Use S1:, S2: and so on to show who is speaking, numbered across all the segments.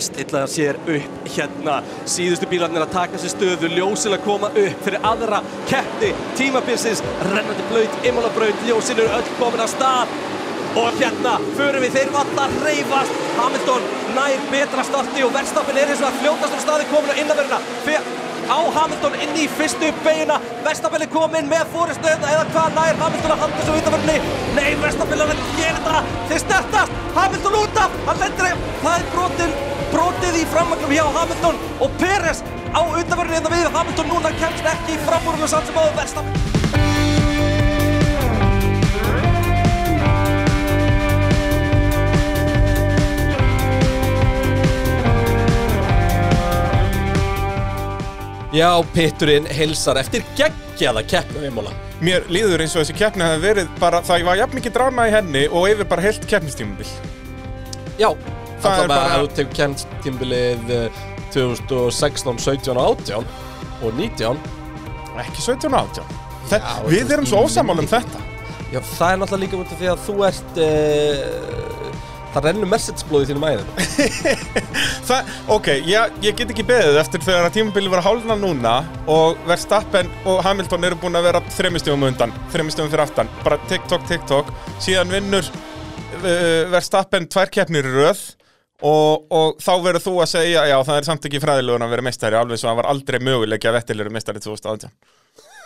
S1: stilla sér upp hérna síðustu bílarnir að taka sér stöðu ljósin að koma upp fyrir aðra keppni tímabilsins rennandi blaut, imólabraut, ljósin eru öll komin að stað og hérna förum við þeir vallar reyfast Hamilton nær betra starti og verðstafin er eins og að fljótast á staði komin á innanverðina fyrir á Hamilton inn í fyrstu beina Vestafell er komin með fórustu eða hvað nær Hamilton að halda svo vitaförni Nei, Vestafell er að gera þetta þeir snertast, Hamilton út af hann lendir að, það er brotin brotið í framvagnum hjá Hamilton og Peres á utanverðinu eða við Hamilton núna kemst ekki í framúrunum sann sem á Vestafell Já, Pitturinn hilsar eftir geggjaða keppnum í móla
S2: Mér líður eins og þessi keppni hafi verið bara, það var jafn mikið drama í henni og yfir bara heilt keppnistímabil.
S1: Já,
S2: Það
S1: það
S2: er
S1: er bara
S2: bara-
S1: að þú eh, tegur kemst tímbilið 2016, 17 og 18 og 19
S2: Ekki 17 og 18. Þe-
S1: Já, og þú
S2: við erum
S1: veist,
S2: svo
S1: í-
S2: ósamála um þetta.
S1: Já, það er náttúrulega líka út af því að þú ert uh, það rennur messageblóð í þínum æðum
S2: Það, ok, ég, ég get ekki beðið eftir þegar að tímabili var hálna núna og Verstappen og Hamilton eru búin að vera þremistífum undan, þremistífum fyrir aftan bara TikTok, TikTok, síðan vinnur uh, Verstappen tvær keppnir í röð og, og þá verður þú að segja, já það er samt ekki fræðilegur að vera meistari, alveg svo hann var aldrei möguleik að vettilegur meistari 2018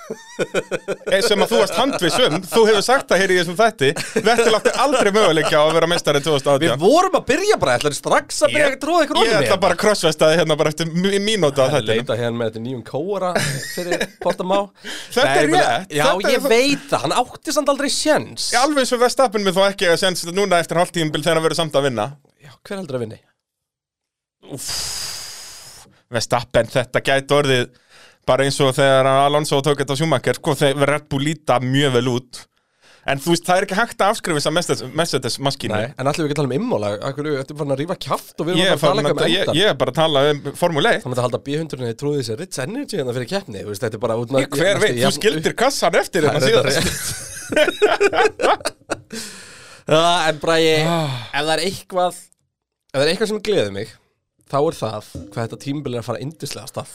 S2: Eh, sem að þú varst handvissum þú hefur sagt það hér í þessum þætti Vettil átti aldrei möguleika á að vera meistari 2018
S1: Við vorum að byrja bara, ætlar strax að byrja að tróða ykkur
S2: Ég ætla bara að crossvestaði hérna bara eftir mí- mínútu að
S1: að
S2: þetta
S1: leita hérna með þetta nýjum kóara fyrir Portamá
S2: Þetta er rétt,
S1: Já,
S2: þetta er
S1: ég
S2: það-
S1: veit það, hann átti samt aldrei sjens Já,
S2: Alveg svo Vestapen mér þó ekki að senst núna eftir hálftíðumbil þegar hann verður samt að vinna
S1: hver heldur að vinni?
S2: Vestapen þetta gæti orðið bara eins og þegar Alonso tók þetta á Schumacher sko þeir Red Bull líta mjög vel út En þú veist það er ekki hægt að afskrifa þess að Mercedes maskínu
S1: Nei, en allir við ekki að tala um immóla Akkur við ættum farin að rífa kjaft og við erum
S2: Ég er,
S1: að fara að
S2: farin
S1: tala
S2: að,
S1: eitthvað um
S2: ég,
S1: endan
S2: ég er bara að tala um Formule 1
S1: Þannig að það halda B100-inni trúði sér Ritz Energy hérna fyrir keppni Þú veist, þetta er bara út með
S2: Hver veit, þú skildir kassan eftir
S1: Það
S2: hérna
S1: er þetta
S2: síðan
S1: rétt Já, En Bræi,
S2: Ah.
S1: ef það er eitthvað Ef það er eitthvað sem gleður mig Þá er það hvað þetta tímabil er að fara indislega stað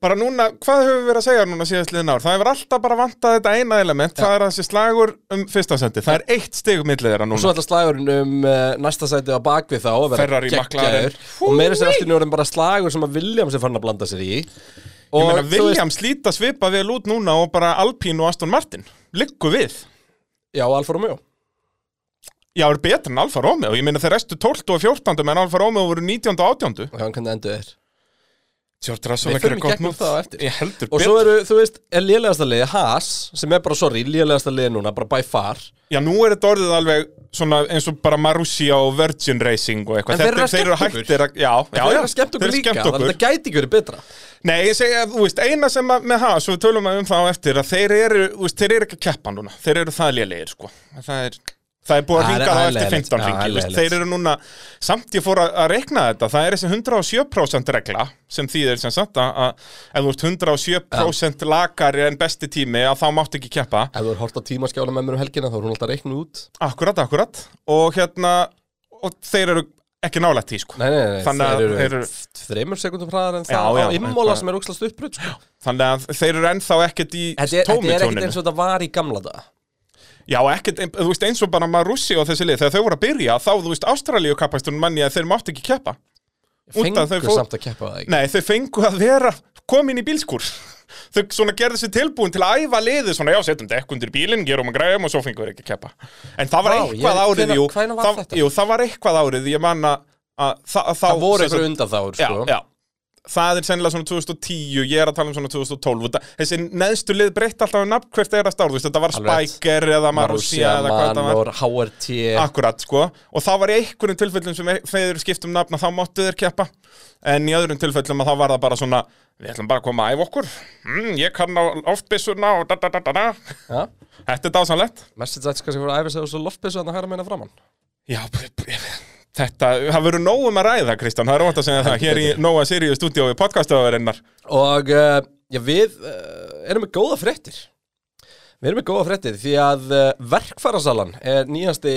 S2: Bara núna, hvað höfum við verið að segja núna síðastliðin ár? Það hefur alltaf bara vantað þetta eina element Það er þessi slagur um fyrsta sendi Það er eitt stig millið þeirra
S1: Svo
S2: núna
S1: ætla slagurinn um uh, næsta sæti á bakvið þá að vera
S2: Ferrari,
S1: geggjaður.
S2: McLaren.
S1: Og meira sér aftur nú erum bara slagur sem að Williams er farin að blanda sér í Og
S2: Ég meina,
S1: þú
S2: Williams líta svipa vel út núna og bara Alpine og Aston Martin. Liggu við.
S1: Já, Alfa Romeo
S2: Já, er betra en Alfa Romeo. Ég meina, þeir restu 12 og 14 menn Alfa Romeo voru 19 og 18.
S1: Já, hvernig endur þér
S2: George Russell
S1: Við
S2: að gera
S1: förum í
S2: gott
S1: gegnum
S2: mót.
S1: það á eftir.
S2: Ég heldur
S1: Og
S2: betur.
S1: svo eru, þú veist, er lélegasta liði Haas, sem er bara, sorry, lélegasta liði núna, bara by far
S2: Já, nú er þetta orðið alveg svona eins og bara Marussia og Virgin Racing og
S1: En
S2: eitthvað.
S1: þeir eru að
S2: Þetta-
S1: skemmta okkur.
S2: hættir að... Já, já,
S1: Það
S2: já.
S1: er að skemmt okkur
S2: þeir
S1: líka,
S2: skemmtu
S1: þannig að
S2: okkur.
S1: það gæti ekki verið betra
S2: Nei, ég segja, þú veist, eina sem að, með Haas, og við tölum um það á eftir, að þeir eru, þú veist, þeir eru ekki að keppa núna, þeir eru það lélegir, sko, það er, það er búið að
S1: Það er-
S2: ringa
S1: það er
S2: það eftir
S1: leiðilegt. Já, það er
S2: 15 ringi, þú veist,
S1: leiðilegt.
S2: þeir eru núna, samt ég fór að, að rekna þetta, það er þessi 107% regla, sem þýðir sem sagt, að, að ef þú ert 107% lakari en besti tími, að þá mátt ekki keppa,
S1: Ef þú er hort á tímaskjána með mér um helgina þá er hún alltaf reiknuð út
S2: akkurat, akkurat, og hérna, og þeir eru ekki nálægt því, sko.
S1: Nei, nei, nei,
S2: Þannig að
S1: þeir eru
S2: þeir eru-
S1: þreymur sekundum hraðar en
S2: Já,
S1: það
S2: já,
S1: á immóla
S2: eitthvað.
S1: sem er ógslast uppbrut sko.
S2: Þannig að þeir eru ennþá ekkert í
S1: Þetta er, þetta er ekkert
S2: tómitóninu.
S1: eins og þetta var í gamla daga
S2: Já, ekkert, em- þú veist, eins og bara Marussi og þessi lið, þegar þau voru að byrja, þá, þú veist, Ástralíu kappastunum manni að þeir mátt ekki keppa. Út að þau
S1: Fengur
S2: fór-
S1: samt að keppa það ekki
S2: Nei, þau fengu að vera komin í bílskúr. Þau svona gerðu sér tilbúin til að æfa liðið svona, já, setjum dekk undir bílinn, gerum að græjum og svo fengu þeir ekki að keppa. En það var
S1: Vá,
S2: eitthvað
S1: ég-
S2: árið,
S1: hvenær-
S2: jú,
S1: hvenær var
S2: það,
S1: þetta?
S2: jú, það var eitthvað árið, ég man að að það, þá,
S1: Það voru
S2: sem sagt-
S1: ykkur undan þáur
S2: Já,
S1: sko.
S2: já Það er sennilega svona 2010, ég er að tala um svona 2012 og það- Þessi neðstu lið breytt alltaf um nafn hvert er að stáð, þú veist, þetta var
S1: Alveg rétt.
S2: Spiker eða Marussia
S1: Marussia,
S2: eða hvað það var
S1: Manor, HRT
S2: Akkurat, sko, og það var í einhverjum tilfellum sem e- þeir skiptum nafna, um þá máttu þeir keppa en í öðrum tilfellum að þá var það bara svona við ætlum bara að koma að æfa okkur mm, ég kann á loftbissuna og da da da da da
S1: ja.
S2: Þetta er dásanlegt
S1: Message ætti kannski fyrir að æfa sig á svo loftbissu þannig að hæra meina framann
S2: Já, b- b- þetta, það verður nóg um að ræða Kristján, það er ótt að segja það hér í Nóa Sirius stúdíó
S1: eh,
S2: við podcastaðurinnar
S1: Og uh, já, við uh, erum með góða fréttir Við erum með góða fréttið því að eh, verkfærasalan er nýjasti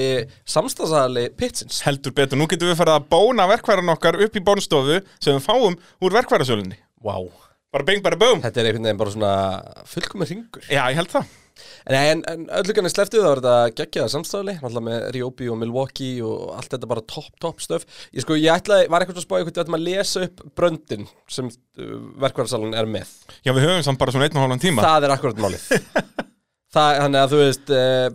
S1: samstagsali pitsins.
S2: Heldur betur, nú getum við farið að bóna verkværan okkar upp í bónstofu sem við fáum úr verkværasölunni.
S1: Vá.
S2: Bara bing, bara búm.
S1: Þetta er einhvern veginn bara svona fullkomur ringur.
S2: Já, ég held það.
S1: En, en, en öllugan er sleftið það var þetta geggjaða samstagsali, náttúrulega með Ryobi og Milwaukee og allt þetta bara topp, topp stöf. Ég sko, ég ætlaði, var eitthvað að spáði eitthvað að lesa upp bröndin sem uh, verkfærasalan er með.
S2: Já, við höfum samt bara svona einn og hálfan tíma.
S1: Það er akkurat málið það, Þannig að þú veist uh,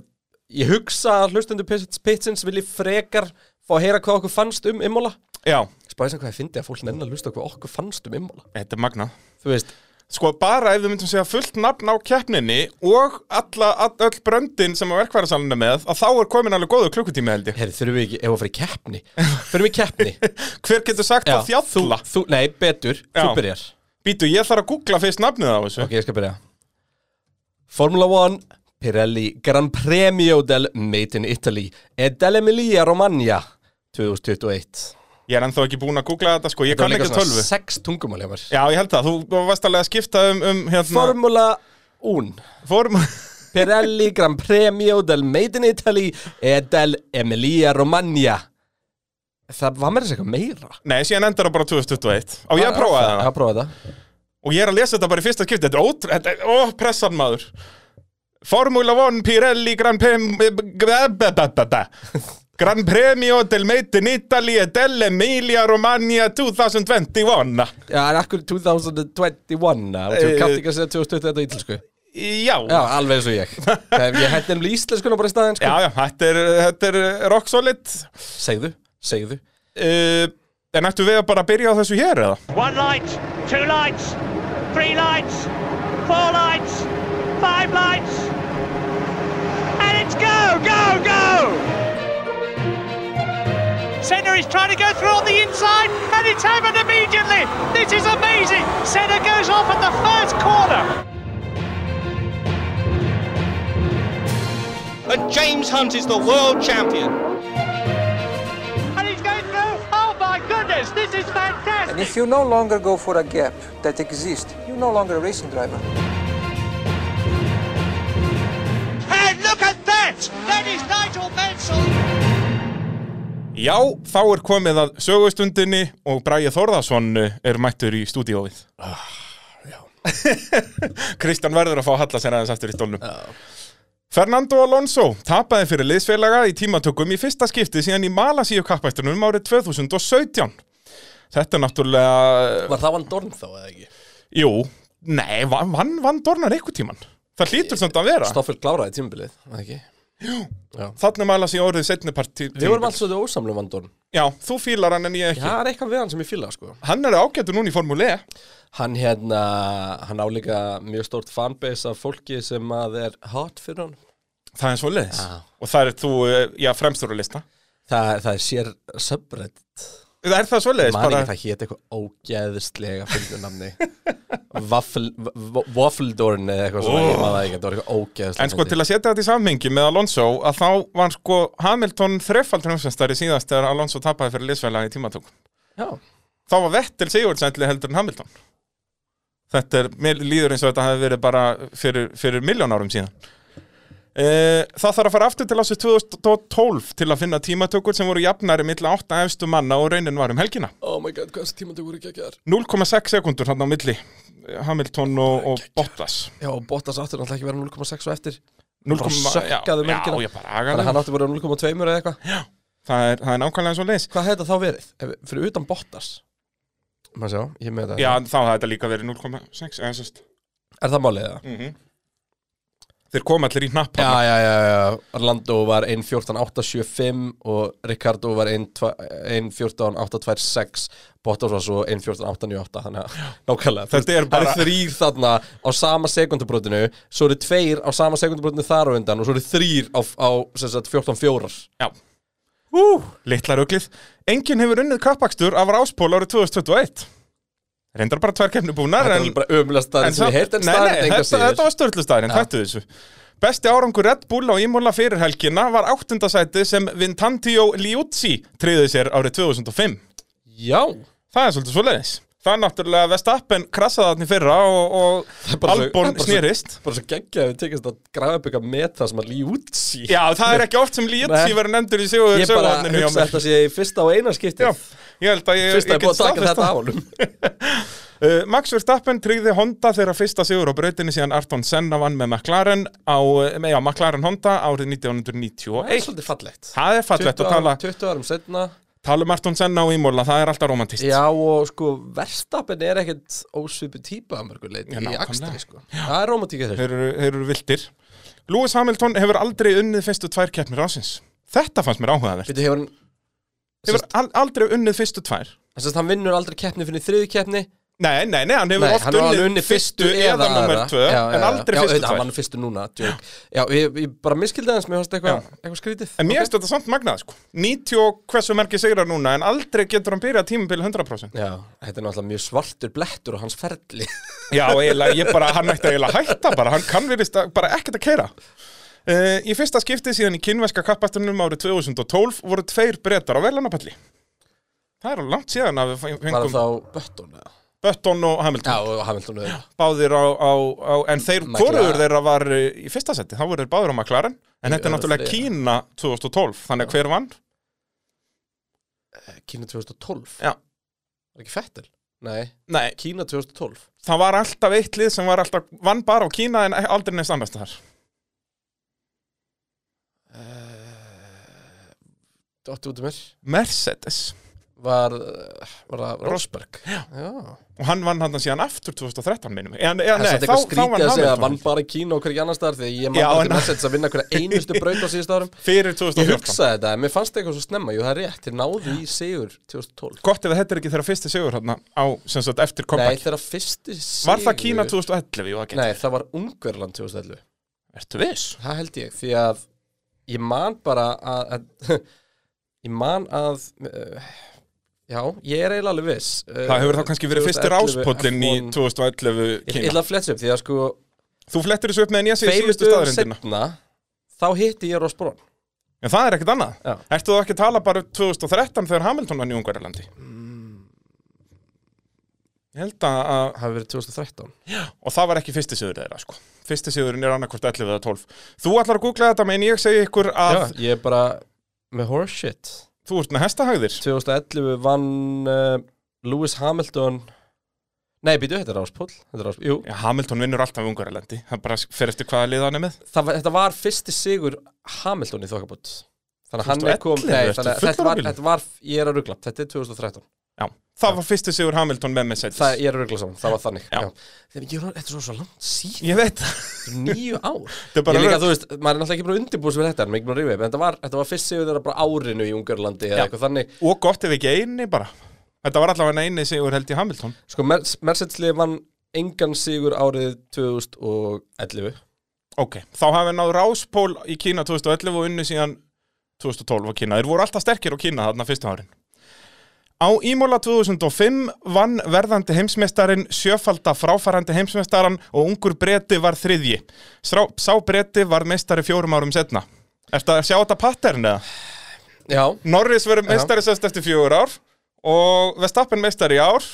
S1: Ég hugsa að hlustendur Pits- Pitsins vilji frekar fá að heyra hvað okkur fannst um Immola
S2: Já,
S1: Spæði sem hvað ég fyndi að fólk nenni að hlusta hvað okkur fannst um Immola
S2: þetta er magnað.
S1: Þú veist,
S2: Sko bara ef við myndum segja fullt nafn á keppninni og alla, all, öll bröndin sem að verkværasalina með að þá er komin alveg góður klukkutími held ég.
S1: herri, þurfum við ekki, ef að fyrir keppni Þurfum við í keppni
S2: Hver getur sagt
S1: Já,
S2: að þjálla?
S1: þú, Nei, betur, þú
S2: Já.
S1: byrjar
S2: Býtu, ég þarf að googla fyrst nafnið á þessu.
S1: Ok, ég skal byrja Formula 1 Pirelli Gran Premio del Made in Italy e dell'Emilia Romagna 2021
S2: Ég er ennþá ekki búin að googla þetta sko, ég kann ekki tölvu.
S1: Sex tungumál hjá mér
S2: Já, ég held það, þú varst alveg að skipta um, um hérna,
S1: Formula 1
S2: form...
S1: Pirelli Gran Premio del Made in Italy e del Emilia Romagna Það var mér þess eitthvað meira
S2: Nei, síðan endar það bara 2021. Á ég að prófa
S1: Já,
S2: það.
S1: prófa það
S2: Og ég er að lesa þetta bara í fyrsta skipti, þetta er ótrú, þetta er, ó, pressan maður. Formula 1, Pirelli, Gran Premio, Gran Premio del Made in Italy e dell'Emilia Romagna 2021.
S1: Já, en akkur 2021 eh, Þú kallt ekki að segja 2021 á ítlensku Já,
S2: Já,
S1: alveg eins og ég Ef Ég hætti um íslenskuna bara í staðinn sko.
S2: já, já, þetta er, þetta er rock solid.
S1: Segðu, segðu
S2: Uh, en ættu við að bara byrja á þessu hér eða?
S3: One light, two lights, three lights, four lights, five lights. And it's go, go, go! Senna is trying to go through on the inside and it's happened immediately. This is amazing. Senna goes off at the first corner.
S4: and James Hunt is the world champion.
S3: And he's going through. Oh my goodness, this is fantastic.
S5: And if you no longer go for a gap that exists, you're no longer a racing driver.
S3: And look at that! That is Nigel Mansell.
S2: Já, þá er komið að sögustundinni og Bræði Þórðarsson er mættur í stúdíóið. Ah, já. Kristján verður að fá að halla sér aðeins aftur í stólnum. Fernando Alonso tapaði fyrir liðsfélaga í tímatökum í fyrsta skipti síðan í Malasíu kappættunum árið 2017. Þetta er náttúrulega
S1: Var það vann Dorn þá eða ekki?
S2: Jú, nei, vann van, van Dornar einhvern tíman Það hlýtur samt að vera
S1: Stoffel kláraði tímbilið, eða ekki?
S2: Þannig maður að sé orðið setni part tí-
S1: Við vorum
S2: tímabil.
S1: alls svolítið ósamlega vann Dorn
S2: Já, þú fílar hann en ég ekki
S1: Það er eitthvað við hann sem ég fíla sko
S2: Hann er ágættur núna í formúli E.
S1: Hann hérna, hann á líka mjög stórt fanbase af fólki sem að er hot fyrir hann
S2: Það er svo leiðis
S1: Já.
S2: Og það er þú, eh, já, fremstur á lista
S1: Það, það er sér subreddit
S2: Það er það svo leiðis
S1: Man ekki
S2: bara
S1: það hét eitthvað ógeðslega fyrir namni Waffledorn eða eitthvað svona, ég maður það ekki, það var eitthvað ógeðslega
S2: En sko til að setja þetta í samhengi með Alonso að þá var sko Hamilton þrefald hrjómsveistari síðast þegar Alonso tapaði fyrir liðsfélaga í tímatökum
S1: Já,
S2: Þá var Vettel sigurðsendli heldur en Hamilton Þetta er, mér líður eins og þetta hefði verið bara fyrir, fyrir miljón árum síðan Eh, Það þarf að fara aftur til ásins 2012 til að finna tímatökur sem voru jafnari milli 8 efstu manna og raunin var um helgina
S1: oh my god, hvað þessi tíma þú voru ekki að gera
S2: 0,6 sekundur hann á milli eh, Hamilton og, og Bottas
S1: Já, og Bottas áttur náttúrulega ekki að vera 0,6 og eftir
S2: 0,
S1: Bara sökkaðu
S2: já,
S1: merkina.
S2: já, ég bara
S1: Þannig að
S2: agaði
S1: hann átti bara 0,2 eða eitthvað
S2: það er, það er nákvæmlega svo leis
S1: Hvað hefði þetta þá verið? Ef, fyrir utan Bottas Má sjá, ég er með þetta
S2: Já, þá hafði þetta líka verið 0,6 eða sérst.
S1: Er það málið það?
S2: Þeir kom allir í hnapp
S1: Já,
S2: þarna.
S1: já, já, já, Orlando var 1.14.875 og Ricardo var 1.14.826 Bottas var svo 1.14.898 þannig að nákvæmlega
S2: Þetta er
S1: Það
S2: bara-
S1: eru þrýr þarna á sama sekundubrotinu svo eru tveir á sama sekundubrotinu þar á undan og svo eru þrýr á, á sem sagt, 14.4
S2: Já Ú, litla ruglið Enginn hefur unnið kappakstur af ráspól árið 2021 Reyndar bara tvær kemni búnar
S1: Þetta er bara ömulega staðin sem
S2: samt-
S1: ég heilt en
S2: Nei,
S1: staðin
S2: nei, þetta, þetta var störtlu staðin, þetta þessu Besti árangur Red Bull á ímúla fyrir helgina var áttundasæti sem Vintantio Liuzzi treyði sér árið 2005
S1: Já,
S2: Það er svolítið svoleiðis Það er náttúrulega Vestappen krassaði þarna í fyrra og,
S1: Það er
S2: og
S1: bara svo-
S2: Albon
S1: það er bara svo-
S2: snýrist
S1: Bara svo geggja að við tekist að grafa upp eitthvað með það sem að Liuzzi
S2: Já, það er ekki oft sem Lietzi
S1: Nei.
S2: verður nefndur í sigur
S1: Ég bara hugsa þetta sé í fyrsta og eina skiptið
S2: Já, ég held að ég,
S1: Fyrsta
S2: ég
S1: er búið að taka þetta á honum
S2: Uh, Max Verstappen tryggði Honda þeirra fyrsta sigur á brautinni síðan Arton Senna vann með McLaren á, eh, já, McLaren Honda árið 1991
S1: Það er svolítið fallegt
S2: Það er fallegt að tala,
S1: 20 árum setna
S2: tala um Arton Senna og Ímóla, það er alltaf romantist
S1: Já og sko verstappin er ekkert ósvipu típa að mörgur leiti
S2: Já,
S1: í
S2: nákvæmlega.
S1: akstri sko Það er romantíka
S2: Þeir
S1: þeir
S2: eru, þeir eru vildir Lewis Hamilton hefur aldrei unnið fyrstu tvær keppnir ásins Þetta fannst mér áhugaverð
S1: Býtu hefur hann
S2: Hefur al aldrei unnið fyrstu tvær
S1: Þess að hann vinnur aldrei keppni fyrir þriðu keppni
S2: Nei, nei, nei, hann hefur
S1: Nei,
S2: oft
S1: hann var alveg
S2: unnið,
S1: unni fyrstu eða
S2: nummer
S1: aðra.
S2: tvö
S1: Já, já, já.
S2: En aldrei
S1: Já,
S2: fyrstu
S1: auðvitað, hann
S2: tvær
S1: var fyrstu núna djók. Já, ég, ég bara miskildi hans, mér fannst eitthvað eitthva skrítið
S2: En mér finnst þetta samt magnað, sko 90 og hversu merki segrar núna En aldrei getur hann byrjað tímabili 100%
S1: Já, þetta er náttúrulega mjög svartur blettur á hans ferli
S2: Já, eiginlega, ég bara, hann ætti eiginlega að hætta bara, hann kann verið bara ekkert að keira. Uh, í fyrsta skipti síðan í kynverska kappastunum árið 2012 voru tveir brettar á verðlanapalli. Það er alveg langt síðan að við
S1: Bara
S2: fengum
S1: þá Böttun eða?
S2: Button og
S1: Já,
S2: Hamilton
S1: og Hamilton eða.
S2: báðir á, á, á en þeir,
S1: McLaren.
S2: hvoruður þeirra var uh, í fyrsta seti, þá voru þeir báðir á McLaren, en þetta er
S1: öðru
S2: náttúrulega
S1: þriðja.
S2: Kína 2012, þannig að hver vann?
S1: Kína 2012
S2: Já.
S1: Var ekki Fettel? Nei,
S2: Nei,
S1: Kína 2012
S2: það var alltaf eitt lið sem var alltaf, vann bara á Kína en aldrei neins annars þar.
S1: Dóttu Eh, út um mér
S2: Mercedes.
S1: Var, uh, var það Rosberg Já,
S2: Og hann vann hann síðan aftur 2013 minnum. En, ja,
S1: Það er
S2: nei,
S1: satt eitthvað
S2: þá, þá vann
S1: skrítið að segja
S2: Hamilton.
S1: að vann bara í Kína og hverju annar staðar Þegar ég
S2: Já,
S1: man bara
S2: en-
S1: til Mercedes að vinna hverja einustu braut á síðust árum
S2: Fyrir
S1: Ég
S2: 2014
S1: hugsaði þetta, en mér fannst eitthvað svo snemma Jú, það er rétt, þeir náðu í sigur 2012
S2: Gott ef þetta er ekki þeirra fyrsti sigur hérna á, sem sagt, eftir
S1: Nei,
S2: comeback
S1: þeirra fyrsti sigur
S2: Var það Kína 2011? Jú, það getur.
S1: Nei, það var Ungverland 2011
S2: Ertu viss?
S1: Það held ég, því að ég man bara að, að ég man að uh, já, ég er eiginlega alveg viss uh,
S2: Það hefur þá kannski verið fyrsti
S1: 2011
S2: ráspóllin í
S1: F1.
S2: 2011
S1: Ég ég
S2: Kína
S1: ætla að fletsa upp því að sko
S2: Þú flettir þessu upp meðan ég sé
S1: tveimur
S2: síðustu
S1: dögum
S2: staðarindina
S1: setna þá hitti ég Ross Brown
S2: En það er ekkert annað
S1: Já.
S2: Ertu þú ekki að tala bara um 2013 þegar Hamilton var í Ungverjalandi?
S1: Mm.
S2: Ég held að, að
S1: hafi verið 2013
S2: Og það var ekki fyrsti sigur þeirra sko Fyrsti sigurinn er annarkvort 11 eða 12 Þú ætlar að googla þetta meðan ég segi ykkur að
S1: já, ég er bara með horseshit
S2: Þú ert með hestahagðir
S1: 2011 vann uh, Lewis Hamilton nei, býtu, þetta er Ross Paul þetta er Ross, jú,
S2: Já, Hamilton vinnur alltaf Ungverjalandi Það bara fer eftir hvaða lið hann er með
S1: það, var- þetta var fyrsti sigur Hamilton í þokkabót þannig að hann er kom
S2: 2011,
S1: nei,
S2: ertu
S1: þannig, að þetta, var,
S2: fullorðin?
S1: þetta var, ég er að ruggla þetta er 2013,
S2: Já, það var fyrsti sigur Hamilton með Mercedes
S1: það, ég er að ruggla saman það var þannig
S2: Já.
S1: Þegar ég var- þetta er svo, svo langt síðan,
S2: Ég veit það
S1: níu ár
S2: Þetta er
S1: ég
S2: bara
S1: er líka,
S2: rögl.
S1: þú veist, maður er náttúrulega ekki búin að undirbúið sem þetta, en maður er ekki búin að rífa upp. en þetta var, þetta var fyrst sigur þeirra bara árinu í Ungarlandi eða
S2: Já.
S1: eitthvað þannig,
S2: Og gott ef ekki eini bara Þetta var allavega eini sigur held í Hamilton
S1: sko Mer- Mercedes-lið vann engan sigur árið 2011
S2: Ok, þá hafa við náð ráspól í Kína 2011 og unnu síðan 2012 á Kína Þeir voru alltaf sterkir á Kína þarna fyrstu árin Á Ímóla 2005 vann verðandi heimsmeistarin, sjöfalda fráfarandi heimsmeistaran og ungur breyti var þriðji. Sá, sá breyti var meistari fjórum árum setna. Ertu að sjá þetta pattern eða?
S1: já,
S2: Norris verður meistari sérst eftir fjögur ár og Vestappen meistari í ár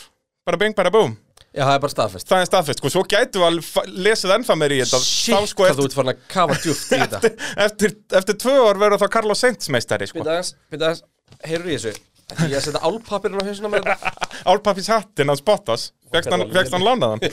S2: bara bing bara búm
S1: já, það er bara staðfest
S2: það er staðfest, sko, svo gætu við alveg fa- lesið ennþá meir í þetta
S1: shit,
S2: þá, sko,
S1: hvað þú
S2: eftir,
S1: ert farin að kafa djúpt í þetta
S2: eftir, eftir tvö ár verður þá Carlos Sainz meistari sko.
S1: Býta aðeins, býta aðeins, heyrur ég þessu? Ætti Ég að setja álpapirinn á hausuna með þetta
S2: álpappis hattinn hans Bottas vegst hann, vegst hann lánaðan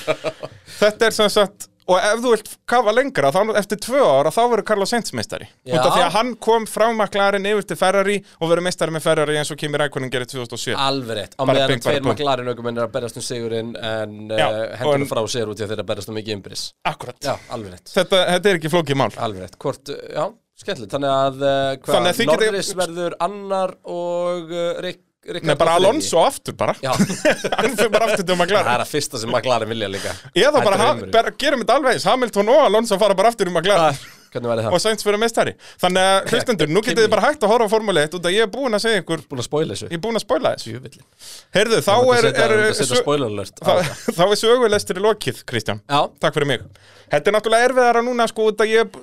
S2: þetta er sem sagt og ef þú vilt kafa lengra, þá eftir tvö ára þá verður Carlos Sainz meistari
S1: Já.
S2: út af því að hann kom frá maklarinn yfir til Ferrari og verður meistari með Ferrari eins og Kimi Rækonin gerir 2007
S1: Alveg rétt, á
S2: Bara
S1: meðan að
S2: bing, bara
S1: tveir
S2: búm.
S1: maklarinn aukumennir að berjast um sigurinn en uh,
S2: Já, og
S1: hendur
S2: en-
S1: en... frá sér út í að þeirra berjast um mikið ymbris
S2: akkurat
S1: Já, alveg rétt,
S2: þetta, þetta er ekki flókið mál
S1: alveg rétt, hvort, uh, já, skemmtilegt Þannig að, uh, hvað,
S2: Þannig að þið getið-
S1: Norris verður annar og uh, Rick, Rick
S2: Nei, bara Alonso aftur bara
S1: Já.
S2: Hann fyrir bara aftur til
S1: Það
S2: McLaren
S1: er að fyrsta sem maklarinn vilja líka
S2: Eða bara, ha-
S1: draumurinn.
S2: bara gerum þetta alveg eins Hamilton og Alonso fara bara aftur um
S1: Ah,
S2: McLaren
S1: Hvernig verður
S2: Og
S1: það?
S2: Sainz fyrir meistari Þannig að hlustendur, nú getið þið
S1: Kimi.
S2: bara hægt að horfa á Formule 1 Út að ég er búin að segja ykkur
S1: Búin að spoila þessu?
S2: Ég er búin að spoila þessu
S1: Jöfullin
S2: Heyrðu, þá
S1: Það
S2: er,
S1: er
S2: er,
S1: að setja
S2: sö-
S1: spoiler alert á
S2: þá,
S1: þetta.
S2: þá er sögulestur í lokið, Kristján
S1: Já,
S2: Takk fyrir mig Þetta er náttúrulega erfiðara núna sko út að ég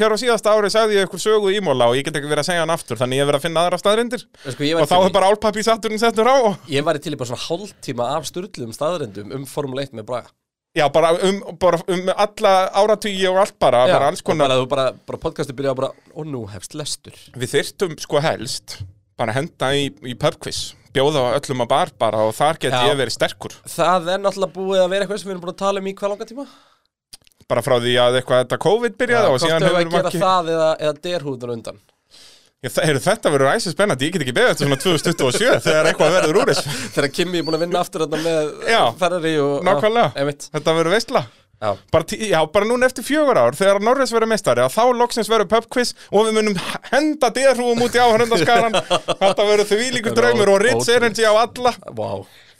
S2: hér á síðasta ári sagði ég ykkur sögu ímóla og ég get ekki verið að segja hann aftur þannig ég verið að finna aðra staðrindir
S1: En sko, ég var
S2: og þá
S1: til í-
S2: er bara álpappi satturinn settur á og,
S1: Ég væri til í bara svona hálftíma af styrlum staðrendum um Formule 1 með Braga
S2: já, bara um, bara um alla áratugi og allt bara,
S1: Já,
S2: bara alls
S1: og
S2: konar
S1: bara, þú bara, bara podcastu byrja bara og nú hefst lestur
S2: við þyrtum sko helst bara henda í, í pubquiz bjóða á öllum að bar bara og þar get
S1: Já.
S2: ég verið sterkur
S1: það er náttúrulega búið að vera eitthvað sem við erum búin að tala um í hvað langan tíma
S2: bara frá því að eitthvað þetta COVID byrjaði og
S1: hvort
S2: síðan
S1: hefur
S2: hefur
S1: að
S2: maður
S1: gera
S2: ekki
S1: það eða, eða derhúðun undan
S2: Ég, það, heyrðu, þetta verður æsir spennandi, ég get ekki beðið eftir svona 2027 þegar eitthvað verður úr þessu
S1: þegar Kimi er búin að vinna aftur þarna með
S2: Já,
S1: Ferrari og
S2: nákvæmlega.
S1: Já, einmitt.
S2: Þetta verður veistla
S1: Já.
S2: bara, tí- já, bara núna eftir fjögur ár þegar Norris verður meistari að þá loksins verður pubquiz og við munum henda derhúum út í áhörundaskaran þetta verður þvílíkur draumur og Ritz Energy á alla
S1: Vá,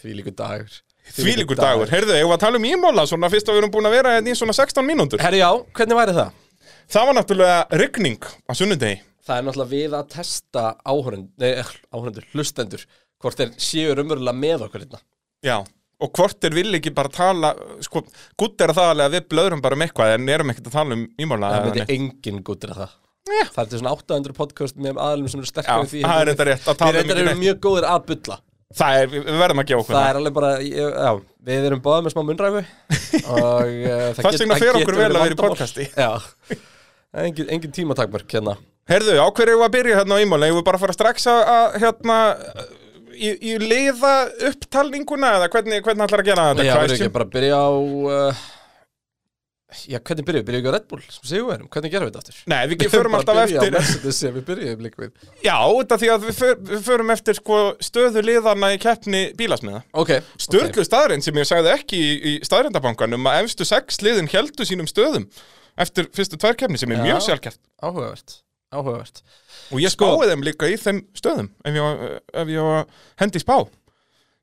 S1: því líku dagur
S2: þvílíkur dagur, heyrðu, ég var að tala um ímóla svona fyrst að við erum búin að vera hérna í svona 16 mínútur
S1: Herri já, hvernig væri það?
S2: það var náttúrulega rigning á sunnudegi
S1: Það er náttúrulega við að testa áhörund, nei, áhörundur, hlustendur hvort þeir séu raunverulega með okkur hérna
S2: já og hvort er vil ekki bara tala sko, gutt er það alveg að við blöðrum bara um eitthvað en erum ekkert að tala um ímóla
S1: Það
S2: eða neitt.
S1: myndi engin gúttir að það Það er til svona 800 podcast með aðlum sem eru sterkar
S2: Já,
S1: en því
S2: það er reyndar rétt að tala
S1: Við
S2: um
S1: reyndar
S2: ekki
S1: erum
S2: neitt.
S1: mjög góðir að bulla
S2: það er, við verðum að gefa okkur
S1: Það er alveg bara, ég, já, við erum báðið með smá munnræfu og uh, það,
S2: Þess vegna fer
S1: getur
S2: okkur vel að vera í
S1: vandamál.
S2: podcasti.
S1: Já, engin, engin tímatakmörk hérna
S2: Herðu, á hverju eigum við að byrja hérna á ímála? Eigum við bara að fara strax að, að hérna, í, í leiða upptalninguna eða hvernig, hvernig ætlar að gera
S1: Já,
S2: þetta?
S1: við erum
S2: Christian?
S1: ekki að bara byrja á, uh, já, hvernig byrjuðum við? Byrjuðum við á Red Bull, sem segjum við erum, hvernig gerum við þetta aftur?
S2: Nei, við ekki förum
S1: bara
S2: alltaf
S1: að byrja á
S2: eftir
S1: Mercedes sem við byrjuðum líka við
S2: Já, þetta því að við, för, við förum eftir sko, stöðu liðana í keppni bílasmiða
S1: Ok,
S2: Störlu okay. staðrind sem ég sagði ekki í, í staðrindabankanum að efstu sex liðin heldu sínum stöðum eftir fyrstu tvær keppni sem er
S1: Já.
S2: mjög sjálfkjæft
S1: ok, áhugavert, áhugavert
S2: Og ég
S1: Sko-
S2: spáði þeim líka í þeim stöðum ef ég, á- ef ég á að hendi í spá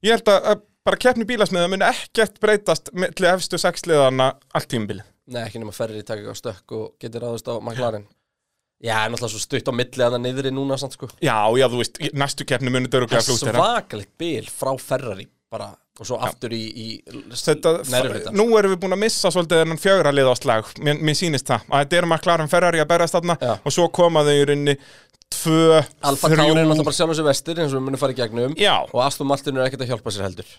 S2: Ég held að, að bara keppni bílasmiða muni ekkert breytast milli efstu sexliðana allt tímabilið
S1: Nei, ekki nema ferri taka ekki á stökk og getur ráðist á McLaren Já, en alltaf svo stutt á milli að það niðri núna samt sko
S2: Já, já, þú veist, í- næstu keppni muni döruglega flútera
S1: Svakalegt bil frá Ferrari bara og svo aftur í, í
S2: Þetta,
S1: næri hlutan
S2: nú erum við búin að missa svolítið þennan fjögra liða slag, mér, mér sýnist það að þetta er maður klaran Ferrari að berast þarna
S1: Já.
S2: og svo koma þau í rauninni tvö,
S1: Alfa Tauri er náttúrulega bara sjálfum sér vestir eins og við munum fara í gegnum
S2: Já.
S1: og Aston Martin er ekkert að hjálpa sér heldur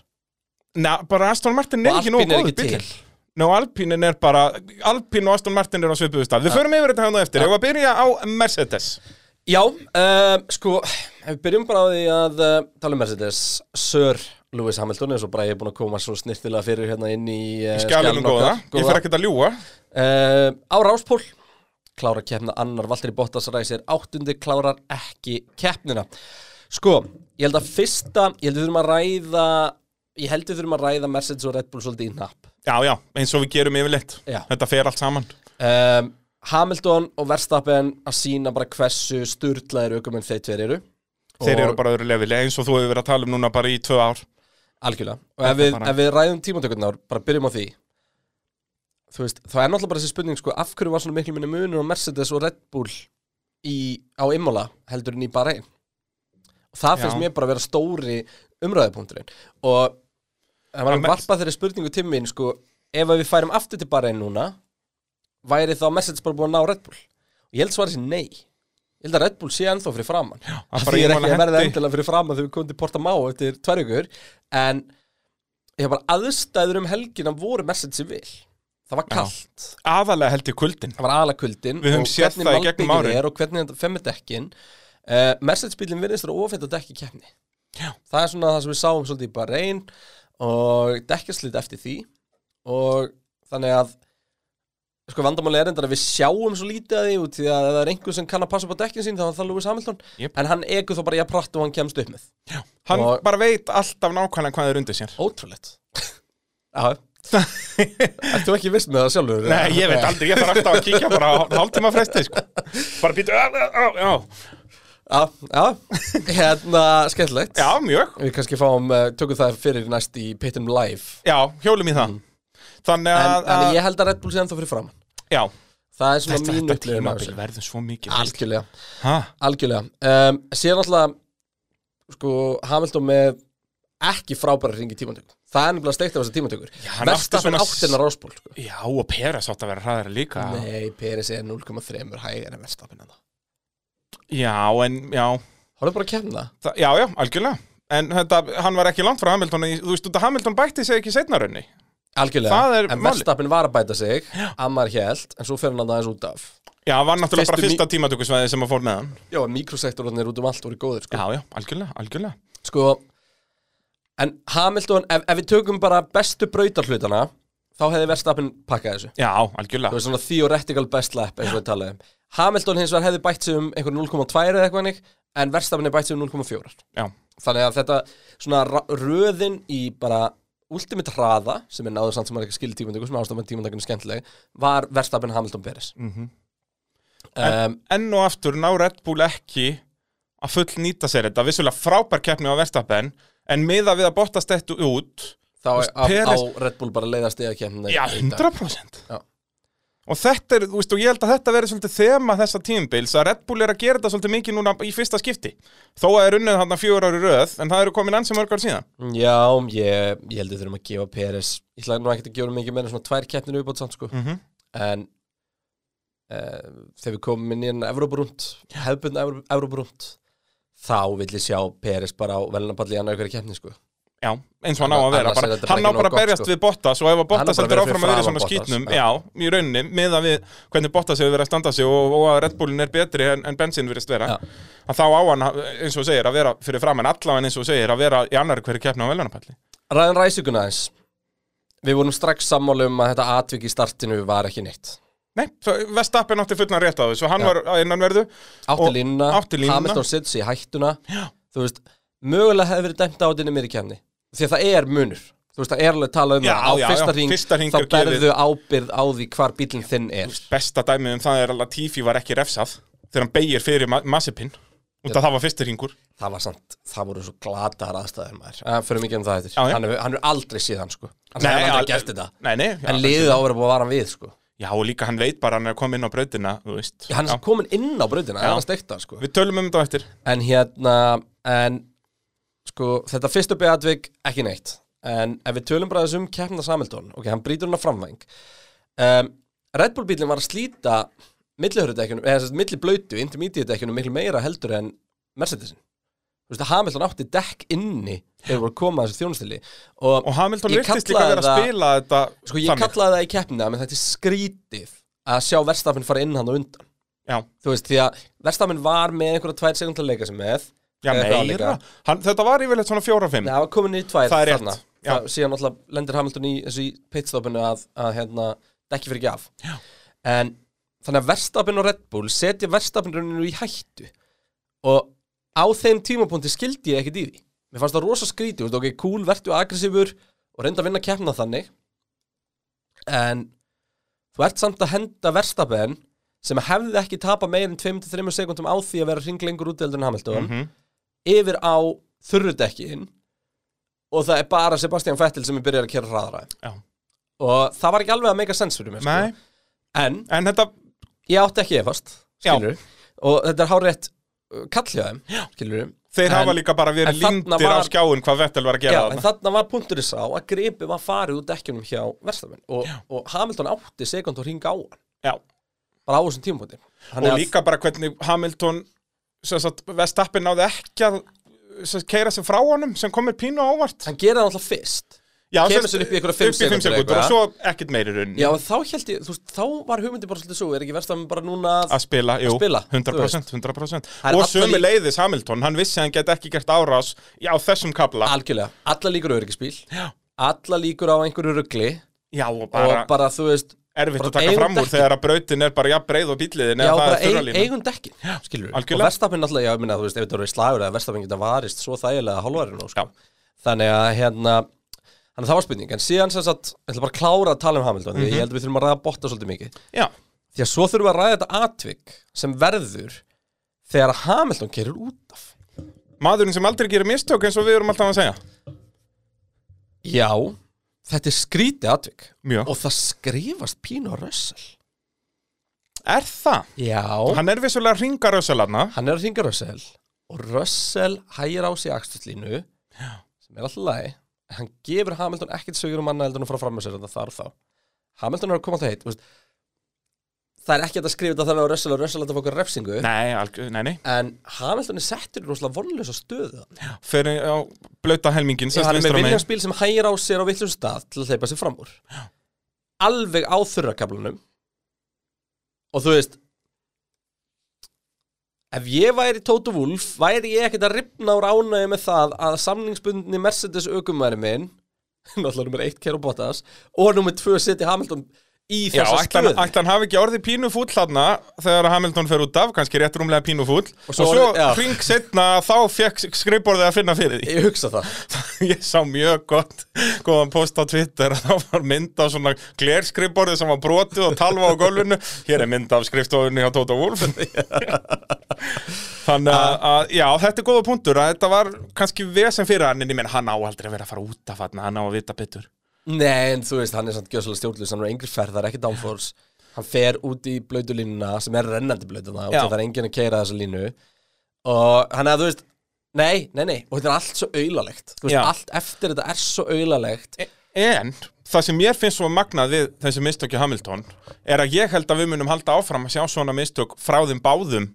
S2: na, bara Aston Martin er
S1: Og
S2: ekki nógu
S1: Alpine er
S2: góður
S1: ekki
S2: bíll
S1: til.
S2: Ná, Alpínin er bara, Alpín og Aston Martin er á svipuðu stað, við förum yfir þetta hérna á eftir, ég var að byrja á Mercedes
S1: Já, uh, sko, ef við byrjum bara á því að uh, tala um Mercedes Sir Lewis Hamilton eins og bara ég er búin að koma svo snirtilega fyrir hérna inn í uh,
S2: skjálunum góða, ég fer ekkert að ljúa
S1: Uh, á Ráspól klárar keppna annar, Valtteri Bottas ræsir áttundi, klárar ekki keppnina sko, ég held að fyrsta ég held við þurfum að ræða ég held við þurfum að ræða Mercedes og Red Bull svolítið í napp
S2: Já, já, eins og við gerum yfirleitt
S1: Já.
S2: Þetta fer allt saman
S1: um, Hamilton og Verstappen að sína bara hversu sturlaðir aukumenn þeir tveir eru
S2: Þeir
S1: Og-
S2: eru bara öðru lefili, eins og þú hefur verið að tala um núna bara í tvö ár
S1: algjörlega, og ef við,
S2: bara-
S1: ef við ræðum tímatökurnar bara byrjum á því þú veist, þá er náttúrulega bara þessi spurning sko, af hverju var svona miklu minni munur á Mercedes og Red Bull í, á Imola heldur en í Bahrein og það finnst
S2: Já.
S1: mér bara að vera stóri umræðupunkturinn og ef maður
S2: En Mer-
S1: varpa þeirri spurningu til mín sko, ef að við færum aftur til Bahrein núna væri þá Mercedes bara búin að ná Red Bull og ég held svarið sér nei ég held að Red Bull sé ennþá fyrir framann Já,
S2: að bara
S1: því er
S2: Imola
S1: ekki að verða
S2: henti.
S1: endilega fyrir framann þegar við komum til Portamá eftir tverjugur en ég hef bara aðstæður um helgina voru Mercedes í vil það var kallt
S2: Aðalega held ég kuldin
S1: það var alakuldin
S2: Við höfum séð það í gegnum árin.
S1: er og hvernig þetta femmidekkin uh, Mercedes-bílinn virðist að ofetta dekki í keppni Já. það er svona það sem við sáum svolítið í Bahrein og dekkjarslit eftir því og þannig að sko vandamáli er endara að við sjáum svo lítið að því út því að ef það er einhver sem kann að passa upp á dekkin sín þá er það Lewis Hamilton
S2: Jep.
S1: en hann ekur þá bara ég pratt og hann kemst upp með
S2: Hann
S1: Og-
S2: bara veit alltaf nákvæmlega hvað er undir sér
S1: ótrúlegt Já Ert þú ekki viss með það sjálfur?
S2: Nei, ég veit aldrei, ég þarf alltaf að kíkja bara á hálftíma fresti sko. Bara býtu á, á, á.
S1: Já, já, hérna, skemmtilegt
S2: Já, mjög
S1: Við kannski fáum, uh, tökum það fyrir næst í Pittum Live
S2: Já, hjólum í það Þannig
S1: Mm. en,
S2: að,
S1: en
S2: að
S1: ég held að Red Bull sé ennþá fyrir fram
S2: já,
S1: Það er svona mín
S2: þetta, þetta
S1: upplifun af
S2: tímabil
S1: þessu.
S2: verður svo mikið
S1: Algjörlega, Ehm,
S2: Ha,
S1: algjörlega um, Síðan alltaf sko, Hamilton með ekki frábæra hring í tímantökum það er nefnilega steikt af þessar tímantökur
S2: hann átti
S1: versta
S2: svona
S1: fyrir
S2: s-
S1: áttina ráspól sko.
S2: Já, og Peres átt að vera hraðari líka
S1: nei, Peris er 0,3 hægir en versta fyrir hann
S2: Já, en, já,
S1: hann er bara að kemna
S2: það, já, já, algjörlega En þetta, hann var ekki langt frá Hamilton í, Þú veist, út að Hamilton bætti sig ekki seinna raunni Það
S1: Algjörlega,
S2: er
S1: en
S2: málið.
S1: Verstappin var að bæta sig Ammar hélt, en svo fer hann að aðeins út af
S2: Já, hann var náttúrulega bara
S1: Fyrstu
S2: fyrsta tímatökusvæði sem að fór með hann
S1: Já, en mikrosektorunir út um allt voru góðir sko.
S2: Já, já, algjörlega, algjörlega
S1: sko En Hamilton, ef, ef við tökum bara bestu brautarhlutana Þá hefði Verstappin pakkað þessu
S2: Já,
S1: Það
S2: algjörlega
S1: var svona theoretical best lap eins og við talaðum Hamilton hins vegar hefði bætt sig um einhver 0,2 eða eitthvað hannig En Verstappin hefði bætt sig um 0,4
S2: Já,
S1: Þannig að þetta svona ra- röðin í bara ultimate hraða sem er náður samt sem er ekki skilið tímundöku sem ástafan tímundökunum skemmtileg var Verstappin Hamilton Peres mm
S2: Mhm.
S1: um,
S2: enn og aftur ná Red Bull ekki að full nýta sér þetta Vissulega frábær keppni á Verstappen En miða við að botta stettu út
S1: Þá
S2: Þú
S1: er
S2: veist,
S1: á, á
S2: Perez-
S1: Red Bull bara leiðast eða kemna
S2: Já, 100%
S1: Já.
S2: Og þetta er, þú veist, og ég held að þetta verði svolítið þema þessa tímubils að Red Bull er að gera þetta svolítið mikið núna í fyrsta skipti Þó að það er unnið hann að fjögur ári röð en það eru komin ansi mörg ár síðan
S1: Já, ég, ég held við þurfum að gefa Peres Ég ætlaði nú ekkert að gefa mikið meira en svona tvær keppnir uppátt samt sko
S2: Mhm.
S1: En uh, þegar við komum inn í enn Evrópurúnd hefðbund Evrópurúnd þá vill ég sjá Peres bara á velnapalli í annar ykkur keppni sko
S2: Já, eins og hann á að vera
S1: Annars er
S2: bara,
S1: þetta bara
S2: Hann á
S1: ekki
S2: bara
S1: nóg
S2: að
S1: gott,
S2: berjast
S1: sko.
S2: við Bottas og ef að
S1: bara
S2: Bottas heldur
S1: verið fyrir
S2: áfram að vera í
S1: framan
S2: svona
S1: Bottas,
S2: skýtnum
S1: já.
S2: Já, í rauninni, miða við hvernig Bottas hefur verið að standa sig og, og að Red Bullin er betri en, en bensin virðist vera
S1: Já.
S2: að Þá á hann, eins og þú segir, að vera fyrir framann allavega eins og þú segir, að vera í annar hverju keppni á velunapalli
S1: Ræðan ræsuguna aðeins Við vorum strax sammála um að þetta atvik í startinu var ekki neitt
S2: Nei, svo Verstappen átti fullna rétt á þessu, hann
S1: Já.
S2: var að innanverðu
S1: Átti
S2: Og
S1: línuna,
S2: átti línuna.
S1: Hamilton sitsi í hættuna Já. Þú veist, mögulega hefði verið dæmt á þetta mér í kemni Því að það er munur Þú veist, það er alveg talað um
S2: Já,
S1: það Á
S2: já,
S1: fyrsta
S2: já,
S1: hring,
S2: fyrsta hring
S1: þá
S2: er gefið.
S1: berðu ábyrð á því hvar bílinn þinn er
S2: Besta dæmið um það er að Latifi var ekki refsað þegar hann beigir fyrir ma Massipin út að það var fyrstir ringur
S1: Það var samt, það voru svo glataðar aðstæður maður En fyrir mikið um það eftir
S2: Já, já.
S1: Hann hefur hann hefur aldrei séð hann, sko Hann hefur
S2: al-
S1: aldrei gert þetta
S2: Nei, nei, já,
S1: En liðið á að vera búið að vara hann við, sko
S2: já, og líka hann veit bara að hann er að koma inn á brautina þú veist.
S1: Hann sko- er
S2: Já.
S1: svo komin inn á brautina, það
S2: Já.
S1: er að steikta, sko
S2: Við tölum um þetta á eftir
S1: En hérna, en sko, þetta fyrstu beatvik ekki neitt En ef við tölum bara þessum keppna Samildón Ok, hann brýtur hann á framvæng um, Red Bull bílinn var að slíta millihörðudekkjunum, eða þess að milli blöytu intermediate-dekkjunum miklu meira heldur en Mercedesin Þú veist að Hamilton átti dekk inni þegar voru að koma að þessu þjónustili og,
S2: Og Hamilton
S1: Ég
S2: virtist líka
S1: kallaði
S2: vera að
S1: það-
S2: spila þetta
S1: sko ég kallaði það í keppna menn þetta er skrítið að sjá verstafinn fara inn hann og undan
S2: Já,
S1: Þú veist, því að verstafinn var með einhverja tvær sekundar leika sem með
S2: já
S1: Eða eitthvað
S2: meira hann, Þetta var yfirleitt svona fjóra-fimm
S1: Nei, það var komin í tvær
S2: Það er rétt,
S1: þarna.
S2: já.
S1: Það, síðan náttúrulega lendir Hamilton í þessu í pitstopinu að, að hérna, dekki fyrir ekki af já. en þannig að Verstappen og Red Bull setja Verstappen rauninu í hættu og á þeim tímapunkti skildi ég ekkit í því mér fannst það rosa skríti, ok, cool, vertu aggressífur og reynda að vinna keppna þannig en þú ert samt að henda Verstappen sem hefði ekki tapa meir en 2-3 sekundum á því að vera hringlengur út en Hamilton
S2: Mhm.
S1: yfir á þurrudekkin og það er bara Sebastian Vettel sem er byrjar að kera hraðra
S2: Já.
S1: og það var ekki alveg að make a sense fyrir mér
S2: Nei,
S1: sko. en
S2: en þetta
S1: ég átti ekki efast
S2: Já.
S1: skilur og þetta er uh, hárétt kallhjáðum skilur
S2: Þeir
S1: En-
S2: hafa líka bara
S1: en
S2: verið
S1: þarna
S2: lindir á
S1: var-
S2: skjáin hvað Vettel var
S1: Já,
S2: að gera
S1: en
S2: þarna
S1: þarna var punkturinn sá að gripi var farið úr dekkjunum hjá verstafinn og, og Hamilton átti sekund og hringa á hann
S2: Já,
S1: bara á þessum tímapunkti Þannig
S2: og
S1: að-
S2: líka bara hvernig Hamilton sem sagt, Vestappin náði ekki að sem sagt, keira sig frá honum sem komir pínu á óvart
S1: hann gera það alltaf fyrst
S2: Já,
S1: kemur
S2: sem sagt,
S1: sér upp í einhverja fimm
S2: upp í fimm
S1: sekúndur
S2: sekúndur og
S1: eitthvað.
S2: svo ekkert meiri raun
S1: Já, en þá held ég, þú veist, þá var hugmyndi bara svolítið svo, er ekki verstafinn bara núna að
S2: að spila, jú,
S1: spila, þú
S2: 100%,
S1: Það er
S2: 100%. og
S1: alla
S2: sömu
S1: lí-
S2: leiðis Hamilton, hann vissi að hann get ekki gert árás á þessum kabla
S1: algjörlega, alla líkur á öryggisbíl alla líkur á einhverju ruggli
S2: já, og bara,
S1: og bara, þú veist
S2: erfitt
S1: bara
S2: að taka
S1: eigum
S2: fram úr
S1: dekkin.
S2: þegar að brautin er bara jafn breið og
S1: Já,
S2: bíliðin eða það
S1: bara
S2: er
S1: eig,
S2: þurralínu
S1: eigum dekkin, skilur
S2: Algjörlega.
S1: Og verstafinn alltaf, já, ég minna, þú veist, ef þetta eru í slagur eða verstafinn geta varist svo þægilega hálfarinn og sko Þannig að, hérna, þannig að það var spurning En síðan sem sagt, ég ætla bara að klára að tala um Hamilton
S2: Mhm.
S1: Því að ég held að við þurfum að ræða botta svolítið mikið
S2: já,
S1: Því að svo þurfum við að ræða þetta atvik sem verður þegar Hamilton kerir út af
S2: maðurinn sem aldrei gerir mistök eins og við erum alltaf að segja
S1: Já, þetta er skrítið atvik
S2: Mjög.
S1: Og það skrifast pínu á rössal
S2: er það?
S1: Já
S2: hann er vissulega ringaröðsalarna
S1: hann er að ringa Russell og Russell hægir á sig axturlínu sem sem er alltaf lagi hann gefur Hamilton ekkert sögur um annað heldur en að fara fram með sér þetta þar og þá Hamilton er að koma alltaf heit þú veist. það er ekki hægt að skrifa þetta þannig á Russell og Russell að þetta fá okkur refsingu
S2: Nei, alg, nei, nei
S1: en Hamilton er settur í rosalega vonlösa stöðu
S2: Fyrir á blauta helmingin sem
S1: hann er
S2: vinstra
S1: með
S2: megin.
S1: viljanspíl sem hægir á sér á villum stað til að hleypa sér fram úr alveg á þurrakablanum og þú veist ef ég væri Tóta Wolf væri ég ekkert að ripna úr ánægju með það að samningsbundni Mercedes aukumæri minn náttúrulega nummer 1 Kero Bottas og nummer 2 seti Hamilton í
S2: Já,
S1: þessa
S2: ætli hann-
S1: stöðu
S2: ætli hann hafi ekki orðið pínu fúll þarna þegar Hamilton fer út af, kannski rétt rúmlega pínu fúll og
S1: svo
S2: svo, svo
S1: orðið- já.
S2: hring setna þá fekk skrifborðið að finna fyrir því
S1: ég hugsa það
S2: Ég sá mjög gott góðan post á Twitter að þá var mynd af svona glerskrifborðið sem var brotið og talva á gólfinu Hér er mynd af skrifstofunni hjá Tóta Wolf Þannig að,
S1: Ah.
S2: að, já, þetta er góða punktur að þetta var kannski vesen fyrir hann en ég menn hann á aldrei að vera að fara út af hann, hann á að vita betur
S1: Nei, en þú veist, hann er samt gjössalega stjórnlýs, hann er á engri ferð, það er ekki downforce Hann fer út í blöytulínuna, sem er rennandi blöytuna og
S2: Já.
S1: það er enginn að keira þessa línu Og hann er, þú veist, nei, nei, nei, og þetta er allt svo aulalegt Þú veist,
S2: Já. E-
S1: allt eftir þetta er svo aulalegt
S2: En það sem ég finnst svo magnað við þessi mistökja Hamilton er að ég held að við munum halda áfram að sjá svona mistök frá þeim báðum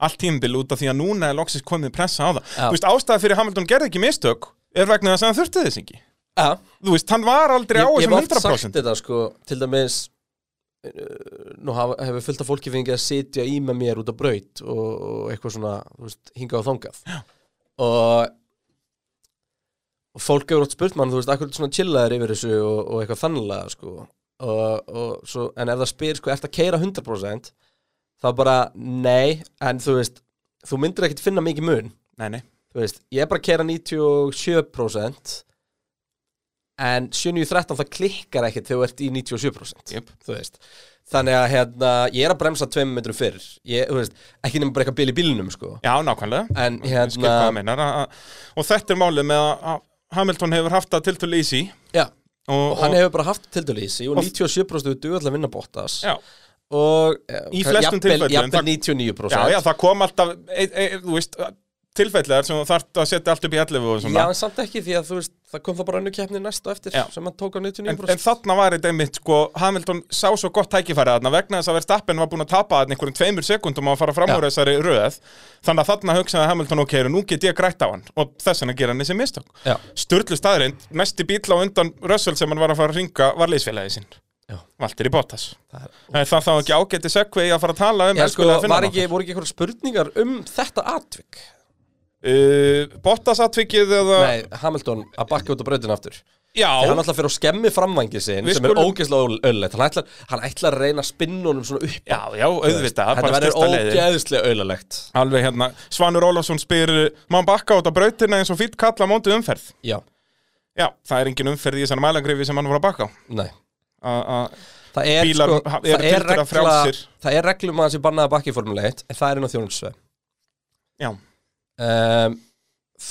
S2: allt tímabil út af því að núna er loksins komið pressa á það.
S1: Já.
S2: Þú veist, ástæða fyrir að Hamilton gerði ekki mistök er vegna þess að hann þurfti þess ekki.
S1: Já,
S2: Þú veist, hann var aldrei á
S1: ég hef
S2: þessum
S1: oft sagt
S2: 100%.
S1: þetta, sko, til dæmis eh, Nú hafa- hefur fullt af fólki fengið að sitja í með mér út á braut og, og eitthvað svona, þú veist, hingað og þangað Já. Og og fólk hefur átt spurt mann, þú veist, akkur er svona chillaður yfir þessu og, og eitthvað þannlega, sko og, og svo, en ef það spyr, sko, ert að keira 100% þá bara, nei, en þú veist þú myndir ekkit finna mikið mun
S2: Nei, nei.
S1: þú veist, ég er bara að keira 97% en 7.13 það klikkar ekkit þegar þú ert í 97%
S2: Jöp.
S1: þú veist, þannig að hérna, ég er að bremsa tveim metrum fyrr, ég, þú veist ekki nefnum bara eitthvað bil í bílnum, sko
S2: Já, nákvæmlega.
S1: en
S2: Ég skil hvað það
S1: hérna,
S2: meinar. að- að- Og þetta er málið með að- að Hamilton hefur haft það til til easy.
S1: já
S2: Og,
S1: og hann hefur bara haft tildal í sig og
S2: Og-
S1: 97% við duðall að vinna Bottas
S2: Já.
S1: og
S2: Í flestum tilfellum,
S1: jafnvel
S2: það-
S1: 99%
S2: Já, já, það kom alltaf, e, e, þú veist, tilfellegar sem þú þarft að setja allt upp í 11 og svona.
S1: Já, en samt ekki því að þú veist það kom það bara önnu keppni næsta eftir
S2: Já.
S1: sem hann tók á
S2: En,
S1: 99%
S2: en þarna var þetta einmitt, sko, Hamilton sá svo gott tækifærið þarna vegna þess að Verstappen var búin að tapa þarna einhverjum tveimur sekundum á að fara fram
S1: Já.
S2: úr þessari röð þannig að þarna hugsaði Hamilton, ok, nú get ég grætt á hann og þess vegna gera hann þessi mistök
S1: Já.
S2: Sturlu staðreind, mesti bíl á undan Russell sem hann var að fara að ringa var liðsfélagi sinn
S1: Já.
S2: Valtteri Bottas
S1: Það er-
S2: Það er það þá ekki ágæti segvei að fara að tala um
S1: Já, sko,
S2: elskulega
S1: var
S2: Finnana
S1: ekki, voru ekki eitthvað spurningar um þetta atvik?
S2: uh, Bottas atvikið eða
S1: Nei, Hamilton að bakka út á brautin aftur Þegar
S2: Já,
S1: hann alltaf fyrir að skemmi framvangi sinn
S2: Við
S1: sem er
S2: skulum-
S1: ógeðslega öllett hann ætlar, hann ætlar að reyna að spinna honum svona upp
S2: já, já, auðvitað
S1: Þetta
S2: bara
S1: verður
S2: styrsta leiðin.
S1: ógeðslega öllalegt
S2: Alveg hérna, Svanur Ólafsson spyr Má hann bakka út á brautina eins og fýtt kalla móti umferð
S1: Já,
S2: Já, það er engin umferð í þessari mælangrifi sem hann var að bakka á
S1: nei
S2: A- a-
S1: Það er,
S2: Bílar
S1: sko,
S2: ha-
S1: það
S2: eru
S1: er
S2: tiltölulega
S1: regla
S2: frjálsir.
S1: Það er reglum að þessi bannaða bakki formuleitt en það er inn á þjónulsveð
S2: Já,
S1: um,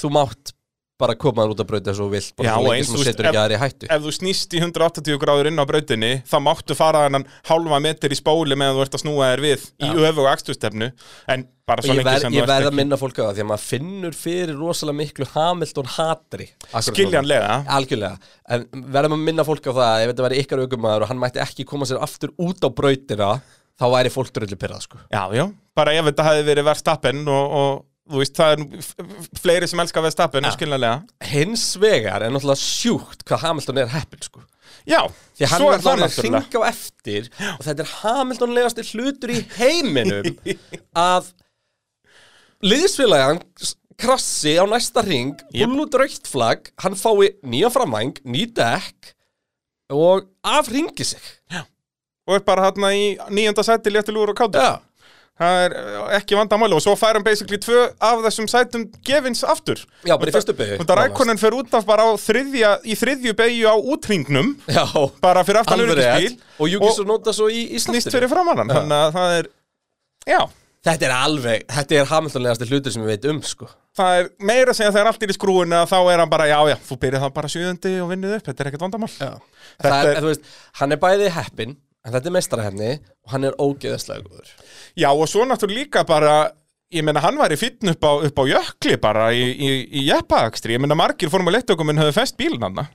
S1: Þú mátt bara koma þér út að brauta eins og þú vilt bara
S2: Já,
S1: svo
S2: og
S1: lengi
S2: eins,
S1: sem
S2: þú
S1: þú
S2: veist,
S1: setur ekki
S2: ef-
S1: aðra í hættu
S2: ef þú snýst í 180 gráður inn á brautinni þá máttu fara þennan hálfa metur í spóli meðan þú ert að snúa þér við í öfu og akstustefnu en bara
S1: Og
S2: svo
S1: ég
S2: lengi
S1: verð, ég
S2: sem þú
S1: verð
S2: ert
S1: að
S2: ekki
S1: minna fólk á það því að maður finnur fyrir rosalega miklu Hamilton hatri
S2: Skiljanlega,
S1: Algjörlega, en verðum að minna fólk á það að ef þetta væri ykkar aukumæður og hann mætti ekki koma sér aftur út á brautina þá væri fólk drullu pyrrað sko
S2: já, já bara ef þetta hefði verið verðstappen og, og þú veist, það er nú f- f- fleiri sem elska verðstappen, ja. skiljanlega
S1: Hins vegar er náttúrulega sjúkt hvað Hamilton er heppin sko
S2: Já,
S1: Því að hann
S2: svo
S1: er
S2: er
S1: alltaf
S2: það
S1: að
S2: náttúrulega
S1: hringa á eftir og þetta er Hamiltonlegasti hlutur í heiminum að liðsfélagan krassi á næsta ring,
S2: Jep.
S1: búl út raukt flagg, hann fái nýja framvæng, ný dekk og afringi sig.
S2: og er bara hérna í nýjönda sæti léttil úr og kátur
S1: Já.
S2: það er eh, ekki vandamáli og svo fær hann basically tvö af þessum sætum gefins aftur
S1: Já, bara í fyrstu beygju,
S2: og það
S1: nánast.
S2: rækonin fer út af bara á þriðja, í þriðju beigju á útringnum
S1: Já,
S2: bara fyrir aftan
S1: alveg
S2: öryggisbíl
S1: rétt. Og Júki svo nota svo í, í
S2: snýst
S1: snattinu.
S2: fyrir framann hann þannig að það er já
S1: Þetta er alveg, þetta er Hamiltonlegasti hlutur sem við veit um sko.
S2: Það er meira að segja þegar allt er í skrúinu að þá er hann bara, já, já, þú byrjið það bara sjöðundi og vinnið upp, þetta er ekkert vandamál. Já. Þetta
S1: Það er,
S2: er-
S1: þú veist, hann er bæði heppin, en þetta er mestarhefni og hann er ógeðaslega góður.
S2: Já, og svo náttúrulega líka bara ég meina hann var í fýtn upp á, upp á jökli bara í, í, í jeppaakstri, ég meina margir fórum á leittökumenn höfðu fest bílinn hann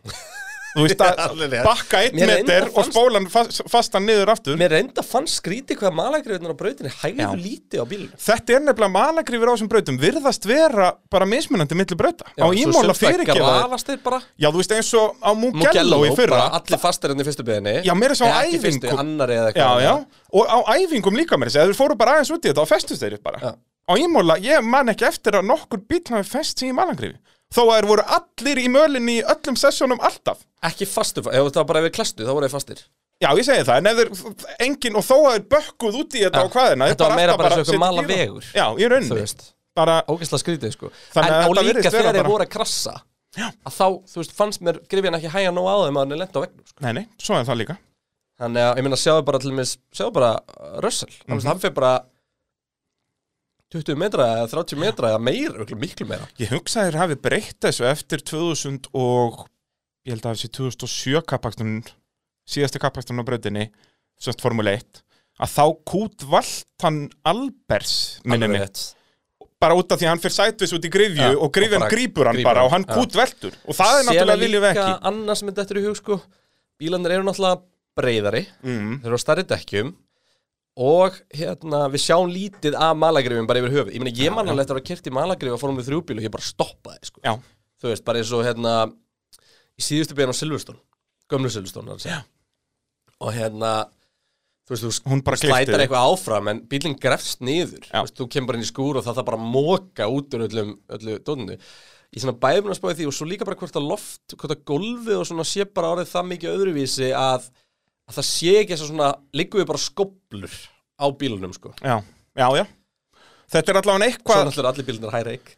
S2: þú veist að
S6: alveg rétt.
S2: bakka einn
S1: Mér reyndar
S2: meter og
S1: fannst-
S2: spólan fast, fastan niður aftur
S1: Mér reynda fann skríti hvað malagriðunar á brautinni hægðu
S2: Já.
S1: lítið á bílunum.
S2: þetta er nefnilega malagrifir á þessum brautum virðast vera bara mismunandi milli brauta á ímóla fyrirgefa þér.
S1: Grafast þeir bara.
S2: já þú veist eins og á Mugello í fyrra
S1: bara allir fastir enn í fyrstu beðinni.
S2: Já, meira svo á
S1: Ekki fyrstu,
S2: æfingum.
S1: annari eða
S2: já,
S1: eitthvað.
S2: já, og á æfingum líka mér þeir fóru bara aðeins út í þetta og festust þeir upp bara
S1: Já.
S2: á ímóla, ég man ekki eftir að nokkur bíl hafi fest sig í malangrifi þó að þeir voru allir í mölinni í öllum sessjónum alltaf
S1: Ekki fastur, ef það var bara ef við klastu, þá voru þeir fastir.
S2: Já, ég segi það, en ef þeir, engin og þó að þeir bökkuð út í þetta
S1: Já,
S2: á hvaðina þeir
S1: þetta var meira
S2: alltaf
S1: bara eins og
S2: setja
S1: mala
S2: gíra.
S1: vegur.
S2: Já, í
S1: Þú
S2: rauninni,
S1: veist,
S2: bara,
S1: ógeðslega skrítið sko.
S2: Þannig að
S1: En, og
S2: þetta
S1: líka
S2: virðist vera
S1: þegar þeir
S2: bara-
S1: voru að krassa, að þá, þú veist, fannst mér grifjan ekki hægja nóg á þeim að hann er lent á vegnum. Sko.
S2: nei, nei, svo er það líka
S1: Þannig að, ég meina, sjáðu bara til mér, sjáðu bara uh, Russell, mm
S2: Mhm.
S1: -hmm. hann fyrir bara 20 metra eða 30 metra eða meira, örugglega miklu meira.
S2: Ég hugsa að þeir hafi breytt þessu eftir 2000 og, ég held að þessi 2007 kappakstunum, síðasti kappakstunum á brautinni, semst Formule 1 að þá kút valtan Albers, minni
S1: Alveg
S2: mig,
S1: rétt.
S2: bara út af því að hann fyrir sætvis út í grifju
S1: Já,
S2: og grifjan
S1: og bara
S2: grípur hann
S1: grípur
S2: bara
S1: hann,
S2: og hann
S1: já.
S2: kút veltur og það er náttúrulega viljum
S1: Sér
S2: við ekki
S1: líka annað sem er dettur í hug sko Bílarnir eru náttúrulega breyðari
S2: mm.
S1: Þeir eru á starri dekkjum Og hérna, við sjáum lítið af malagrifum bara yfir höfuð Ég meina, ég man alveg eftir að vera kert í malagrif að fórum við þrjúbíl og ég bara stoppaði sko.
S2: Já,
S1: Þú veist, bara eins og hérna Í síðustu byrjan á Silveston Gömlu Silveston, þannig að Og hérna, þú veist, þú
S2: hún bara
S1: slætar
S2: glifti
S1: eitthvað áfram en bílinn grefst niður
S2: Já.
S1: Þú veist, þú kemur bara inn í skúr og það það bara móka út úr öllum, öllu dóninu ég svona bæfum að spáði því og svo líka bara hvort að loft hvort að gólfið og svona sé bara orðið það mikið öðruvísi að, að það sé ekki þess að svona liggum við bara skoblur á bílunum sko
S2: Já, já, já Þetta er allavega
S1: svo
S2: eitthvað
S1: náttúrulega allir bílunar hæra eik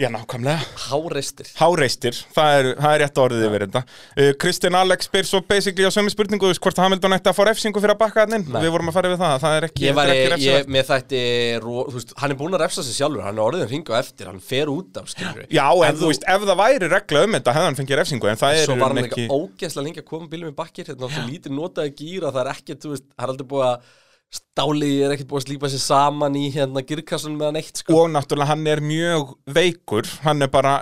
S2: Já, nákvæmlega.
S1: háreistir
S2: Háreistir, það er, það er rétt orðið yfir þetta. Uh, Kristinn Alex spyr svo basically á sömu spurningu, þú veist hvort Hamilton ætti að fá refsingu fyrir að bakka hann inn.
S1: Nei.
S2: Við vorum að fara yfir það, það er ekki,
S1: ég var,
S2: þetta er ekki
S1: ég,
S2: refsivert.
S1: með þætti, ro- þú veist, hann er búin að refsa sig sjálfur, hann er orðin hringa á eftir, hann fer út af, skilur
S2: Já, en þú veist, ef það væri regla um þetta, hefði hann fengið refsingu, en það er
S1: Svo
S2: í
S1: var hann
S2: rauninni
S1: ekki ógeðslega lengi að koma bílum í bakkir hérna áttu lítið notaði gýra það er ekkert, þú veist, það er aldrei búið að stálið er ekkert búið að slípa sér saman í hérna gyrkassunum meðan eitt sko
S2: Og náttúrulega hann er mjög veikur, hann er bara,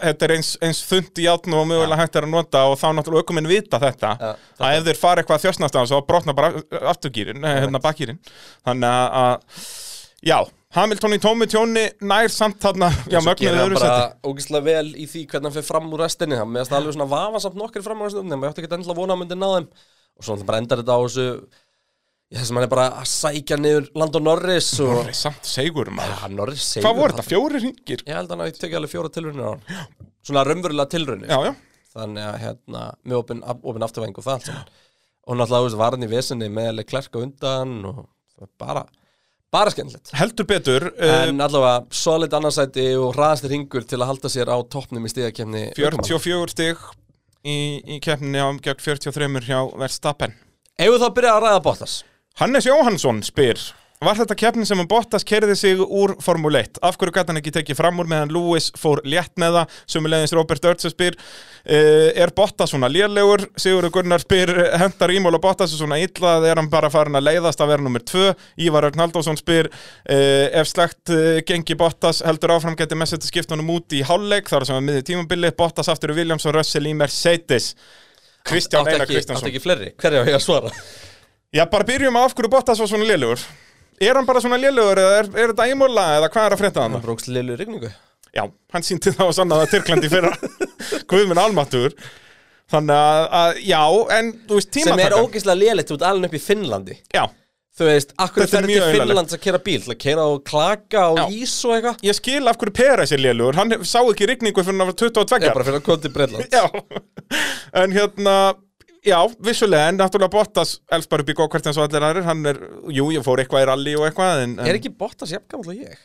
S2: þetta er eins, eins þund í átnum og mögulega hægt er að nota og þá náttúrulega aukuminn vita þetta,
S1: Já,
S2: að ef þeir fara eitthvað að þjóstnast á þessu og brotna bara afturgýrin, hérna bakkýrin. Þannig að- að, já, Hamilton í tómu tjóni nær samt þarna, já,
S1: Svo gerir
S2: mögnuðu
S1: hann
S2: öðru
S1: bara
S2: seti.
S1: ógeðslega vel í því hvernig hann fer fram úr restinni það meðast alveg svona vafasamt nokkri fram úr restinni maður átti ekki endilega að vona að myndi ná þeim og svo hann bara endar þetta á þessu Já, þessum hann er bara að sækja niður Land og Norris og
S2: Norris, samt segur maður.
S1: Ja, Norris segir
S2: Hvað voru þetta, fjóri ringir?
S1: Ég held að hann að ég tekja alveg fjóra tilrunir á hann Svona raunverulega tilrunir
S2: Já, já,
S1: þannig að hérna, með opinn opin afturvæng og það allt saman og náttúrulega þú veist, var hann í vesinni með Leclerc á undan og það var bara bara skemmtilegt
S2: heldur betur, uh,
S1: en allavega solid annarsæti og hraðasti ringur til að halda sér á toppnum í stíðakefni
S2: 44 stig í, í keppninni á gegn 43 hjá Verstappen.
S1: Ef þá að byrja að ræða Bottas
S2: Hannes Jóhannsson spyr Var þetta keppnin sem að Bottas kerði sig úr Formule 1? Af hverju gæti hann ekki tekið fram úr meðan Lewis fór létt með það? Sumulegins Robert Örtse spyr uh, Er Bottas svona lélegur? Sigurður Gunnar spyr eh, Hentar Ímóla Bottas er svona illa eða er hann bara farin að leiðast að vera nummer 2? Ívar Örn Haldásson spyr uh, Ef slegt uh, gengi Bottas heldur áfram geti Messi skipt honum út í hálfleik þar sem að miði tímabili Bottas aftur í Williams og Russell í Mercedes Kristján
S1: Átti
S2: Einar
S1: ekki, átti
S2: Kristjánsson
S1: ekki fleiri, hverja á ég að svara
S2: Já, bara byrjum á af hverju Bottas var svona lélugur Er hann bara svona lélugur eða er, er þetta ímóla eða hvað er að frétta hann?
S1: Hann brókst liðlu rigningu
S2: Já, hann síndi það og sannað að Tyrklandi fyrra Guðminn Almatur Þannig að, að, já, en þú veist
S1: sem er
S2: tímatakan
S1: ógeðslega liðlegt út alveg upp í Finnlandi
S2: Já,
S1: Þú veist, akkur
S2: Þetta er
S1: ferði
S2: mjög
S1: til
S2: leiðinlegt.
S1: Finnlands að kera bíl til að kera á klaka og
S2: Já.
S1: ís og eitthvað
S2: ég skil af hverju Peres er lélugur Hann hef- sá ekki rigningu fyrir hann var 22
S1: Ég er bara fyrir að koma til Breitland
S2: Já, en hérna Já, vissulega, en náttúrulega Bottas elst bara upp í gókvært eins og allir aðrir Hann er, jú, ég fór eitthvað í rally og eitthvað en, en
S1: Er ekki Bottas jafngamall og ég?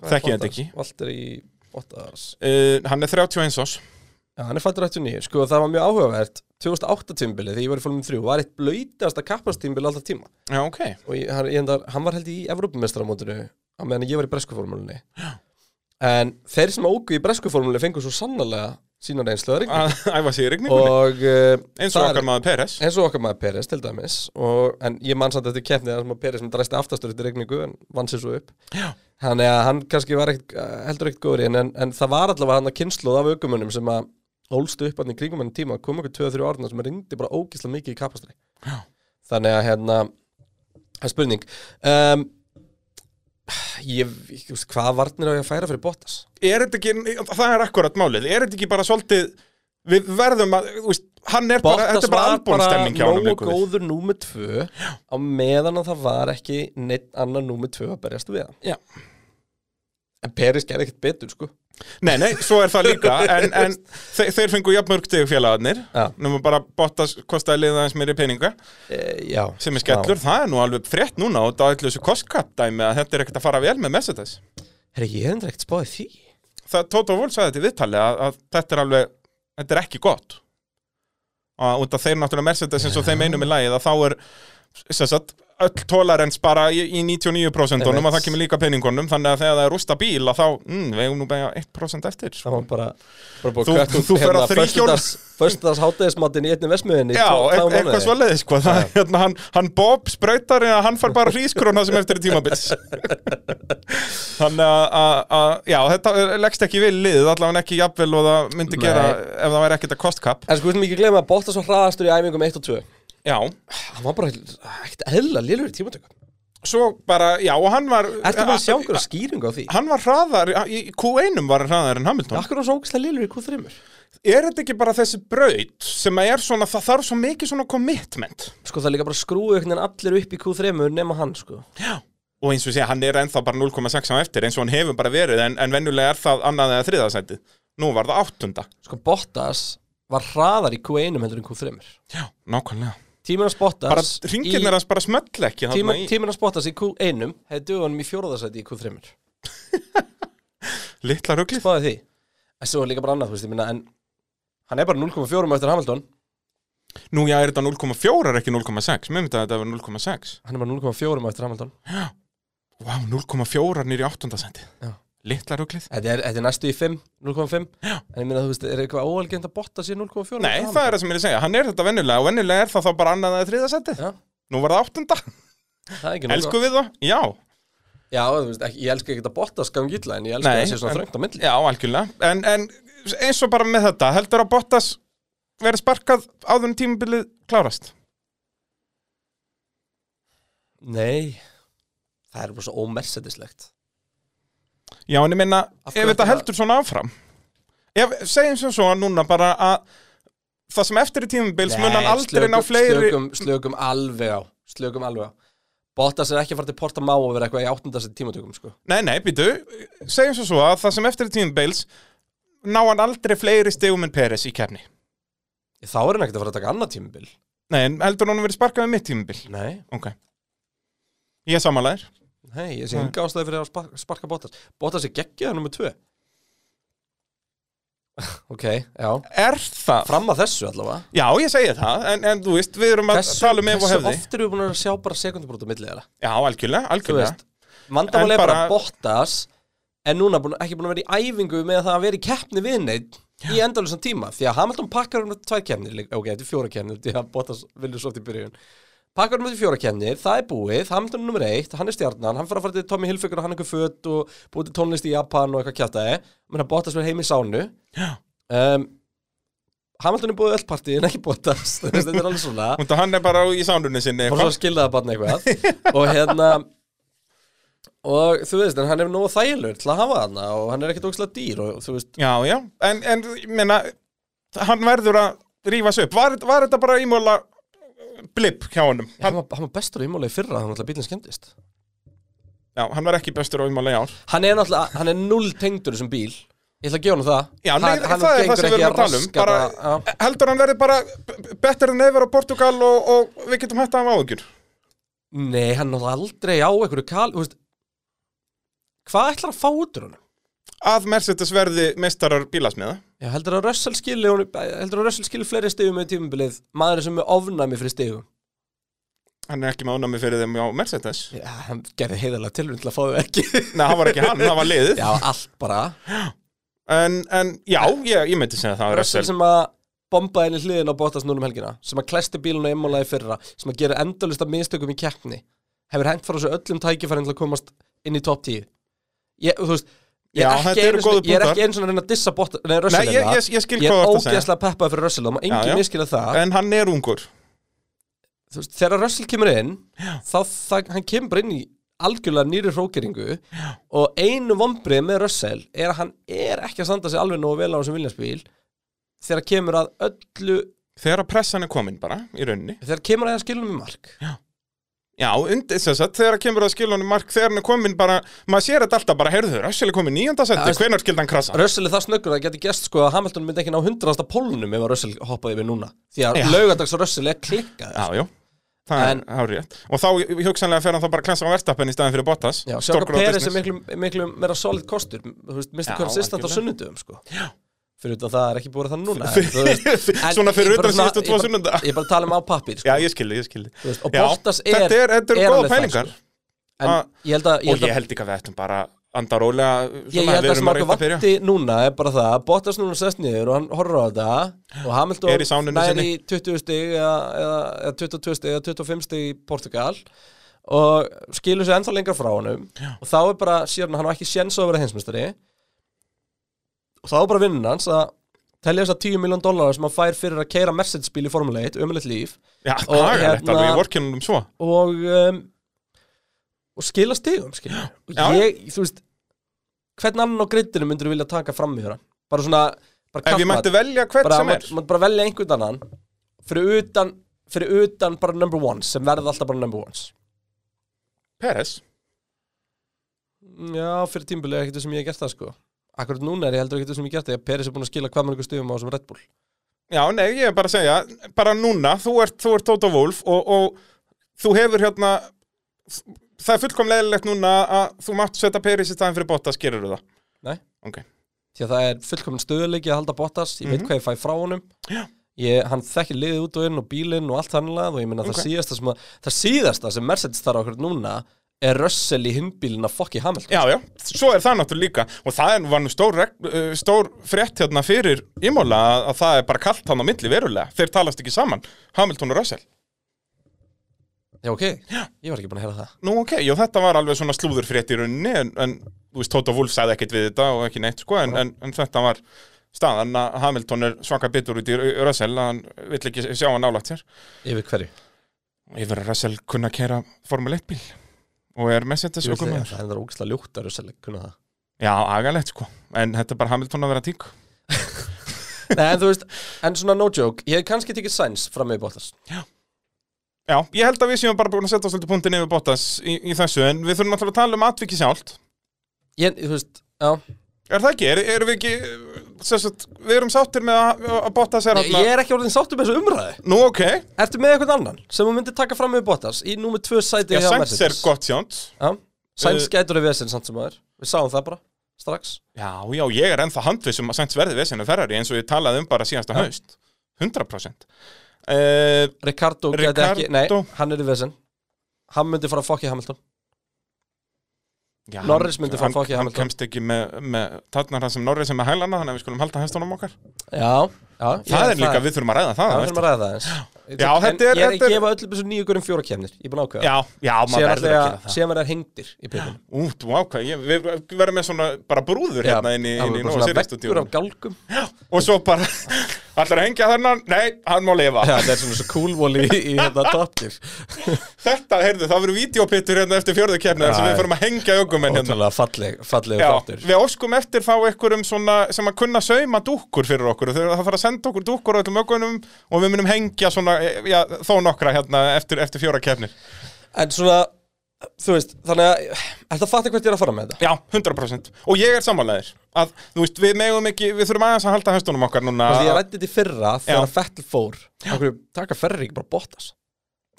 S1: Hvað er
S2: Þekki ég
S1: Bottas?
S2: þetta ekki.
S1: Valtteri í Bottas
S2: uh, Hann er 31 ás
S1: Já, hann er fættur 89 Sko, það var mjög áhugavert 2008 tímbilið, þegar ég var í fólum 3 var eitt blöytasta kappastímbil alltaf tíma
S2: Já, ok
S1: og ég, hann, ég endar, hann var held í Evrópumestramótinu á meðan ég var í breskuformúlinni En þeir sem ógu í breskuformúlinni fengu svo sannlega sína reynslu að regna
S2: Að Æfa sig í rigningunni
S1: Og uh,
S2: Ah, Eins og
S1: það er-
S2: okkar maður Peres
S1: eins og okkar maður Peres til dæmis og, en ég man samt eftir keppnið þar sem að Peres sem dræsti aftastur eftir regningu en vann sér svo upp
S2: Já.
S1: Þannig að hann kannski var ekkit, heldur ekkert góður í henni, en, en það var allavega hann að kynsluð af aukumunum sem að ólstu upp hann í kringum henni tíma, kom okkur 2-3 árna sem rindi bara ógislega mikið í kapastri. Þannig að hérna, það er spurning. Um, ég, ég, þú veist, hvaða varnir á ég að færa fyrir Bottas?
S2: er þetta ekki, það er akkurat málið er þetta ekki bara svolítið við verðum að, þú veist, hann er bara þetta
S1: Bottas
S2: er bara
S1: var bara
S2: albúnstemning hjá honum
S1: nógu
S2: liggur við.
S1: góður númið 2 á meðan að það var ekki neitt annar númið 2 að berjast við hann.
S2: Já.
S1: En Peris gerði ekkert betur, sko.
S2: nei, nei, svo er það líka en, en þe þeir fengu jafnmörg stig félagarnir
S1: Já.
S2: nema bara Bottas kostaði liða aðeins meiri peninga
S1: E, já.
S2: sem er skellur, það er nú alveg frétt núna og það er þessu kostkapdæmi að þetta er ekkert að fara vel með Mercedes
S1: Herra, ég er endur ekkert spáðið því.
S2: það, Toto Wolf sagði þetta í viðtali að, að þetta er alveg, þetta er ekki gott og út af þeir náttúrulega Mercedes eins og þeim einum í lagið að þá er sem sagt, öll tolerance bara í, í 99%
S1: Einmitt.
S2: og það kemur líka peningunum þannig að þegar það er rústa bíl að þá, mm, við eigum nú bara 1% eftir
S1: Það
S2: sko.
S1: var bara, bara
S2: Þú-
S1: búið að
S2: þú fer að þríhjól-
S1: hérna Föstudags hátegismatinn í einni vesmiðinni
S2: Já, e eitthvað svoleiðis sko. það, er hérna, hann, hann Bob sprautar en hann fær bara hrískrona sem eftir tímabils þannig að- að að- já, þetta leggst ekki við liðið allavega ekki jafnvel og það myndi
S1: Nei.
S2: gera ef það væri ekkert að kostkap
S1: En sko, við sem ekki glemma að Bottas var hraðastur í æfingum 1 og 2
S2: Já,
S1: Hann var bara ekkert eðla lélur í tímatökum
S2: svo bara, já, og hann var eh,
S1: Ertu bara að sjá einhverja skýringu á því?
S2: Hann var hraðar, í Q1 var hann hraðar en Hamilton
S1: Akkur var svo ógæslega lélur í Q3
S2: Er þetta ekki bara þessi braut sem að er svona, það þarf svo mikið svona commitment
S1: Sko, það er líka bara skrúið einhvern veginn allir upp í Q3 nema hann, sko
S2: Og eins og sé, hann er ennþá bara 0,6 á eftir eins og hann hefur bara verið en, en venjulega er það annað eða þriðasætið Nú var það áttunda
S1: Sko, Bottas var hraðar í Q1 heldur en Q3
S2: Já, nákvæmlega
S1: Tíminn að Bottas
S2: Bara
S1: í-
S2: ringirnir hans bara smöll ekki þarna
S1: tíma-
S2: í-
S1: Tíminn að Bottas í Q1 hefði dugað honum í fjóraðarsæti í Q3
S2: Litla ruglið
S1: spáði því en svo er líka bara annað, þú veist, ég minna en hann er bara 0,4 um eftir Hamilton
S2: Nú já, er þetta 0,4 er ekki 0,6 Mér myndi að þetta var 0,6
S1: hann er bara 0,4 um eftir Hamilton
S2: Vá, 0,4 nýri áttundasætið
S1: Já.
S2: Litla ruglið
S1: þetta er, þetta er næstu í 5, 0,5 en ég minna, þú veist, er eitthvað óalgjönd að botta sér 0,4
S2: Nei, það er það sem ég er að segja, hann er þetta venjulega og venjulega er það þá bara annað eða þriða setið
S1: Já.
S2: Nú var það áttunda,
S1: það er ekki
S2: elsku við það? Já,
S1: já, þú veist, ekki, ég elsku ekki að botta skangi illa en ég elsku að
S2: Nei,
S1: það sé svona
S2: en-
S1: þröngt á milli
S2: já, algjörlega en, en eins og bara með þetta, heldur að Bottas verið sparkað áður en tímabilið klárast
S1: nei, það er bara svo ómersetilslegt
S2: Já, en ég meina,
S1: Af
S2: ef
S1: hverju
S2: þetta
S1: þetta-
S2: heldur svona áfram ef, segjum sem svo núna bara að það sem eftir í tímabils mun hann aldrei ná fleiri
S1: slökum, slökum alveg á slökum alveg á Bottas er ekki að fara til Porta Má og vera eitthvað í áttundarsett tímatökum sko.
S2: Nei, nei, býtu, segjum sem svo að það sem eftir í tímabils ná hann aldrei fleiri stegum en Peres í kefni
S1: Þá er hann ekkert að fara að taka annað tímabil
S2: Nei, en heldur hann verið sparkað með mitt tímabil
S1: Nei,
S2: Ok Ég samanlæðir
S1: Nei, ég sé enga ástæði fyrir að sparka, sparka Bottas Bottas er geggjaður nummer 2 Ok, já
S2: Er það?
S1: Fram að þessu allavega
S2: Já, ég segi það En, en þú veist, við erum að
S1: Þessu,
S2: tala um ef og
S1: hversu
S2: hefði
S1: oft erum við búin að sjá bara sekundabrót á milli þeirra
S2: Já, algjörlega,
S1: Þú
S2: algjörlega
S1: veist, vandamál
S2: En
S1: er bara
S2: bara-
S1: Bottas En núna búin, ekki búin að vera í æfingu með það að vera í keppni við neitt Í endalustan tíma Því að Hamilton pakkar um tvær keppnir líka- Ok, þetta er fjóra keppnir Því að Bottas viljum svo oft í byrjun Pakkar um þetta fjóra keppnir, það er búið Hamilton er nummer eitt, hann er stjarnan Hann fyrir að fara til Tommy Hilfiger og hann einhver föt Og búið til tónlist í Japan og eitthvað kjátaði Menna Bottas verið heim í sánu um, Hamilton er búið öll partí En ekki Bottas, þú veist, þetta er alveg svona
S2: Þú veist, hann er bara í sánunni sinni
S1: bara
S2: eitthvað.
S1: svo skilða það barn eitthvað og hérna og þú veist, en hann er nógu þægilegur til að hafa hana og hann er ekkert ógslag dýr og þú veist,
S2: Já, já En, en ég meina, hann verður að rífa sig upp Var, var þetta bara ímóla uh, blip hjá honum?
S1: hann
S2: Hann,
S1: var, hann var bestur í móla í fyrra, hann alltaf bílinn skemmtist
S2: já, hann var ekki bestur á ímóla í ár
S1: hann er náttúrulega, hann er null tengdur þessum bíl ég ætla að gefa hann það
S2: Já,
S1: hann,
S2: nei, það er það sem við erum að tala um bara,
S1: bara, já.
S2: Heldur hann verður bara b- better than ever á Portugal og, og við getum hætt að hafa áhugjur
S1: nei, hann er náttúrulega aldrei á einhverju kal, þú veist hvað ætlar hann að fá út úr hann?
S2: Að Mercedes verði meistarar bílasmiða
S1: Já, heldur að Russell skili honum- heldur að Russell skili fleiri stigum með tímabilið, maður sem er ofnæmi fyrir stigum
S2: Hann er ekki með ánæmi fyrir þeim á Mercedes
S1: Já, hann gerði heiðarlega tilrönd til að fá þau ekki
S2: Nei, það var ekki hann, það var liðið
S1: Já, allt bara
S2: En, en já, ég, ég myndi segja það
S1: Russell
S2: Russell
S1: sem að bombaði henni hliðin á Bottas núna um helgina sem að klæsti bílun og einmálaði fyrra sem að gera endalista mistökum í keppni hefur hengt frá þessu öllum tækifærin til að komast inn í topp 10 ég, þú veist Ég
S2: Já,
S1: er, ekki
S2: þetta eru
S1: einu sinni,
S2: góðir
S1: ég er
S2: punktar.
S1: ekki eins og að reyna að dissa bótt, nei, Russell
S2: Nei, ég-
S1: hérna.
S2: ég- ég skil
S1: ég
S2: hvað
S1: er
S2: þú ert að segja.
S1: ógeðslega peppaði fyrir Russell, það má
S2: já.
S1: engin miskila það
S2: En hann er ungur
S1: Þú veist, Þegar Russell kemur inn þá það, hann kemur bara inn í algjörlega nýri hrókeringu já. og einu vombrið með Russell er að hann er ekki að standa sig alveg nógu vel á þessum viljansbíl þegar kemur að öllu
S2: Þegar að pressan er komin bara, í rauninni
S1: þegar kemur að það skilum í mark
S2: Já, undir þess að þegar kemur að skilunum mark Þegar hann er komin bara, maður sér þetta alltaf bara Heyrðu, Russell er komin nýjönda
S1: Já,
S2: seti,
S1: veist-
S2: hvenar skildi hann krasa?
S1: Russell er það snöggur að það geti gæst sko að Hamilton myndi ekki ná hundraðasta pólnum ef að Russell hoppaði yfir núna því að
S2: Já.
S1: laugadags Russell er klikkað
S2: Já, já Það
S1: En-
S2: er hárétt Og þá hugsanlega fer hann þá bara að klensa á verðstappen í staðin fyrir Bottas
S1: Já, Sjaka
S2: Stórgróða
S1: Peres er
S2: business.
S1: miklu, miklu meira solid kostur Þú veist, Mr.
S2: Já,
S1: Consistent á
S2: algjörlega.
S1: sunnundum sko. Fyrir utan að það er ekki búið að það núna en, þú en
S2: Svona fyrir
S1: ég bara
S2: utan
S1: svona-
S2: síðustu
S1: ég
S2: tvo
S1: bara-
S2: sunnudaga.
S1: Ég bara tala um á pappir
S2: Já,
S1: sko.
S2: ég skildi, ég skildi
S1: Þú veist, og
S2: Já,
S1: Bottas er-
S2: Þetta er, þetta
S1: er
S2: eru Ah.
S1: alveg
S2: góða
S1: það,
S2: pælingar
S1: sko. En
S2: að-
S1: ég held að Ég
S2: Og
S1: held
S2: ég
S1: að,
S2: held ekki að við ættum bara að Anda rólega
S1: ég, ég
S2: svona,
S1: held
S2: við
S1: að sem
S2: erum
S1: okkur
S2: að reynda að byrja
S1: vanti núna er bara það að Bottas núna sest niður og hann horfir á þetta og
S2: Er í
S1: Hamilton
S2: sáninu sinni.
S1: í 20 stig eða, eða, eða 22 stig eða 25 stig í Portugal og skilur sig ennþá lengra frá honum og þá er bara, sér hann, hann á ekki sjens á að vera heimsmyndstari og þá er bara vinnun hans að telja þess að 10 miljón dólarar sem hann fær fyrir að keira Mercedes-bíl í Formule 1, ömulegt líf
S2: Já,
S1: Og hérna-
S2: klagalegt alveg, ég vorkinn um svo
S1: og um, og skila stigum skilur. og
S2: Já, já.
S1: ég, þú veist hvern annan á grittinu myndur vilja taka fram í hérna bara svona, bara
S2: Ef ég
S1: kafmat.
S2: mætti velja hvert
S1: bara,
S2: sem er
S1: maður- maður bara velja einhvern annan fyrir utan, fyrir utan bara number ones sem verða alltaf bara number ones
S2: Peres
S1: já, fyrir tímbilega ekkert sem ég hef gert það sko akkurat núna er ég heldur ekkert sem ég hef gert það ég Peris er búin að skila hvað mann ykkur stigum á þessum Red Bull
S2: Já, nei, ég er bara að segja, bara núna, þú ert, þú ert Tóta Wolf og, og þú hefur hérna, það er fullkomlega eðlilegt núna að þú mátt setja Peris í staðin fyrir Bottas, gerur það?
S1: Nei.
S2: Ok.
S1: því að það er fullkomin stöðuleiki að halda Bottas ég
S2: Mhm.
S1: veit hvað ég fæ frá honum ég, hann þekkir liðið út og inn og bílinn og allt þannlega og ég meina
S2: Ok.
S1: það síðasta sem að, það síðasta sem Mercedes þarf okkur núna er Russell í hinbílinn að fokki Hamilton
S2: Já, já, svo er það náttúrulega líka og það er, var nú stór, reg, uh, stór frétt hérna fyrir Imola að, að það er bara kallt hann á milli verulega, þeir talast ekki saman, Hamilton og Russell.
S1: já ok, ég var ekki búin að heyra það
S2: Nú ok, já þetta var alveg svona slúður frétt í rauninni en, en þú veist, Tóta Wolf sagði ekkit við þetta og ekki neitt sko en, en, en þetta var staðan að Hamilton er svaka bitur út í Russell að hann vill ekki sjá hann nálægt sér
S1: yfir hverju,
S2: Yfir að Russell kunna kera Formule 1 bíl og er Mercedes
S1: Ég vil
S2: okkur
S1: segja,
S2: maður
S1: það er ógæslega ljúkt að Russell kunna það
S2: Já, agalegt sko, en þetta er bara Hamilton að vera tík
S1: Nei, en þú veist, en svona no joke ég hef kannski tekið Sainz fram með Bottas
S2: Já, ég held að við séum bara búin að setja svolítið punktin yfir Bottas í, í þessu en við þurfum náttúrulega að tala um atviki sjálft
S1: ég, þú veist, já
S2: Er það ekki? Er, erum við ekki, sem sagt, við erum sáttir með að, að Bottas er
S1: ég
S2: hann
S1: er ekki orðin sáttum með þessu umræði
S2: Nú ok,
S1: Ertu með eitthvað annan sem þú myndir taka fram með Bottas í númer 2 sæti
S2: já,
S1: hjá
S2: Sainz er
S1: Mercedes?
S2: gott sjánt
S1: Já, Sainz
S2: Uh,
S1: gætur við vesinn samt sem aður Við sáum það bara, strax
S2: Já, já, ég er ennþá handvissum að Sainz verði vesinu Ferrari eins og ég talaði um bara síðasta haust 100% uh,
S1: Ricardo gæti ekki, nei,
S2: Ricardo.
S1: hann er í vesinn Hann myndi fara að fokki Hamilton
S2: já,
S1: Norris myndi fá
S2: hann-
S1: fokk í
S2: Hann
S1: Hamilton.
S2: kemst ekki með, með tatnar hann sem Norris sem með hælana þannig að við skulum halda hestunum okkar
S1: Já, já ég
S2: Það er líka, við þurfum að ræða það
S1: Já, við
S2: á eftir.
S1: þurfum að ræða það eins
S2: Já, þetta er-
S1: Ég er
S2: þetta
S1: að
S2: er-
S1: gefa öllum þessu nýju gurum fjóra kemnir Ég er búin að ákveða
S2: Já, já, maður
S1: Síðan
S2: verður
S1: ætla
S2: að
S1: ég
S2: gera
S1: að-
S2: það
S1: Síðan verður hengdir í byrjunum
S2: Út, wow, hvað, ég, við við verðum með svona bara brúður hérna inn í, inn í Nóa
S1: Sirius Vekkur
S2: Sirius-stúdíónu
S1: af gálgum
S2: Og svo bara, allar að hengja þennan, nei, hann má lifa
S1: Já, það er svona svo coolvoli í hérna í þetta toppir
S2: Þetta, heyrðu, það verður vídeopittur hérna eftir fjörðu kefni þar sem
S1: Já,
S2: við
S1: já.
S2: förum að hengja ökumenn hérna
S1: Ótrúlega falleg, falleg
S2: Já,
S1: þáttur
S2: við óskum eftir þá einhverjum svona sem að kunna sauma dúkkur fyrir okkur Þau- það þarf að senda okkur dúkkur á öllum ökunum og við munum hengja svona, e, já, þó nokkra hérna eftir, eftir fjóra kefnir
S1: En svona, þú veist, þannig að Þetta fatta hvert ég er að fara með þetta
S2: Já, 100% og ég er samanlegaðir að, þú veist, við megum ekki, við þurfum aðeins að halda höstunum okkar núna
S1: Því ég rætti þetta í fyrra þegar
S2: Já.
S1: Fettel fór Akkur taka ferri ekki bara Bottas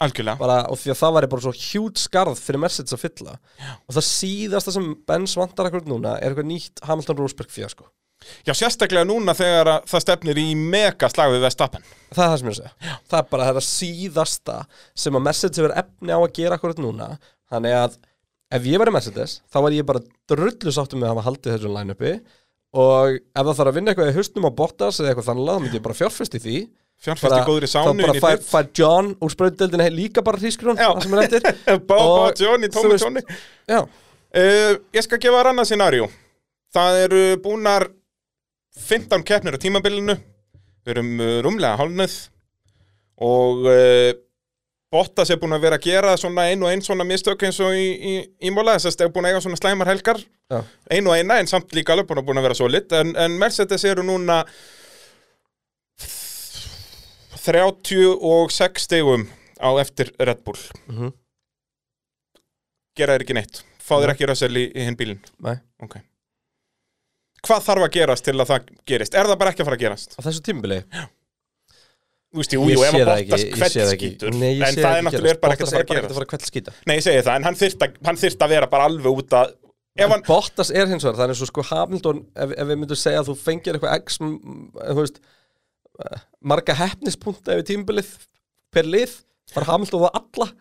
S2: algjörlega
S1: bara, Og því að það væri bara svo hjút skarð fyrir Mercedes að fylla Já. Og það síðasta sem Benz vantar akkur núna Er eitthvað nýtt Hamilton Rosberg fjasko
S2: Já, sérstaklega núna þegar að það stefnir í mega slag við Vestappen
S1: Það er það sem ég er að segja Já. Það er bara þetta síðasta sem að Mercedes hefur efni á að gera akkur núna Þannig að ef ég væri Mercedes Þá var ég bara drullu sáttum með að hafa haldið þessu line-upi Og ef það þarf að vinna eitthvað í hausnum á Bottas eða eitthvað þannig, þá myndi ég bara fjárfest í því
S2: Fjárfæsti góður í
S1: þá
S2: sánu
S1: bara
S2: inn í
S1: fær,
S2: þitt.
S1: fær John úr spraudeldinni líka bara hrískrún
S2: Já.
S1: það sem er eftir
S2: Bá, bá,
S1: Og,
S2: Johnny,
S1: þú
S2: Tómi,
S1: veist-
S2: Johnny
S1: já,
S2: Uh, ég skal gefa þér annað scenaríu. Það eru búnar 15 keppnir á tímabilinu. Við erum uh, rúmlega hálfnuð og uh, Bottas er búin að vera að gera svona ein og ein svona mistök eins og í, í, í móla þess að er búin að eiga svona slæmar helgar
S1: Já.
S2: ein og eina en samt líka alveg búin að, búin að vera solid en, en Mercedes eru núna 36 stegum á eftir Red Bull
S1: Mhm.
S2: gera þér ekki neitt fá þér ekki rössal í, í hinn bílinn
S1: Nei.
S2: okay. hvað þarf að gerast til að það gerist er það bara ekki að fara að gerast
S1: Á þessu tímbili?
S2: Þú veist, jú, jú, ef að Bottas hvert skýtur
S1: Nei, ég
S2: en
S1: sé
S2: það er
S1: ekki
S2: náttúrulega bara ekkert
S1: Bottas
S2: að fara
S1: er bara ekkert
S2: að
S1: að
S2: gerast
S1: fara að kveld skýta
S2: Nei, ég segi það, en hann þyrft að, hann þyrft að vera bara alveg út að ef hann,
S1: Bottas er hins vegar, það er svo sko Hamilton ef, ef við myndum segja að þú fengir eitthvað x, m- þú veist eh, marga hefnispunkta yfir tímbilið per lið, var Hamilton það alla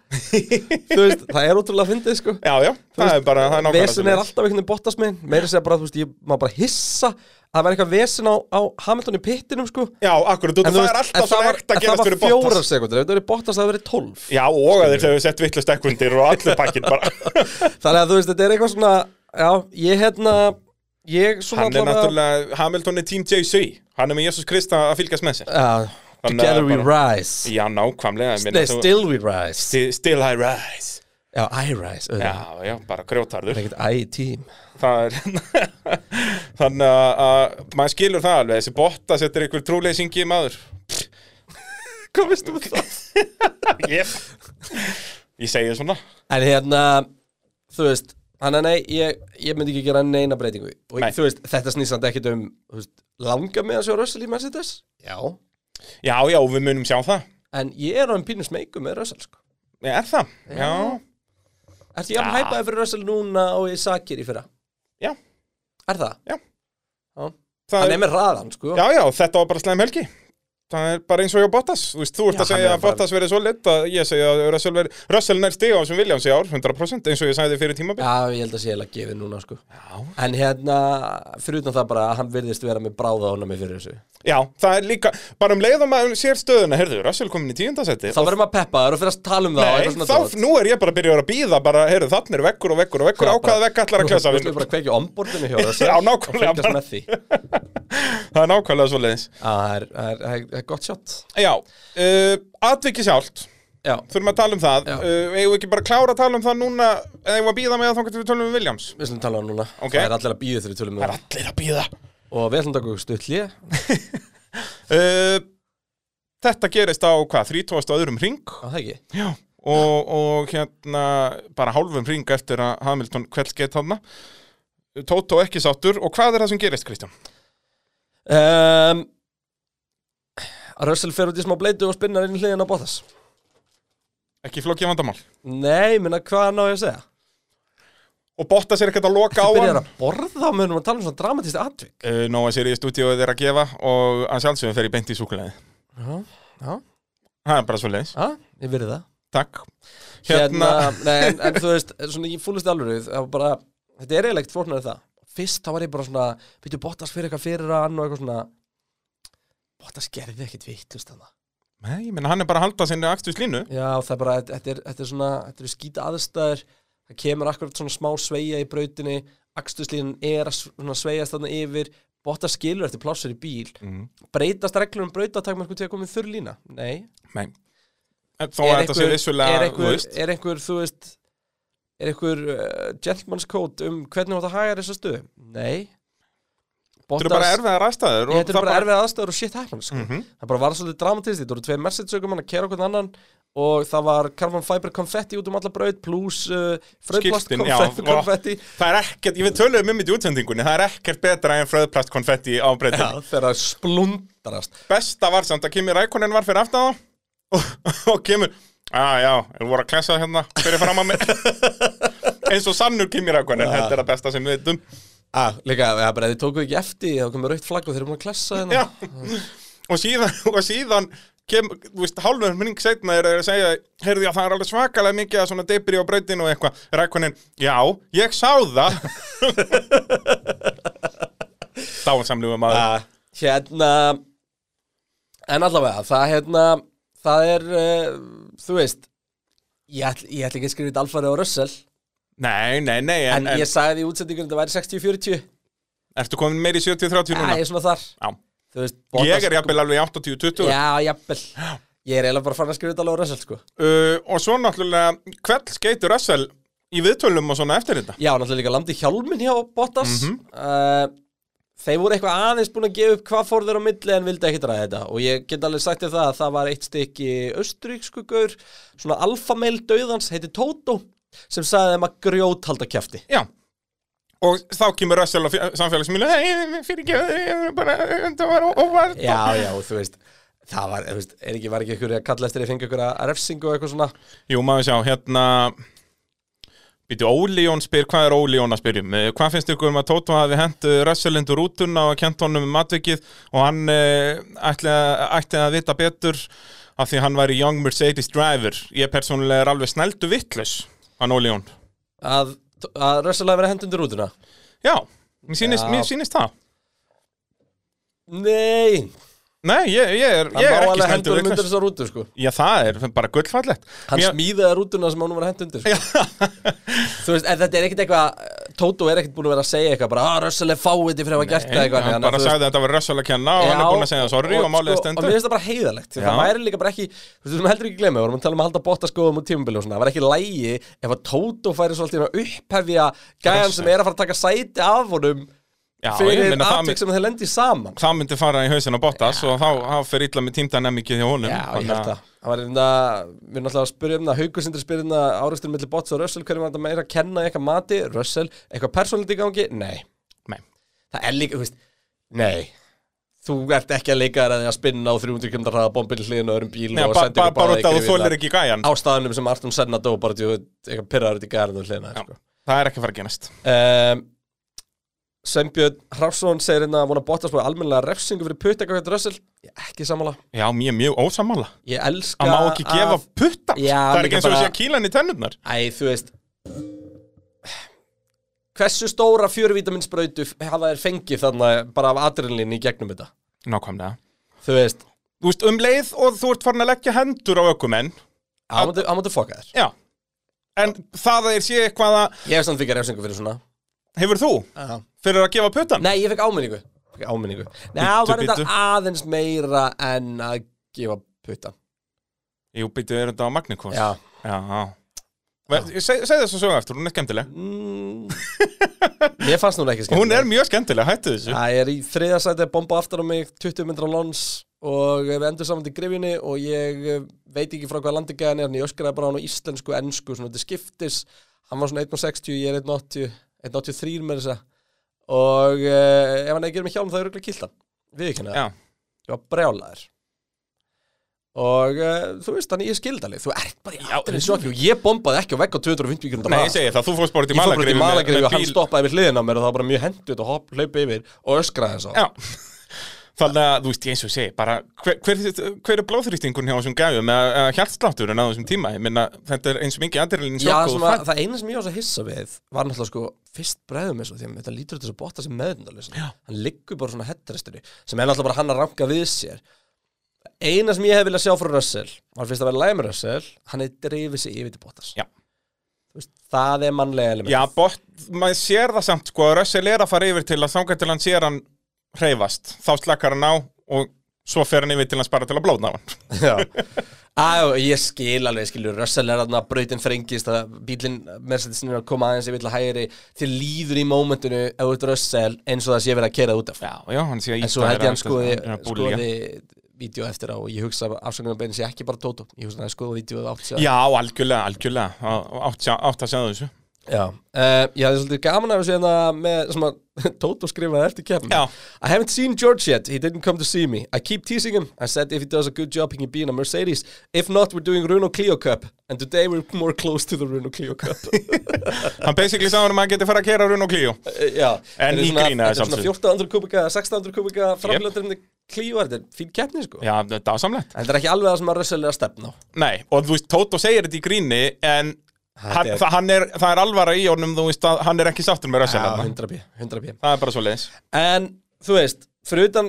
S1: þú veist, það er ótrúlega fyndið sko
S2: já, já, það er bara það er
S1: Vesin
S2: nákvæmlega
S1: er
S2: svoleiðis.
S1: alltaf einhvern veginn Bottas minn meira segja bara, þú veist, ég má bara hissa að það var eitthvað vesin á, á Hamilton í pittinum sko
S2: Já, akkurat, þú,
S1: En
S2: það
S1: þú veist,
S2: er
S1: en
S2: alltaf svona
S1: var-
S2: ekt
S1: en
S2: að gerast
S1: Það
S2: fyrir
S1: var fjórar
S2: Bottas
S1: sekundir, ef það verið Bottas það verið tólf
S2: Já, og að þeir hefur sett vittlust ekkundir og allir pakkin bara
S1: Þannig að þú veist, þetta er eitthvað svona Já, ég hérna Ég svona
S2: Hann er
S1: allavega-
S2: náttúrulega, Hamilton er Team JC Hann er með Jesus Krist að að fylgjast með sér
S1: Já, Together we
S2: Þannig að
S1: rise
S2: Já, nákvæmlega ég meina,
S1: Nei,
S2: þú-
S1: still we rise
S2: Sti- Still I rise
S1: Já, I rise auðvitað.
S2: Já, já, bara grjótarður
S1: Það er ekkert I í team
S2: það er þannig að, að maður skilur það alveg þessi botta setur ykkur trúleysingi í maður
S1: Hvað
S2: um
S1: veistu með það?
S2: ég, ég segi svona
S1: En hérna, þú veist Þannig að nei, ég, ég myndi ekki gera neina breytingu Og
S2: Nei.
S1: þú veist, þetta snýsandi ekkert um þú veist, Langa með að sjá Russell í Mercedes Já
S2: já, já, við munum sjá það
S1: En ég er á en pínus meiku með Russell sko
S2: Ég er það, já,
S1: Ertu ég að hæpaði fyrir Russell núna og ég sakir í fyrra?
S2: já,
S1: Er það?
S2: Já.
S1: Já.
S2: það
S1: Hann
S2: er,
S1: er með raðan sko
S2: já, já, þetta var bara slæm helgi Það er bara eins og hjá Bottas, þú veist, þú ert
S1: Já,
S2: að
S1: hann
S2: segja
S1: er
S2: að
S1: bara-
S2: Bottas verið svo lit að ég segja að Russell verið, Russell nær stíga á sem Williams í ár, 100% eins og ég sagði fyrir tímabil.
S1: Já, ég held að sé heila gefið núna sko Já. En hérna, fyrir utan það bara að hann virðist vera með bráða honami fyrir þessu
S2: Já. það er líka, bara um leið og maður sér stöðuna, heyrðu, Russell komin í tíundasetti
S1: Þá verðum að peppa þar og fyrir að tala um það og
S2: Nei,
S1: eitthvað svona
S2: þá,
S1: dót.
S2: nú er ég bara að byrja að býða bara, heyrðu, þannig er vekkur og vekkur og vekkur
S1: Já,
S2: ákvaða
S1: bara-
S2: vekk allar að klessa
S1: Þú
S2: við
S1: slúið bara að kveikja ombordinu hjá þessu
S2: Já, nákvæmlega,
S1: Og fylgjast
S2: bara.
S1: með því
S2: Það er nákvæmlega svo leiðis
S1: Já, það er- það er- það er- það er gott shot
S2: Já, uh, atviki sjálft
S1: Já,
S2: Þurfum að tala um það
S1: Já.
S2: uh, Eigum við ekki bara að klára að tala um það núna eða eigum við að býða með að þá getum við tölum um Williams
S1: við slum tala um núna
S2: Ok.
S1: Það er allir að býða þegar við tölum um það
S2: allir að býða
S1: Og við ætlum takku stutli Já,
S2: uh, Þetta gerist á hvað, 30. öðrum ring
S1: það ekki
S2: Já Og, og hérna bara hálfum ring eftir að Hamilton kvelds gett þarna Tóto ekki sáttur og hvað er það sem gerist, Kristján?
S1: um, Russell fer út í smá bleitu og spinnar inn í hliðina á Bottas
S2: Ekki flókið vandamál
S1: Nei, minna, hvað ná ég að segja?
S2: Og Bottas er ekkert að loka á
S1: Þú
S2: hann
S1: byrjar að borða á munum að tala um svona dramatist atvik
S2: uh, Nóa sér í stúdíóið er að gefa og að sjálfsögum fer í beint í súkulegði
S1: Já, já,
S2: Það er bara svo leiðis,
S1: já, ég verið það
S2: takk
S1: Hérna,
S2: Hérna,
S1: nei, en, en þú veist, svona ég fúlist alveg það var bara, þetta er eiginlegt flóknar en það Fyrst þá var ég bara svona, byrju Bottas fyrir eitthvað fyrir hann og eitthvað svona Bottas gerði ekkit vittlust hann
S2: Nei, ég menna hann er bara að halda sinni axtus línu
S1: Já, það er bara, þetta er, þetta er svona, þetta eru skýta aðstæður Það kemur akkurat svona smá sveigja í brautinni Akstuslínin er að svona sveigjast þarna yfir Bottas skilur eftir plássur í bíl
S2: mm.
S1: Breytast reglur um brautatakmarku til að koma í þurr lína? Nei
S2: Nei En Þó að þetta sé vissulega,
S1: er
S2: þú
S1: einhver,
S2: veist
S1: er einhver, þú veist er einhver uh, gentleman's code um hvernig þú átt að haga þessu stöðu nei
S2: Þetta eru bara erfiðar aðstæður og
S1: Þetta eru
S2: það
S1: bara erfið aðstæður og shit happens sko.
S2: Mhm.
S1: það bara var svolítið dramatist þetta voru tvei message-sögum að kera okkur annan og það var carbon fiber konfetti út um alla braut pluss uh, fröðplast
S2: Skiltin, já,
S1: konfetti,
S2: og-
S1: konfetti.
S2: Það er ekkert, ég við töluðum um þetta í útsendingunni Það er ekkert betra en fröðplastkonfetti á breytinni
S1: Já, þegar það splundrast
S2: Besta var samt að Kimi Rækonin var fyrir aftan þá og, og kemur Já, já, við voru að klessa hérna fyrir fram að mig eins og sannur Kimi Rækonin, þetta er það besta sem við veitum
S1: ah, Líka, það er bara þið tókuð ekki eftir þá komið raukt flagg og þeir eru múin að klessa hérna. þennan
S2: Já, og síðan, og síðan kem, þú veist, hálfur minning setna er að segja, heyrðu já, það er alveg svakalega mikið að svona debri á brautinu og eitthvað Rækonin, já, ég sá það Dáinsamlegu maður
S1: Ah, hérna en allavega, það hérna eh, það er, uh, þú veist ég ætla, ég ætla ekki að skrifa þetta alfarið á Russell
S2: Nei, nei, nei, en,
S1: En ég sagði í útsendingunum þetta væri 60-40
S2: ertu komin meir í 70-30
S1: Já,
S2: núna?
S1: ég er svona þar
S2: Já.
S1: Þú veist,
S2: Ég
S1: Bottas-
S2: er jafnvel alveg í 80-20
S1: sko. Já, jafnvel Ég er eiginlega bara farin að skrifa þetta alveg á Russell, sko
S2: uh, og svo náttúrulega hvell skeitur Russell í viðtölum og svona eftir þetta
S1: Já, náttúrulega líka landi hjálmin hjá Bottas
S2: Mhm.
S1: mm Þeir voru eitthvað aðeins búin að gefa upp hvað fór þeir á milli en vildi ekki draga þetta og ég get alveg sagt þér það að það var eitt stykki austuríksku gaur svona alfameil dauðans, heiti Tóto sem sagði þeim að grjót halda kjafti
S2: já og þá kemur Russell á fjö- samfélagsmiðlum hei, fyrir ekki, bara það var ó- óvart
S1: Já, já, þú veist það var, þú veist, er ekki, var ekki ykkur að kalla eftir að fengi ykkur að refsingu og eitthvað svona
S2: jú, maður sjá, hérna býtu, Óli Jón spyr, hvað er Óli Jón að spyrjum Eh, hvað finnst ykkur um að Tóto hafi hent eh, Russell undir rútuna og kent honum um atvikið og hann uh, ætli, að- ætti að vita betur af því hann væri Young Mercedes driver ég persónulega er alveg snældu vittlaus hann Óli Jón
S1: að, að Russell hafi verið hend undir rútuna
S2: já, mér sýnist,
S1: Já.
S2: mér sýnist það
S1: Nei,
S2: Nei, ég, ég er,
S1: hann
S2: ég
S1: má
S2: er ekki
S1: alveg hend
S2: stendur
S1: undir
S2: vitlaus.
S1: þessa rútu, sko
S2: Já, það er bara gullfallegt
S1: Hann
S2: Mér-
S1: smíðaði rútuna sem hann var hend undir sko. Þú veist, en þetta er ekkit eitthvað eh, Tóto er ekkit búin að vera að segja eitthvað bara, að Russell er fáiði fyrir að hafa gert það eitthvað
S2: Hann
S1: þannig að
S2: bara
S1: þú veist-
S2: sagði að þetta var rössal að kenna og hann er
S1: Já,
S2: búinn að segja sorry og, málið
S1: sko,
S2: er
S1: Og
S2: stendur
S1: mér finnst það bara heiðalegt því Það
S2: Já.
S1: væri líka bara ekki, þú veist, við heldur ekki glemja Við vorum að tala um að halda bottaskóðum og tímabili og svona Það var ekki lægi ef að Tóto færi svolítið að upphefja gæjan sem er að fara að taka sæti af honum
S2: Já, ég
S1: fyrir
S2: meina það,
S1: atvik
S2: mynd,
S1: sem þeir lendi saman
S2: það myndi fara í hausin á Bottas og þá, þá fer illa með tímdænemikið hjá honum
S1: Já, ég
S2: Þannig
S1: held
S2: að-
S1: það Það var einna, við erum alltaf að spyrja um það Haukur sindri spyrja um það áreistur millir Botts og Russell Hverjum var þetta meira að kenna í eitthvað mati Russell, eitthvað persónlítið í gangi? Nei
S2: Nei.
S1: Það er líka, þú veist, nei Þú ert ekki að leika þér að því að spinna á 300 km hraða bombin hliðin og öðrum bíl
S2: Nei,
S1: og
S2: ba-
S1: senda
S2: ba-
S1: ykkur
S2: bara út
S1: báða
S2: að þú
S1: gryfjurnar.
S2: þólir ekki gæjan
S1: Á staðnum sem Arton Senna dó bara djú, eitthvað pyrraður út í gæðanum hliðina sko.
S2: Það er ekki að fara að genast
S1: um, Sveinbjörn Hrafsson segir hérna að vona Bottas búið almennilega refsingu fyrir putt eitthvað Russell Ég er ekki sammála
S2: Já, mér er mjög ósammála
S1: Ég elska
S2: Hann má ekki gefa
S1: að-
S2: putta
S1: Já,
S2: Það er
S1: líka
S2: ekki eins og
S1: bara-
S2: sé að kýla hann í tennurnar
S1: Æ, þú veist Hversu stóra fjöruvítaminsbrautu hafa þær fengið þarna bara af adrenalinni í gegnum þetta
S2: Nákvæmlega
S1: Þú veist,
S2: Þú veist, um leið og þú ert farin að leggja hendur á ökumenn
S1: hann máttu- hann máttu fokka þér
S2: Já En það að þér sé eitthvað að
S1: Ég hef samt fyrir refsingu fyrir svona
S2: Hefur þú?
S1: Já.
S2: Fyrir að gefa puttan?
S1: Nei, ég fekk áminningu Fekk áminningu Nei, það var
S2: bíddu.
S1: þetta aðeins meira en að gefa putta
S2: Jú, býttu, er þetta á Magnikons?
S1: Já
S2: Já, já. Ver- ég Seg, seg þess að sögum eftir, hún er skemmtileg
S1: mm, Mér fannst núna ekki skemmt
S2: Hún er mjög skemmtileg, hættu þessu
S1: Það er í þriðja sæti bomba aftur á mig 20 myndra lóns og við endur saman til grifjunni og ég eh, veit ekki frá hvað landingæðan er en ég öskraði bara á hann á íslensku, ennsku svona þetta skiptis, hann var svona 1.60 ég er 1.80, 1.83 með þessa og uh, ef hann ekki er með hjálm þá er auðvitað kiltan við ekki hérna.
S2: Já,
S1: ég var brjálaður og uh, þú veist þannig ég skildi alveg, þú ert bara í aðrið sjokki og ég bombaði ekki á vegg á 250 km
S2: nei, ég segi það, þú fórst bara út í
S1: Ég fór bara út
S2: Malagrifi
S1: í Malagrifi og hann stoppaði við hliðin á mér og það var bara mjög hendut og hopp, hlaup yfir og öskraði þess að
S2: Já Þannig að, þú veist, eins og ég segi, bara hver, hver, hver er blóðþrýstingun hjá þessum gæfum eða eða hjartslátturinn á þessum tíma? Ég minna, þetta er eins og mikið aðdirlinn
S1: Já, það
S2: sjokk
S1: sem
S2: og
S1: að,
S2: fætt
S1: það eina sem ég var svo hissa við var náttúrulega sko fyrst bregðum eins og því að þetta lítur til þess að botta sem meðundarleysan hann liggur bara svona hettrestinni sem er náttúrulega bara hann að ranka við sér eina sem ég hef viljað sjá frá Russell var fyrst að vera læmi Russell hann er dreifið sig yfir til Bottas
S2: Já.
S1: Þú veist, það er mannlega element
S2: Já, bort, maður sér það samt, sko, að Russell er að fara yfir til að þangað til hann sér hann hreyfast Þá slakkar hann á og svo fer hann yfir til hans bara til að blóðna á hann
S1: Já, Á, ég skil alveg, skilur, Russell er þarna, brautin þrengist, að bílinn Mercedesin er að koma aðeins yfir til hægri, þér líður í mómentinu, ef þú ert Russell, eins og það sé verið að kerað út af.
S2: Já, já, hann sé að
S1: En
S2: íta
S1: svo held ég hann skoði,
S2: er að búlja.
S1: skoði vídeo eftir á og ég hugsa að afsökunarbeinin sé ekki bara Tóto, ég hugsa að hann skoði vídeo átt sér.
S2: Já, algjörlega, algjörlega Á- átt, sjá- átt að segja þessu
S1: Já. Uh, ég hafði svolítið gaman af þessu hérna með, sem að Tóto skrifaði eftir keppni.
S2: Já.
S1: I haven't seen George yet, he didn't come to see me. I keep teasing him, I said if he does a good job he can be in a Mercedes. If not, we're doing Renault Clio Cup. And today we're more close to the Renault Clio Cup.
S2: Hann basically sagði honum að hann geti fara að kera Rún og Klíó
S1: Eh, Já.
S2: En
S1: Þetta er
S2: í
S1: svona-
S2: gríni
S1: Þetta er
S2: samt
S1: svona
S2: sem.
S1: 1400 kubika, 1600 kubika framlöndurinn Clio, þetta er fín keppni sko.
S2: Já, þetta ásamlegt
S1: En Þetta er ekki alveg það sem að Russell er að stefna á.
S2: Nei, og þú veist, Tóto segir þetta í gríni En hann,
S1: er-
S2: það, hann er, það er alvara í honum Þú veist, að hann er ekki sáttur með
S1: Já,
S2: rössin
S1: 100 bí, 100 bí
S2: Það er bara svo leiðis
S1: En, þú veist, fyrir utan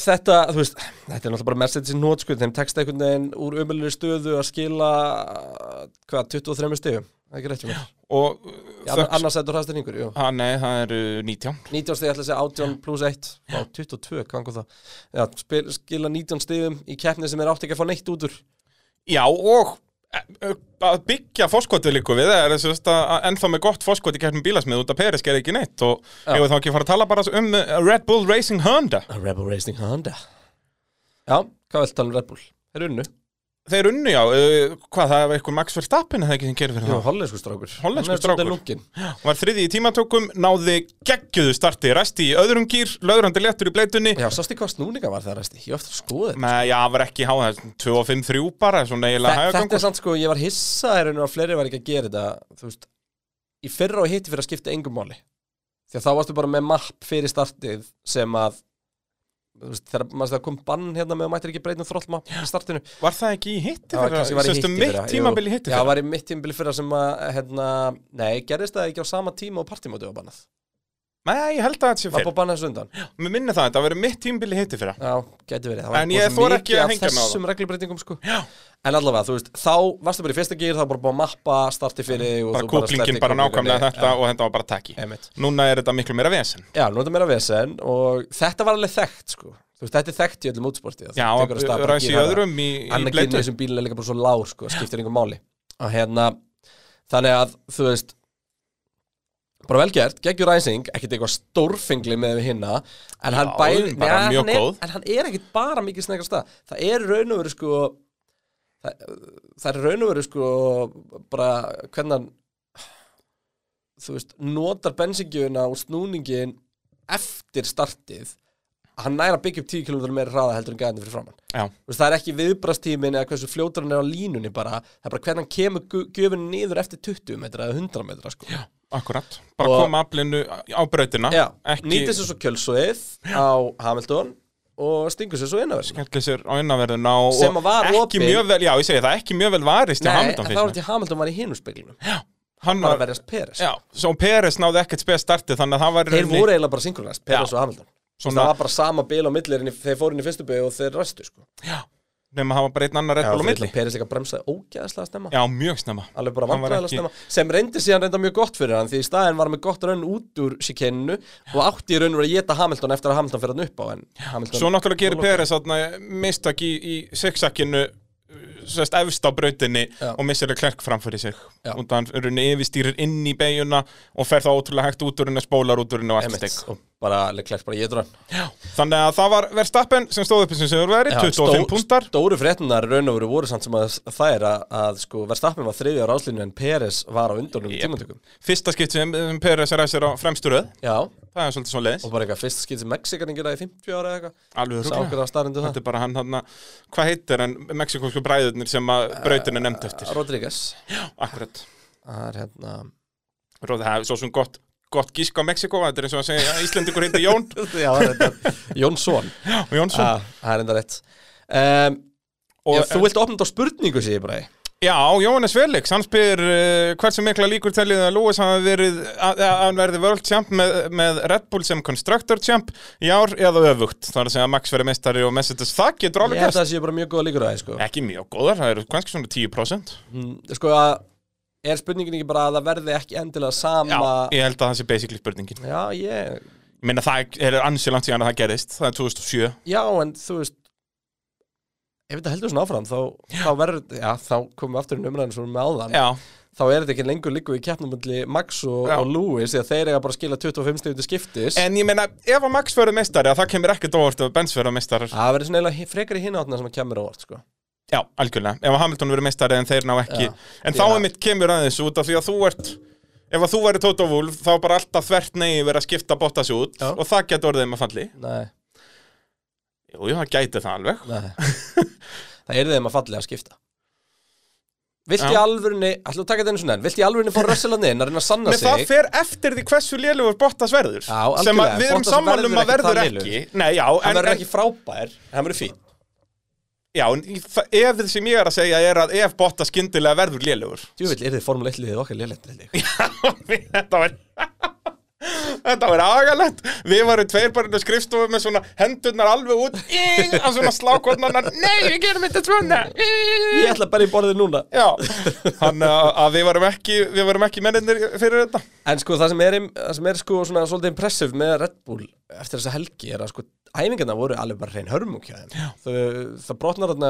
S1: þetta, þú veist, þetta er náttúrulega bara Mercedes í sko, nótskuð, þeim tekst einhvern veginn úr umöluðu stöðu að skila uh, hvað, 23 stöðu Það er ekki rétt hjá mér.
S2: og
S1: Í anna-
S2: þöks,
S1: Annars sættur hraðastinn yngur, jú.
S2: ha, nei, það eru 19
S1: 19 stig, ég ætla að segja 18 pluss 1 Vá, 22, hvað angum það Já, spil, skila 19 stigum í keppni sem er átt ekki að fá neitt út úr
S2: já og e, e, að byggja fórskotið líku við það er þess að- að ennþá með gott fórskot í kæftum bílasmið út af Peris gerði ekki neitt og
S1: Já.
S2: hefur þá ekki að fara að tala bara um eh, Red Bull Racing Honda
S1: A Rebel Racing Honda Já, hvað vilt tala um Red Bull? Þeir unnu
S2: þeir unnu já, uh, hvað það var eitthvað Max Verstappen eða ekki sem gerir fyrir
S1: Já,
S2: það
S1: hollensku strákur
S2: Hollenskur strákur.
S1: lunkin.
S2: var þriði í tímatökum, náði geggjöðu starti, ræsti í öðrum gýr löðrandi léttur í bleitunni
S1: Já, sástu hvað snúninga var það resti? Ég var eftir að skoða þetta
S2: Nei, já, hann var ekki há, það er 2 og 5, 3 bara, svona
S1: Þe-
S2: eiginlega
S1: Þetta
S2: hægagangur
S1: er samt sko, ég var hissa í rauninu að fleiri var ekki að gera þetta Þú veist, í fyrra og hitti fyrir að skipta engum máli Því að þá varstu bara með mapp fyrir startið sem að þú veist, þegar maður það kom bann hérna með að mættir ekki breytnum þróllmapp í startinu
S2: Var það ekki í hitti
S1: Það var
S2: þeirra?
S1: kannski var í hitti
S2: Sérstu mitt
S1: fyrra, jú.
S2: tímabili hitti
S1: Já, það
S2: þeirra?
S1: var í mitt tímabili fyrra sem að, hérna, nei, gerðist það ekki á sama tíma og partímóti var bannað
S2: Nei, ég held að þetta sé
S1: Var
S2: fyrr
S1: búið bannað þessu undan
S2: Mér minni það, þetta var mitt tímabili hitti fyrra
S1: Já, gæti verið Það
S2: En
S1: var
S2: ég
S1: svo mikið
S2: þori ekki að
S1: af
S2: hengja mig á það.
S1: Þessum reglubreitingum, sko Já En allavega, þú veist, þá varstu bara í fyrsta gýr, þá var bara búið að mappa starti fyrir þig og
S2: Bara
S1: þú
S2: kúplingin
S1: slepptir
S2: bara
S1: kúplingunni.
S2: nákvæmlega þetta og þetta var bara takki
S1: Einmitt.
S2: Núna er þetta miklu meira vesen
S1: Já, nú er þetta meira vesen og þetta var alveg þekkt sko Þú veist, þetta er þekkt í öllum útsporti
S2: Já, ræsi í öðrum í, í
S1: Annar gynni
S2: bleitu
S1: þessum bílinn er líka bara svo lág sko, skiptir einhver máli og hérna, þannig að þú veist bara velgjert, geggjur ræsing, ekkert eitthvað stórfengli með við hinna en hann
S2: Já,
S1: bæði,
S2: bara
S1: Nei,
S2: mjög
S1: hann er,
S2: góð.
S1: en hann er ekkert bara mikið snakar stað, það er raun og veru sko það, það er raun og veru sko bara hvernig hann þú veist, notar bensingjöfuna og snúningin eftir startið hann næra byggja upp 10 km meira hraða heldur en gæðandi fyrir framann
S2: Já,
S1: Þú veist, það er ekki viðbrastímin eða hversu fljótur hann er á línunni bara, það er bara hvernig hann kemur gu- gjöfinu niður eftir 20 metra eða 100 metra sko. Já,
S2: akkurat Bara
S1: Og-
S2: koma aflinu á brautina
S1: Já
S2: Ekki
S1: nýtir sér svo kjölsóið á Hamilton og stingur sér svo innavers
S2: skemmtli sér á innanverðuna og,
S1: Sem að var
S2: og ekki
S1: opin.
S2: mjög vel, já ég segi það, ekki mjög vel varist hjá
S1: Nei,
S2: Hamilton
S1: þá
S2: finnst
S1: var
S2: mér.
S1: þetta Hamilton var í hinum speglinum
S2: Hann
S1: bara að
S2: var,
S1: verjast Peres
S2: já, svo Peres náði ekkert spes startið þannig að það var í
S1: Þeir
S2: rauninni-
S1: voru eiginlega bara synkronast, Peres
S2: Já.
S1: og Hamilton
S2: Svona-
S1: Það var bara sama bil á millir en þeir fóru inn í fyrstu byggju og þeir ræstu sko.
S2: nema hafa bara einn annar Red Bull á milli
S1: Peres líka bremsaði ógæðislega stemma
S2: Já, mjög snemma
S1: alveg bara
S2: Hann var
S1: vandræðilega
S2: ekki-
S1: stemma sem reyndi síðan reynda mjög gott fyrir hann því í staðin var hann með gott raun út úr sikennu og átti í raun og verið að geta Hamilton eftir að Hamilton fyrir hann upp á en Hamilton
S2: Svo náttúrulega gerir Peres þarna mistak í, í sexakinu sérst efst á brautinni
S1: Já.
S2: og missir að klerk framfyrir sig
S1: Já.
S2: og hann er unni yfirstýrir inn í beiguna og fer þá ótrúlega hægt út úr henni, spólar út úr henni og allt
S1: Einmitt.
S2: stegg
S1: og bara Leclerc bara getur hann
S2: Þannig að það var Verstappen sem stóð upp sem sem verið, 25 púntar
S1: Stóru fréttunar raun og verið voru samt sem að það er að, að sko Verstappen var þriðja á ráslinu en Peres var á undanum yep. tímantökum
S2: Fyrsta skipt sem sem Peres er að sér á fremsturöð
S1: Já og
S2: Það er svolítið svo leiðis
S1: bara eitthvað fyrst skilt sem Mexikanin gera í 50 ára eða eitthvað
S2: Alveg
S1: Sá okkur
S2: örugglega.
S1: að starrendu
S2: Þetta
S1: það
S2: er bara hann hann hvað heitir en mexikósku bræðurnir sem að
S1: Eh,
S2: brautinu nefnd eftir
S1: Rodríguez
S2: Akkurat
S1: Það er hérna
S2: Róð, það er svo sem gott, gott gísk á Mexiko Þetta er eins og að segja að Íslendingur heitir Jón
S1: Já, það er hérna Jónsson
S2: og Jónsson
S1: Já, það er enda rétt um, Ah,
S2: og,
S1: Já, þú vilt opna þetta á spurningu, segir ég bara
S2: Já, Jóhannes Felix, hann spyr uh, hversu mikla líkur tellið að Lewis hafa verið að að hann verði world champ með, með Red Bull sem constructor champ í ár eða öfugt, það er að segja að Max verið meistari og Mercedes, það getur
S1: Ég
S2: alveg Eh.
S1: held að
S2: gerst
S1: það sé bara mjög góða líkur að það, sko
S2: Ekki mjög góðar, það eru kannski svona 10%
S1: Mm, Sko að, er spurningin ekki bara að það verði ekki endilega
S2: Já,
S1: sama
S2: ég held að það sé basically spurningin
S1: Já, ég
S2: Ég meina það er ansi langt síðan að það gerist, það er 2007
S1: Já, en þú veist Ef þetta heldur svona áfram, þá, þá verður Já, þá komum við aftur í umræðinu svona með áðan
S2: Já,
S1: Þá er þetta ekki lengur líku í keppnumulli Max og,
S2: Já.
S1: og Lewis Því að þeir eiga bara að skila 25 stegundu skiptis
S2: en ég meina ef að Max verið meistari, að það kemur ekkert óvart ef að Benz verið meistari
S1: Það verður svona eiginlega frekar í hináttina sem að kemur á orð, sko
S2: Já, algjörlega, ef að Hamilton verið meistari en þeir ná ekki
S1: Já.
S2: En
S1: Því
S2: þá
S1: að-
S2: er mitt kemur aðeins út af því að þú ert Ef að þú væri Toto Wolf, þá bara alltaf þvert neyði verið að skipta botta sig út
S1: Já.
S2: Og það getur orðið með falli
S1: Nei,
S2: Jú, jú, það gæti það alveg
S1: nei Það er þeim að fallega skipta Vilt
S2: Já.
S1: í alvörunni, ætlum við að taka þetta einu svona enn Vilt í alvörunni fá rössilandi inn að reyna að sanna
S2: Nei,
S1: sig
S2: það fer eftir því hversu lélugur Bottas verður
S1: Já, algjörlega,
S2: Sem að við erum
S1: Bottas
S2: sammálum
S1: verður ekki það
S2: að verður ekki
S1: lélegur.
S2: Nei, já,
S1: Hann
S2: en,
S1: verður
S2: en,
S1: ekki frábær, hann verður fín
S2: já, en í- það- ef það sem ég er að segja er að ef Bottas skyndilega verður lélugur
S1: Djúvill, er þið formule 1 liðið okkar liðlegt held ég.
S2: Þetta var Þetta var agalegt Við varum tveir bara inn á skrifstofu með svona hendurnar alveg út Í, að svona slákotnarnar Nei, við gerum þetta svona Í.
S1: Ég ætla bara í borðið núna
S2: Já, þannig að- að við varum ekki Við varum ekki mennir fyrir þetta
S1: En sko það sem er, im- það sem er sko svona svolítið impressive með Red Bull eftir þessa helgi er að sko æfingarna voru alveg bara hrein hörmung hjá þeim. Þau- Það brotnar þarna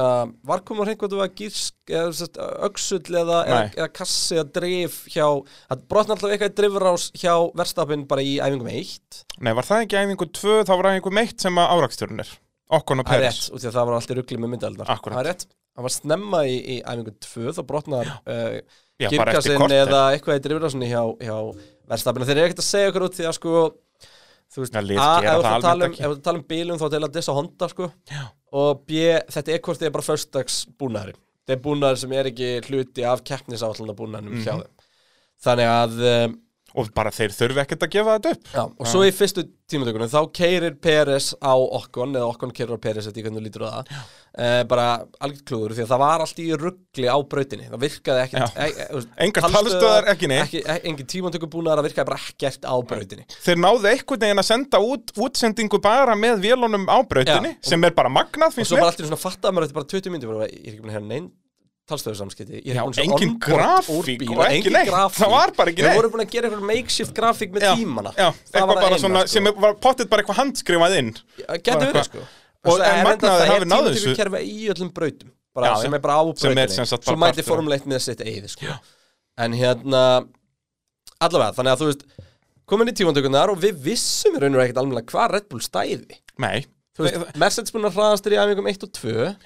S1: varkum og hrein hvort það var gírsk eða sest, öxull eða, eða,
S2: Nei.
S1: eða kassi eða drif hjá, það brotnar alltaf eitthvað drifrás hjá verstafinn bara í æfingum eitt.
S2: Nei, var það ekki æfingu tvö Þá var æfingu meitt sem að áraksturinn er Okkon og
S1: Það er
S2: Peris
S1: rétt, út í að það var alltaf ruggli með myndaldar.
S2: Akkúrat.
S1: Það er rétt. Það var snemma í, í æfingu 2, þá brotnar uh,
S2: Já, bara eftir
S1: kirkasinn
S2: korter.
S1: eða eitthvað í drifrásinni hjá, hjá verðstafinu. Þeir eru ekkert að segja okkur út því að sko, þú veist,
S2: Já, lið
S1: A, ef þú
S2: gera það
S1: ert að tala um,
S2: almennt ekki.
S1: ef þú ert að tala um bílum þá til að dissa Honda sko Já. og B, þetta e-korti er bara föstudags búnaðurinn. Þetta er búnaður sem er ekki hluti af keppnisállanda búnaðinum hjá
S2: Mhm.
S1: þeim. Þannig að, um,
S2: Og bara þeir þurfi ekkert að gefa þetta upp
S1: já, og svo í fyrstu tímatökunum þá keirir Peres á Okkon eða Okkon keirir á Peres eftir hvernig þú lítur á það uh, bara algjörn klúður því að það var allt í ruggli á brautinni það virkaði ekkert
S2: Já.
S1: e e þú veist,
S2: Engar talstöðar, ekki neitt.
S1: ekki, e engin tímatökubúnaður það virkaði bara ekkert á brautinni
S2: Þeir náðu einhvern veginn að senda út útsendingu bara með vélunum á brautinni
S1: Já.
S2: sem er bara magnað,
S1: og
S2: finnst
S1: svo bara
S2: mér
S1: allt í einu svona fattaði maður þetta bara 20 myndir bara, ég er ekki búin að hérna neinn talstöðusamskipti Ég er
S2: Já,
S1: ekki búinn að sjá
S2: engin
S1: onboard
S2: grafík
S1: úr bíl
S2: og ekki
S1: engin
S2: neitt.
S1: grafík.
S2: Það var bara ekki neitt.
S1: Þeir voru búin að gera eitthvað makeshift grafík með
S2: Já,
S1: tímana
S2: já,
S1: Það
S2: eitthvað
S1: var
S2: bara
S1: eina,
S2: svona
S1: sko.
S2: sem er- var pottet bara eitthvað handskrifað inn
S1: Gæti
S2: Bara
S1: verið
S2: eitthvað.
S1: sko
S2: Og en magnaði hafi náð þessu.
S1: Það er tímatökukerfi í öllum brautum bara,
S2: Já,
S1: sem
S2: já.
S1: er bara á
S2: Sem er
S1: brautinni
S2: sem sagt
S1: Svo
S2: bara
S1: mæti
S2: partur af.
S1: formuleitt með sitt eigið sko. En hérna Allavega, þannig að þú veist komin í tímantökunar og við vissum í raun og ekkert alveg hvað Red Bull stæði
S2: Nei,
S1: Þú veist, Mercedes búin að hraðast þér í æfingum 1 og 2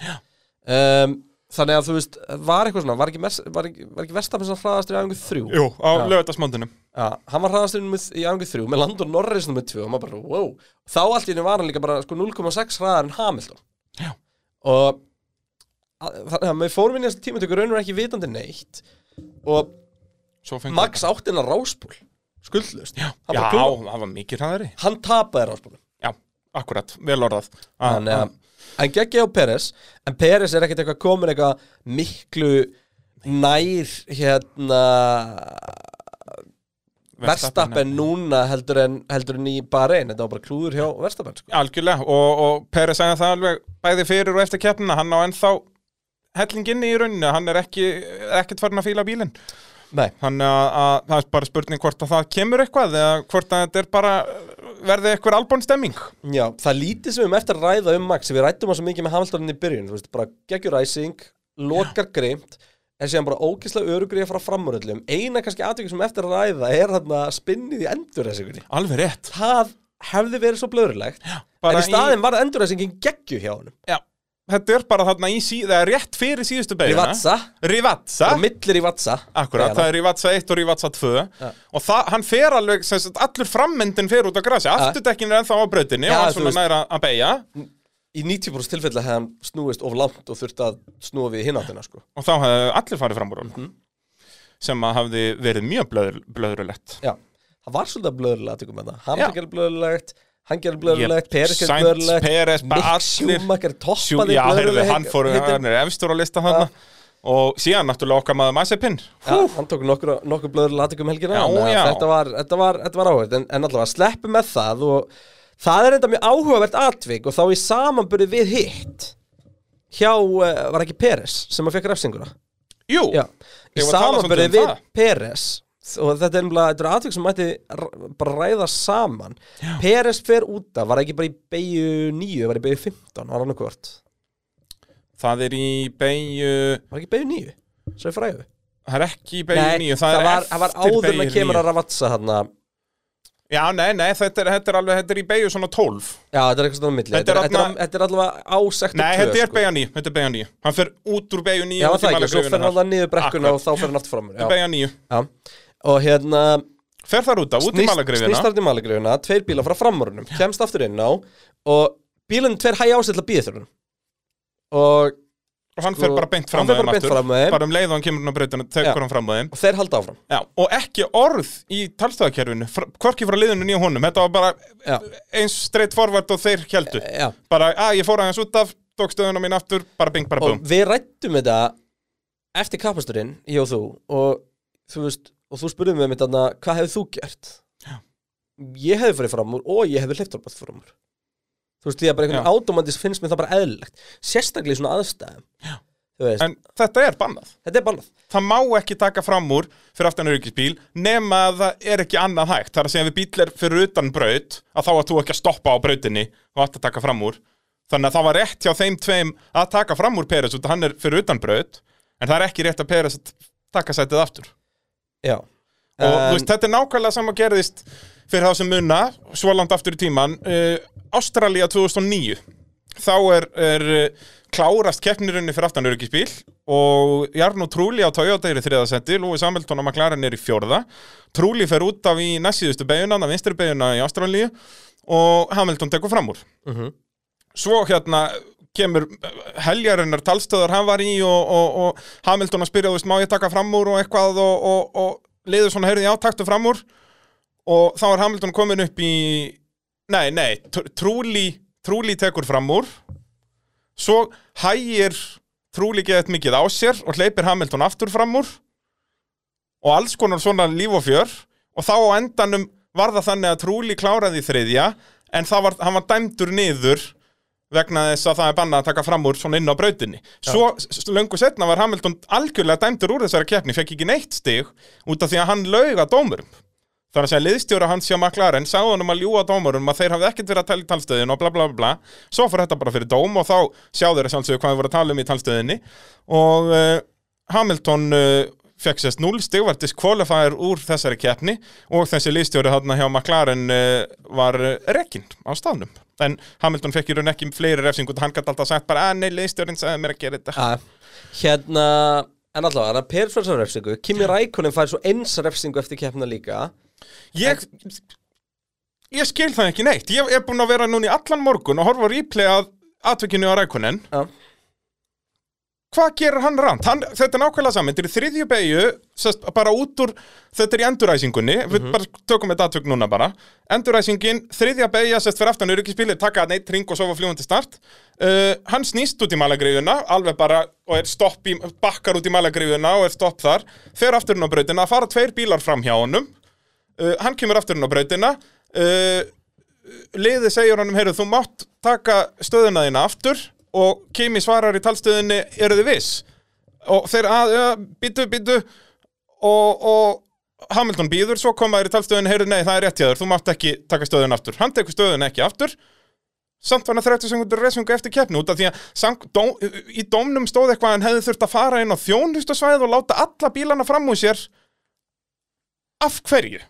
S1: um, Þannig að þú veist, var eitthvað svona, var ekki, Merce- var ekki, var ekki Verstafins að hraðast þér í æfingu 3?
S2: jú, á
S1: Já.
S2: lögatarsmóndunum
S1: Já, hann var hraðasturinn í ángu 3 með Landon Norris nummer 2 og maður bara, wow þá allt í henni var hann líka bara sko, 0,6 hraðar en Hamilton
S2: Já.
S1: og að- þannig að með fórum við næsta tíma tökur raunur ekki vitandi neitt og
S2: Svo fengum
S1: Max átti hennar ráspúl skuldlust, já, hann,
S2: Já,
S1: bara klúðraði.
S2: það var mikið hraðari
S1: hann tapaði ráspúlum
S2: Já, akkurat, vel orðað Ah,
S1: þannig að hann geggja á Peres en Peres er ekkert eitthvað komin eitthvað miklu nær hérna
S2: ah,
S1: Verstappen núna heldur en, heldur en í bara einn, þetta var bara klúður hjá Verstappen sko.
S2: Algjörlega, og, og Peri sagði það alveg bæði fyrir og eftir keppnina, hann á ennþá hellinginni í rauninu, hann er ekki ekkert farin að fíla bílinn
S1: Nei,
S2: þannig að, að það er bara spurning hvort að það kemur eitthvað eða hvort að þetta er bara verði eitthvað albón stemming
S1: já, það lítið sem við erum eftir að ræða um Max, við rættum það svo mikið með Hamiltonin í byrjun, þú veist, bara geggjur æsing lokar greimt, en síðan bara ógislega örugur í að fara fram úr öllum eina kannski atvikið sem við erum eftir að ræða er þarna spinnið í endurreysingunni
S2: Alveg rétt
S1: það hefði verið svo blöðurlegt en
S2: bara
S1: í staðin var endurreysingin geggju hjá honum
S2: Já, þetta er bara þarna í síða rétt fyrir síðustu beigina
S1: Rivatsa,
S2: Rivatsa
S1: og millir í vatsa
S2: Akkurat, það er Rivatsa 1 og Rivatsa 2 og það, hann fer alveg, sem sagt, allur frammyndin fer út á grasi, afturdekkin er ennþá á brautinni
S1: Já,
S2: og hann
S1: þú
S2: svona
S1: veist. Mm.
S2: næra að beigja
S1: í 90% tilfella hefði hann snúist of langt og þurft að snúa við hináttina sko.
S2: og þá hefði allir farið fram úr mm
S1: Mhm.
S2: sem að hafði verið mjög blöður, blöðurulegt
S1: Já, það var svolítið um blöðurlega aðtökum með það
S2: Já.
S1: Hann gerir blöðurlegt, hann gerir blöðurlegt, Peres gerir
S2: Sainz,
S1: blöðurlegt
S2: Perez, bara
S1: Mick
S2: allir-
S1: Schumacher
S2: Sjú,
S1: toppaði
S2: já, heyrðu,
S1: blöðurleg-
S2: hann fór,
S1: hittin.
S2: hann er efstur á lista þarna og síðan náttúrulega okkar maður Mazepin
S1: Já, hann tók nokkur, nokkur blöður latikum helgina
S2: Já,
S1: þannig að
S2: já.
S1: Þetta var, þetta var, þetta var áhverð en, en allavega sleppu með það og það er enda mjög áhugavert atvik og þá í samanburði við hitt hjá, eh, var ekki Peres sem að fekk refsinguna
S2: Jú,
S1: Já, í
S2: Ég var að tala
S1: samanburði
S2: svolítið um
S1: við
S2: það.
S1: Peres og þetta er umlega, þetta er atvik sem mætti r- bara ræða saman Peres fer út af, var ekki bara í beigju 9, var í beigju 15, var hann hvort
S2: það er í beigju
S1: var ekki beigju 9, svo er fræðu
S2: það er ekki í beigju nýju,
S1: það
S2: það, er
S1: var,
S2: eftir
S1: það var áður en
S2: beygju
S1: að kemur
S2: níu.
S1: að ravatsa þarna
S2: Já, nei, nei, þetta er, þetta er alveg, þetta er í beigju svona 12
S1: Já, þetta er eitthvað svona á milli
S2: Þetta
S1: Þetta
S2: er
S1: er, þetta er,
S2: þarna-
S1: þetta er allavega á sektum
S2: Nei, þetta er
S1: sko.
S2: beigja nýju, þetta er beigja nýju Hann fer út úr beigju nýju
S1: Já, það ekki, og svo fer hann alltaf niður brekkuna og þá fer hann aftur fram úr. Já,
S2: Beigja nýju,
S1: já. Og hérna
S2: fer þar út af, út í malagrifina
S1: snýstarði malagrifina Tveir bílar frá framorunum, kemst aftur inn á Og bílinn tveir hægja ásett til að býða þurrunum Og
S2: og hann
S1: sko,
S2: fer bara beint fram
S1: hann fer
S2: með þeim
S1: bara beint
S2: aftur
S1: fram með þeim.
S2: Bara um leið og hann kemur hann á brautinu,
S1: Já.
S2: tekur hann fram með þeim
S1: og þeir halda áfram
S2: Já, og ekki orð í talstöðakerfinu, fr- hvorki frá liðinu nýja honum, þetta var bara
S1: Já.
S2: eins straight forward og þeir heldu.
S1: Já.
S2: Bara, að ég fór aðeins út af, tók stöðuna mín aftur, bara bing, bara
S1: Og
S2: búm.
S1: við rættum þetta Eftir kapasturinn, um ég og þú Og þú veist, og þú spurðum við mitt þarna Hvað hefur þú gert? ég hefði farið fram úr og ég hefði hleyft orðbætt fram úr þú veist, því að bara einhvern
S2: Já.
S1: veginn átómandis finnst mér það bara eðlilegt sérstaklega í svona aðstæðum þú veist,
S2: En þetta er bannað
S1: þetta er bannað
S2: Það má ekki taka fram úr fyrir aftan öryggisbíl nema að það er ekki annað hægt. Það er að segja við bíl er fyrir utan braut að þá að þú ekki að stoppa á brautinni og átt að taka fram úr. Þannig að það var rétt hjá þeim tveim að taka fram úr Peres út að hann er fyrir utan braut en það er ekki rétt að Peres að taka sætið aftur.
S1: já,
S2: Og
S1: En-
S2: þú veist, þetta er nákvæmlega sama gerðist fyrir þá sem munna, svo langt aftur í tíman uh, Ástralía 2009 þá er, er uh, klárast keppnirinni fyrir aftan öryggisbíl og Jarno Trúli á Toyota er í þriðasendi, Lúi Samhildton á McLaren er í fjórða Trúli fer út af í næstsíðustu beiguna, það vinstri beiguna í Ástralíu og Hamilton tekur fram úr svo hérna kemur eh, heljarinnar talstöðar hann var í og, og, og Hamilton að spyrja, þú veist, má ég taka fram úr og eitthvað og, og, og liður svona, heyrði, já, taktu fram úr og þá er Hamilton komin upp í nei, nei, Tr- Trúli Trúli tekur fram úr svo hægir Trúli geðið mikið á sér og hleypir Hamilton aftur fram úr og alls konar svona líf og fjör og þá á endanum var það þannig að Trúli kláraði í þriðja en það var, hann var dæmdur niður vegna þess að það er bannað að taka fram úr svona inn á brautinni. Svo s- s- löngu setna var Hamilton algjörlega dæmdur úr þessari keppni, fekk ekki neitt stig út af því að hann lauga dómurum. Þannig að segja liðstjóra hans hjá McLaren sagði honum að ljúga dómurum að þeir hafði ekkert verið að tala í talstöðin og bla bla bla. Svo fór þetta bara fyrir dóm og þá sjá þeir að sjálfsögðu hvað þeir voru að tala um í talstöðinni og uh, Hamilton uh, fekk sérst 0 stig, var diskvalifæður úr þessari keppni og þessi liðstjóri hann hjá McLaren uh, var uh, rekinn á staðnum. En Hamilton fekk í raun ekki fleiri refsingu, hann gæti alltaf sagt bara að nei, liðstjórin sagði mér að gera þetta.
S1: að, hérna en allavega, hann að Perfjörnsson refsingu Kimi Rækonin fær svo eins refsingu eftir keppna líka
S2: Ég, ég skil það ekki neitt. Ég er búinn að vera núna í allan morgun og horfa á replay að atvikinu á rækunin.
S1: Já.
S2: Hvað gerir hann rámt? Hann, þetta er nákvæmlega saman, þetta er í þriðju beigju, sest, bara út úr, þetta er í enduræsingunni, við bara tökum þetta atvik núna bara. Enduræsingin, þriðja beigja, sest fyrir aftan öryggisbíli, taka hann eitt ring og sofa fljúandi start. Uh, hann snýst út í malagriðuna, alveg bara, og er stopp í, bakkar út í malagriðuna og er stopp þar. Fer afturinn á brautina, það fara tveir bílar fram hjá honum uh, hann kemur aftur inn á brautina uh, liðið segir honum heyrðu, þú mátt taka stöðuna þína aftur og Kimi svarar í talstöðinni eru þið viss og þeir "Ah, að, ja, býtu, býtu og, og Hamilton býður svo koma þér í talstöðinni, heyrðu, nei, það er rétt hjá þér þú mátt ekki taka stöðuna aftur, hann tekur stöðuna ekki aftur samt var hann 30 sekundur resungu eftir keppni út af því að sang, dó, í dómnum stóð eitthvað að hann hefði þurft að fara inn á þjónustasvæð og láta alla bílana fram úr sér af hverju?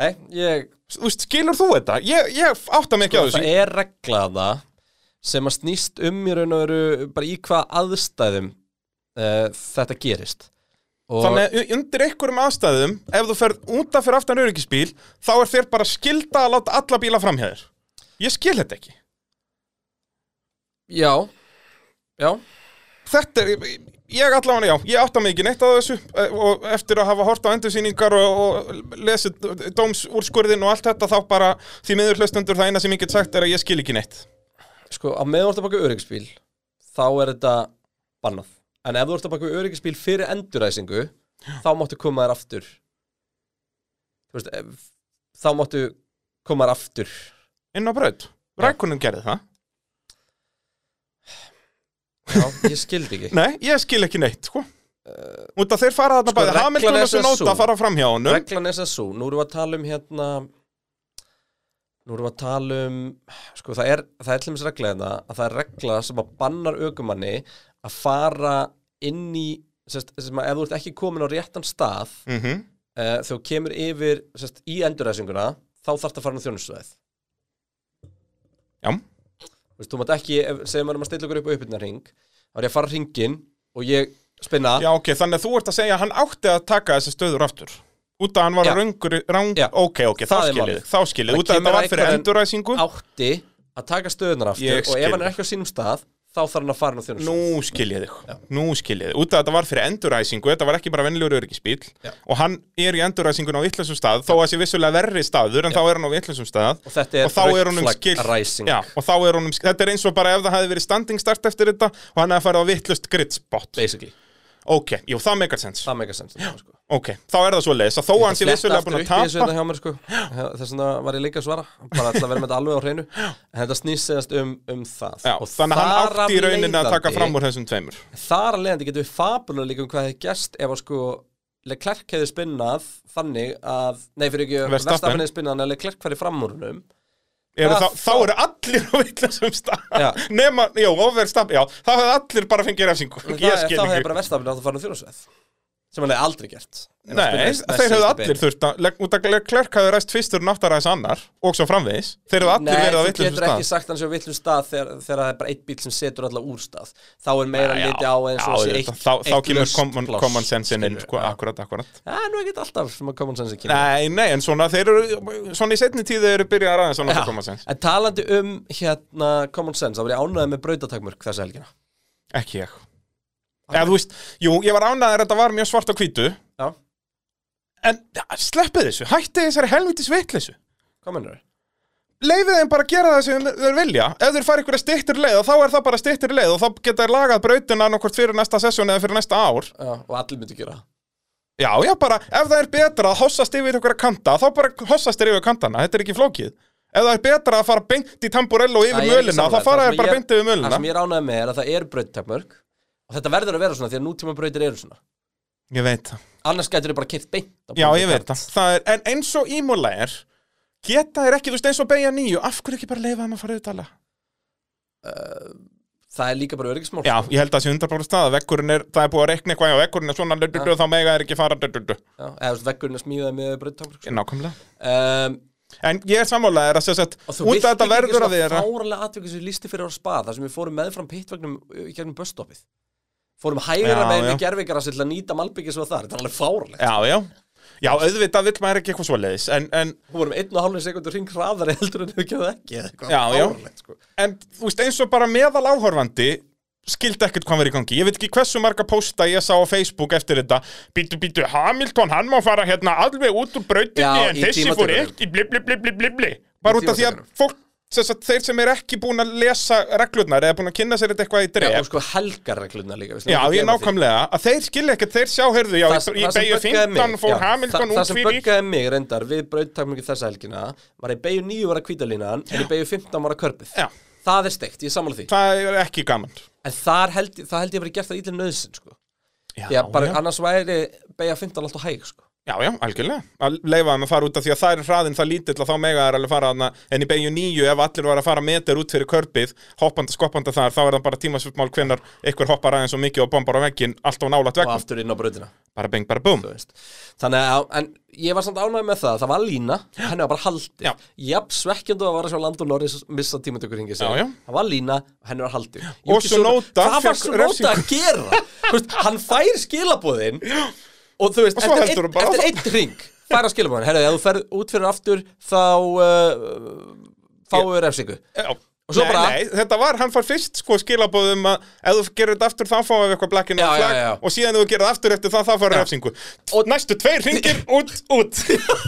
S1: Nei, ég,
S2: Þú veist, skilur þú þetta? Ég, ég átta mig ekki á
S1: það
S2: þessu
S1: er reglaða sem að snýst um í raun og veru bara í hvað aðstæðum uh, þetta gerist og
S2: Þannig að u- undir einhverjum aðstæðum ef þú ferð út af fyrir aftan öryggisbíl þá er þér bara skilda að láta alla bíla framhjá þér Ég skil þetta ekki
S1: já, já
S2: Þetta er, ég allavega, já, ég átta mig ekki neitt á þessu eh, og eftir að hafa hort á endursýningar og, og lesið dómsúrskurðin og allt þetta þá bara því miður hlustendur það eina sem ég get sagt er að ég skil ekki neitt
S1: sko, á meðan þú ert að baka öryggisbíl þá er þetta bannað en ef þú ert að baka öryggisbíl fyrir enduræsingu þá máttu koma þér aftur þú veist ef, þá máttu koma þér aftur
S2: Inn á braut, rækunum gerði það
S1: já, ég skildi ekki
S2: Nei, ég skil ekki neitt, sko Út að þeir fara þarna
S1: Eh, Sko,
S2: bæði
S1: reglan
S2: Hamilton
S1: er
S2: og
S1: sem sú.
S2: Sunóta fara framhjá honum
S1: Reglan er þess að svo, nú erum við að tala um hérna Nú erum við að tala um Sko það er, það er hljumins regla hérna Að það er regla sem að bannar ökumanni Að fara inn í sest, sem að ef þú ert ekki komin á réttan stað mm
S2: Mhm.
S1: Þegar þú kemur yfir sest, í endurreisinguna Þá þarf það að fara inn á þjónustöðið
S2: Já
S1: Þú veist, þú mátt ekki, ef- segjum við erum að stilla okkur upp á uppbyrna ring Þá er ég að fara hringin og ég spinna
S2: Já, ok, þannig að þú ert að segja að hann átti að taka þessi stöður aftur Út að hann var
S1: Já.
S2: röngur, rang,
S1: Já.
S2: ok, ok, þá
S1: Það er
S2: skiljið,
S1: málið.
S2: þá skiljið
S1: Það
S2: Út að
S1: kemur
S2: þetta var fyrir
S1: einhverjum-
S2: enduræsingu
S1: átti að taka stöðunar
S2: Ég
S1: aftur og
S2: skil.
S1: ef hann er ekki á sínum stað þá þarf hann að fara inn á þjónustöð
S2: Nú skiljið þig, nú skiljið þig Út að þetta var fyrir enduræsingu, þetta var ekki bara venljur öryggisbíl
S1: Já.
S2: Og hann er í enduræsingun á vitlausum stað Þó að sé vissulega verri staður, en þá er hann á vitlausum stað
S1: Og þetta er
S2: og þá
S1: rautt
S2: er honum
S1: flagg
S2: skilt
S1: rising.
S2: Já, og þá er honum, þetta er eins og bara ef það hefði verið standing start eftir þetta og hann hefði farið á vitlust grid spot
S1: basically
S2: ok, jú, það megar sens
S1: það megar sens sko.
S2: Ok, þá er það svo leiðis að þó að hann sé vissulega búin að
S1: Ég fletta aftur upp í þessu
S2: tapa
S1: hérna hjá mér sko Þess vegna var ég líka að svara Bara ætla að vera með þetta alveg á hreinu En þetta snýsast um, um það
S2: Já,
S1: Og
S2: þannig að hann
S1: þar af
S2: átti í rauninni að taka
S1: leiðandi-
S2: fram úr þessum tveimur
S1: Þar að leiðandi getum við fabulega líka um hvað hefði gerst Ef að sko Leclerc hefði spinnað þannig að Nei, fyrir ekki,
S2: Verstappen.
S1: Verstappen hefði spinnað Þannig að Leclerc færi fram úr húnum
S2: eru
S1: Hvað
S2: þá, þá
S1: þá?
S2: eru allir á villasum
S1: Já.
S2: stað nema, já, overstapp, já þá hefði allir bara fengið refsingu
S1: Þá
S2: ég skil
S1: hefði
S2: ekki
S1: bara Verstappen átt að fara um þjóðsveð Sem hann hefði aldrei gert Ef hann
S2: Nei,
S1: spinnaði næst-
S2: þeir
S1: næst
S2: hefðu
S1: síðasta
S2: allir
S1: bein.
S2: þurft að leg- út af klerk hefðu ræst fyrstur en áttar aðeins annar og svo framvegis, þeir hefðu allir
S1: Nei,
S2: verið á
S1: þú
S2: villasum
S1: getur ekki
S2: stað
S1: sagt hann sé á villum stað þegar, þegar það er bara eitt bíl sem setur alla úr stað þá er meira
S2: Já,
S1: liti á eins og
S2: já,
S1: sé
S2: auðvitað.
S1: eitt
S2: þá, þá
S1: eitt
S2: kemur
S1: laust
S2: common,
S1: pláss,
S2: common sense inn,
S1: skilur.
S2: sko, akkurat, akkurat
S1: Já, nú er ekki alltaf sem að common sense kemur
S2: Nei, nei, en svona þeir eru, svona í setni tíð þeir eru byrjað aðeins að nota common sense
S1: En talandi um hérna common sense þá var ég ánæðið með brautatakmörk þessa helgina
S2: Ekki ég Eða þú veist, jú, ég var ánæður að þetta var mjög svart og hvítu
S1: Já,
S2: En ja, sleppið þessu, hættið þessari helvitis vitleysu
S1: hvað mennur
S2: Leifið þeim bara að gera það sem þeir vilja Ef þeir fara einhverja styttir leið og þá er það bara styttir leið og þá geta þeir lagað brautina nokkvort fyrir næsta sessjón eða fyrir næsta ár
S1: Já, og allir myndi gera það.
S2: Já, já, bara, ef það er betra að hossast yfir einhverja kanta þá bara hossast þeir yfir kantana, þetta er ekki flókið Ef það er betra að fara beint í tamburello
S1: Já,
S2: yfir
S1: ég er ekki
S2: mölina, þá
S1: sammála.
S2: fara
S1: Það
S2: þeir
S1: sem
S2: bara
S1: ég-
S2: beint yfir
S1: Það
S2: mölina
S1: sem ég er ánæðið með er að það eru brautatakmörk og þetta verður að vera svona því að nútíma brautir eru svona
S2: Ég veit það
S1: annars gætur þau bara kert beint á
S2: Já,
S1: brautir
S2: ég veit
S1: kant.
S2: það, það er, en eins og ímúla er geta þeir ekki, þú veist, eins og beigja nýju af hverju ekki bara leifa þeim að fara auðvitað
S1: Það er líka bara öryggismál
S2: Já, ég held að það sé undarbrúður stað að veggurinn er, það er búið að reikna eitthvað já, veggurinn er svona, duttu, þá mega er ekki fara duttu,
S1: Já, eða þú veist, veggurinn er smíðað með sko. brautatakmörk
S2: nákvæmlega
S1: um,
S2: En ég er sammálaðið er að segja sett,
S1: Og þú
S2: út
S1: vilt
S2: af þetta
S1: ekki
S2: verður að vera
S1: fárlega atvikið sem ég lísti fyrir á spa þar sem við fórum meðfram pittvagnum uh, í gegnum busstoppið fórum hægra
S2: Já,
S1: meginn í
S2: já.
S1: gerfingar til að nýta malbyggis og þar, þetta er alveg fárlega
S2: Já, já, já, auðvitað vill maður ekki eitthvað svoleiðis en, en,
S1: við vorum einn og hálfinn sekundur hring hraðari heldur en við gerðum ekki eða eitthvað
S2: Já, já.
S1: fárlegt sko.
S2: en, þú veist, eins og bara meðal áhorfandi skildi ekkert hvað verið í gangi ég veit ekki hversu marga posta ég sá á Facebook eftir þetta, býtu, býtu, Hamilton hann má fara hérna alveg út úr brautinni
S1: Já,
S2: en
S1: í
S2: þessi fór
S1: tímatökunum.
S2: ekki, bli, bli, bli, bli, bli, bli bara út af því að
S1: tímatökunum.
S2: fólk sem sagt, þeir sem er ekki búin að lesa reglurnar eða búin að kynna sér þetta eitthvað í
S1: já,
S2: dref
S1: og sko helgarregluna líka við
S2: Já,
S1: skulum ekki
S2: ég
S1: gleyma því.
S2: nákvæmlega, að þeir skilja ekkert, þeir sjá, heyrðu, já,
S1: Það-
S2: í- í
S1: það sem
S2: beigju
S1: böggaði
S2: 15
S1: mig-
S2: fór
S1: já, það-
S2: Hamilton
S1: það
S2: út
S1: sem
S2: fyrir
S1: böggaði mig reyndar við brautakmöngi þessa helgina var í beigju 9 var að kvítalínan en í beigju 15 var að körpið
S2: Já.
S1: það er steikt, ég er sammála því
S2: Það er ekki gaman
S1: en þar held, það held ég að vera gert það ítlum nöðsinn sko.
S2: Já,
S1: því að bara annars væri beigja 15 alltaf hæg sko.
S2: Já, já, algjörlega, að leifa þeim að fara út af því að það er hraðin það lítill að þá mega þær alveg fara hana, en í beigju nýju ef allir var að fara meter út fyrir körpið hoppanda, skoppanda þar, þá er það bara tímasvipmál hvenar einhver hoppar aðeins og mikið og bombar á veggin allt á nálat
S1: og
S2: veggum,
S1: aftur inn á brautina
S2: bara beng, bara búm
S1: þú veist. þannig að, en ég var samt ánægð með það það var lína, henni var bara haldið
S2: Já.
S1: jafn svekkjandi að vara svo land og Norris missa tímatökur hingið sig,
S2: Já, já.
S1: það var lína og henni var haldið
S2: Og
S1: Yuki
S2: Tsunoda
S1: Tsunoda- hvað var
S2: fékk
S1: Sunoda að
S2: refsingu.
S1: gera? Þú veist, hann fær skilabóðin og þú veist,
S2: Og svo
S1: eftir,
S2: heldur
S1: einn,
S2: hún bara
S1: eftir
S2: áfram.
S1: einn ring fær hann skilabóðin, herrðu, ef þú ferð út fyrir aftur þá uh, fáum við refsingu
S2: Já.
S1: Og svo
S2: Nei,
S1: bara-
S2: nei, þetta var, hann far fyrst sko skilabóðum að ef þú gerir þetta aftur þá fáum við eitthvað blackin
S1: Já,
S2: og
S1: já, já.
S2: flag og síðan ef þú gerir það aftur eftir það þá fara refsingu og næstu tveir ringir út, út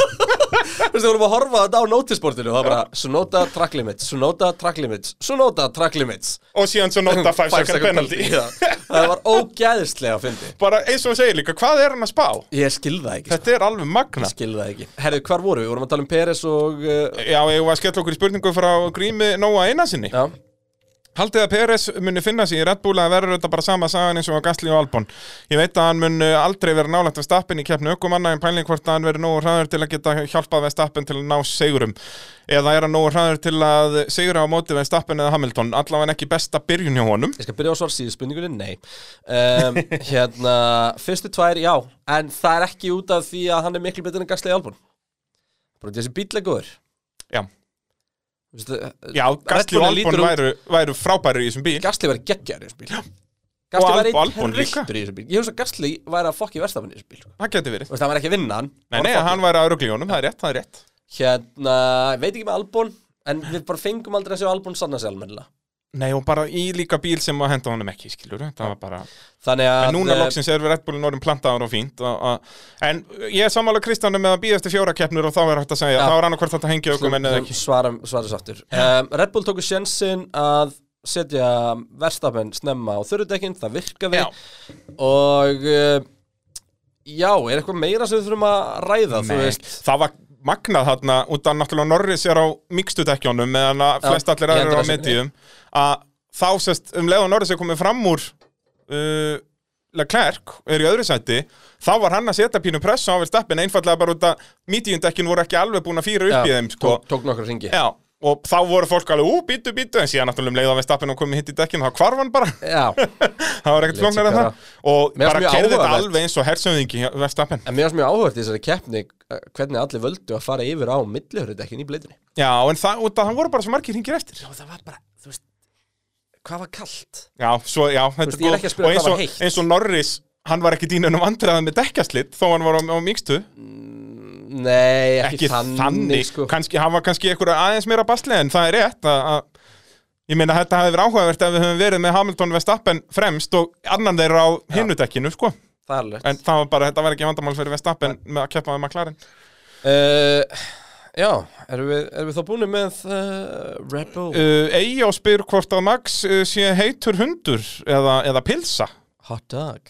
S1: Þú veist, við vorum að horfa á þetta á noticebortinu og það var bara Sunoda track limits, Sunoda track limits, Sunoda track limits
S2: og síðan svo nota 5
S1: Five
S2: second penalty
S1: já. Það var ógæðislega að fyndi
S2: bara eins og það segir líka, hvað er hann að spá?
S1: Ég skil það ekki sko.
S2: Þetta er alveg magna
S1: Ég skil það ekki Herðu, hvar voru við? Við vorum að tala um Peres og uh,
S2: Já, ég var að skella okkur í spurningu frá Grími Nóa Einarsinni.
S1: Já
S2: Haldið að Peres muni finna sig í Red Bull að verður þetta bara sama sagan eins og að Gasly og Albon. Ég veit að hann mun uh, aldrei vera nálægt að stappin í keppni ökumanna en pæling hvort að hann verður nógu hraður til að geta hjálpað við stappin til að ná segurum. Eða er hann nógu hraður til að segura á móti við stappin eða Hamilton. Allavega ekki besta byrjun hjá honum.
S1: Ég skal byrja á svar síðu spurningunni, nei um, Hérna, fyrstu tvær, já En það er ekki út af því að hann er miklu betur en Gasly Albon Bara þessi bíl er góður
S2: Já,
S1: Þú veist, uh,
S2: Já Gasly
S1: Bullinn
S2: og
S1: lítur
S2: Albon
S1: út-
S2: væru, væru frábæri í þessum bíl.
S1: Gasly var geggjær í þessu bíl Gasly
S2: Og
S1: var
S2: Al- Albon
S1: einn
S2: líka.
S1: hryldur í þessu bíl Ég hugsa að Gasly væri að fokki verstafinn í þessu bíl sko.
S2: Það geti verið.
S1: Þú veist, hann var ekki að vinna hann
S2: Nei, nei,
S1: að fucka.
S2: hann væri að rugla í honum, það er rétt, það er rétt.
S1: Hérna, ég veit ekki með Albon En við bara fengum aldrei að sjá Albon sanna sig almennilega
S2: Nei, og bara í líka bíl sem að henda honum ekki, skilur. Það var bara...
S1: Þannig að
S2: En núna
S1: eh,
S2: loksins er við Red Bullin orðin plantaðar og fínt og, og, En ég er sammála Kristjánum með að býja eftir fjóra keppnur og þá er hægt að
S1: Já.
S2: segja Þá er annað hvort þetta hengi ökum en eða ekki
S1: svara, svara sáttur um, Red Bull tóku sjensin að setja verstapenn snemma á þurrudekkin, það virkaði
S2: Já.
S1: og uh, eh, Já, er eitthvað meira sem við þurfum að ræða, þú veist
S2: það var magnað þarna út af náttúrulega Norris er á mikstudekkjónum meðan að
S1: Já,
S2: flest
S1: ég
S2: allir aðrir
S1: endur
S2: eru
S1: að
S2: á
S1: segja.
S2: medium að þá sérst um leið og Norris er komið fram úr uh, Leclerc er í öðru sæti þá var hann að setja pínu pressu á Verstappen einfallega bara út að mediumdekkin voru ekki alveg búin að fýra upp í þeim sko.
S1: tók, tók nokkra ringi
S2: Já, og þá voru fólk alveg ú, bítu, bítu en síðan náttúrulega um leið og Verstappen og komið hitt í dekkinu þá hvarf hann bara
S1: Já,
S2: það var
S1: Lét
S2: ekkert
S1: sig
S2: flóknar en
S1: bara.
S2: það og
S1: Mér fannst
S2: bara
S1: mjög
S2: kerði þetta
S1: áhugavert.
S2: alveg eins og hersöðingi Verstappen
S1: en mér varst mjög áhört í þessari keppni eh, hvernig allir völdu að fara yfir á millihörðudekkin í bleitinni
S2: Já, en það, út af það voru bara svo margir hringir eftir
S1: Já, það var bara, þú veist, hvað var kallt?
S2: Já, svo, já, þetta
S1: veist, ég er
S2: góð-
S1: ekki að spyrja
S2: og eins
S1: hvað var
S2: og-
S1: heitt.
S2: Eins og Norris, hann var ekki dýnunum vandræðan með dekkjaslitt þó hann var á, á mýkstu
S1: Nei, ekki,
S2: Ekki
S1: þannig, sko
S2: kannski, Hann var kannski einhverja aðeins meira basli en það er rétt að, að Ég meina þetta hefði verið áhugavert ef við höfum verið með Hamilton Vestappen fremst og annan þeirra á hinnudekkinu, sko
S1: Það er lögt
S2: En það var bara, þetta var ekki vandamál fyrir Vestappen með að keppa með McLaren
S1: uh, Já, erum við, erum við þá búinu með uh, Red Bull?
S2: uh, Eyjá spyr hvort að Max uh, sé heitur hundur eða, eða pilsa
S1: Hot dog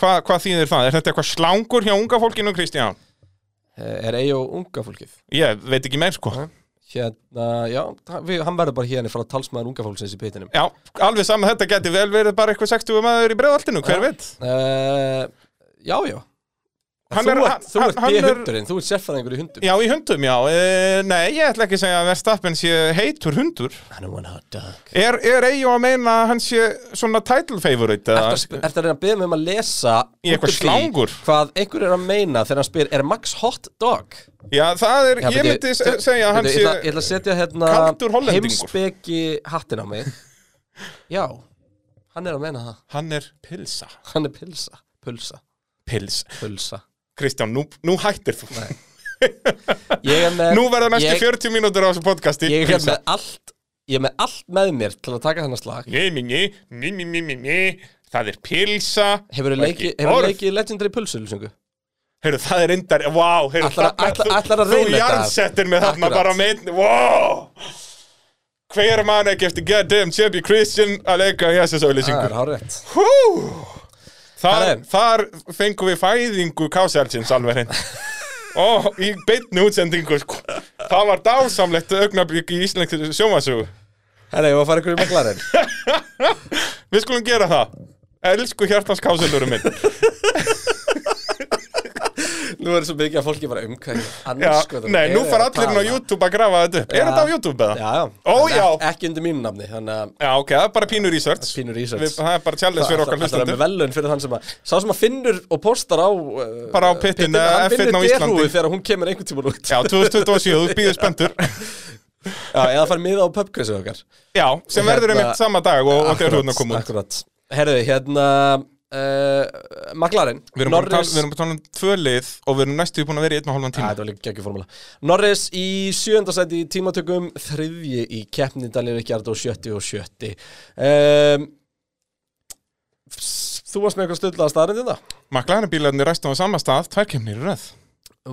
S2: Hva, Hvað þýðir það? Er þetta eitthvað slangur hjá unga fólkinu, Kristján?
S1: uh, Er eigi og unga fólkið
S2: Ég veit ekki meir, sko
S1: Hérna, já, það- við, hann verður bara hérna frá talsmaður unga fólksins í pitinum
S2: Já, alveg saman þetta geti vel verið bara eitthvað 60 maður í breiðaltinu, hver veit?
S1: uh, Já, já
S2: Hann
S1: Þú
S2: er-
S1: ert- Þú
S2: hann-
S1: ert
S2: hann er-
S1: B-hundurinn, þú ert sérfæðingur í hundum
S2: Já, í hundum, já. E, nei, ég ætla ekki að segja að Verstappen sé heitur hundur.
S1: Hann er one hot dog
S2: Er, er eigi að meina að hann sé svona title favorite?
S1: Ertu að sp- ertu að reyna að beða mig um að lesa
S2: Í eitthvað
S1: út úr því
S2: slangur?
S1: Hvað einhver er að meina þegar hann spyr Er Max hot dog?
S2: Já, það er,
S1: Já,
S2: ég
S1: beti-
S2: myndi se- segja að hann
S1: beti,
S2: sé...
S1: Ég ætla- ég ætla að setja hérna
S2: kaldur Hollendingur.
S1: Heimspeki hattin á mig Já, hann er að meina það
S2: Hann er pilsa.
S1: Hann er pilsa Pulsa
S2: Pils.
S1: Pulsa
S2: Kristján, nú, nú hættir þú.
S1: Ég er með
S2: Nú verða næstu
S1: ég-
S2: 40 mínútur á þessu podcasti.
S1: Ég hérna- er
S2: pilsa.
S1: með allt Ég er með allt með mér til að taka þennan slag
S2: Ný, ný, ný, ný, ný, ný, ný, ný. Það er pilsa.
S1: Hefurðu
S2: og
S1: leikið
S2: ekki
S1: hefur
S2: orð.
S1: leiki Legendary Pulsulsingu?
S2: Heyrðu, það er reyndar, vá, wow, heyrðu,
S1: Ætlar-
S2: þarna-
S1: ætlar-
S2: þú-
S1: ætlar að reyna
S2: Þú
S1: þetta?
S2: jarðsettir mig þarna
S1: Akkurat.
S2: bara með einni, vá wow. Hver mann ekki eftir goddamn champion Christian að leika í þessu
S1: Það
S2: auðlýsingu
S1: er hárrétt
S2: Hú Þar,
S1: Herre.
S2: þar fengum við fæðingu káselsins alveg hreint Ó, í beinni útsendingu sko. Það var dásamlegt augnablik í íslensk sjómasögu
S1: Herra, ég var að fara ykkur í maklarinn
S2: Við skulum gera það Elsku hjartans káselurum minn
S1: Nú er svo mikið að fólki bara um umkvæði
S2: Já,
S1: sko,
S2: Nei, nú far allir inn á YouTube að grafa þetta upp Er þetta á YouTube eða?
S1: Já, já
S2: Ó,
S1: En ek-
S2: já.
S1: Ekki undir mínu nafni, þannig að
S2: Já, ok, það er bara pínur research
S1: Pínu research.
S2: Við, Það er bara challenge fyrir okkar
S1: Það er
S2: hlustendur
S1: með velun fyrir þann sem að Sá sem að finnur og postar á uh,
S2: Bara á pittin,
S1: pittinn,
S2: eh,
S1: Hann
S2: F1 á
S1: finnur
S2: Íslandi.
S1: derúi þegar hún kemur einhvern tímann út
S2: Já, 2027, þú býður spenntur
S1: Já, eða fær miða á pubquizið okkar
S2: Já, sem
S1: Hérna-
S2: verður einmitt sama dag og, og þegar hún að koma út
S1: Akkurat Herðu, hérna uh, Maglarinn
S2: Við erum búin að tala- við erum búin að tala um tvö lið og við erum næstu búin að vera í einn og hálfan
S1: Æ,
S2: tíma
S1: þetta var líka geggjum formúla Norris í sjönda sæti í tímatökum þriðji í keppni Daniel Ricciardo 70 og 70 um, Þú varst með eitthvað hérna? stöðlaða staðrindina
S2: McLaren bílarnir ræstu á sama stað, tvær kemnir í röð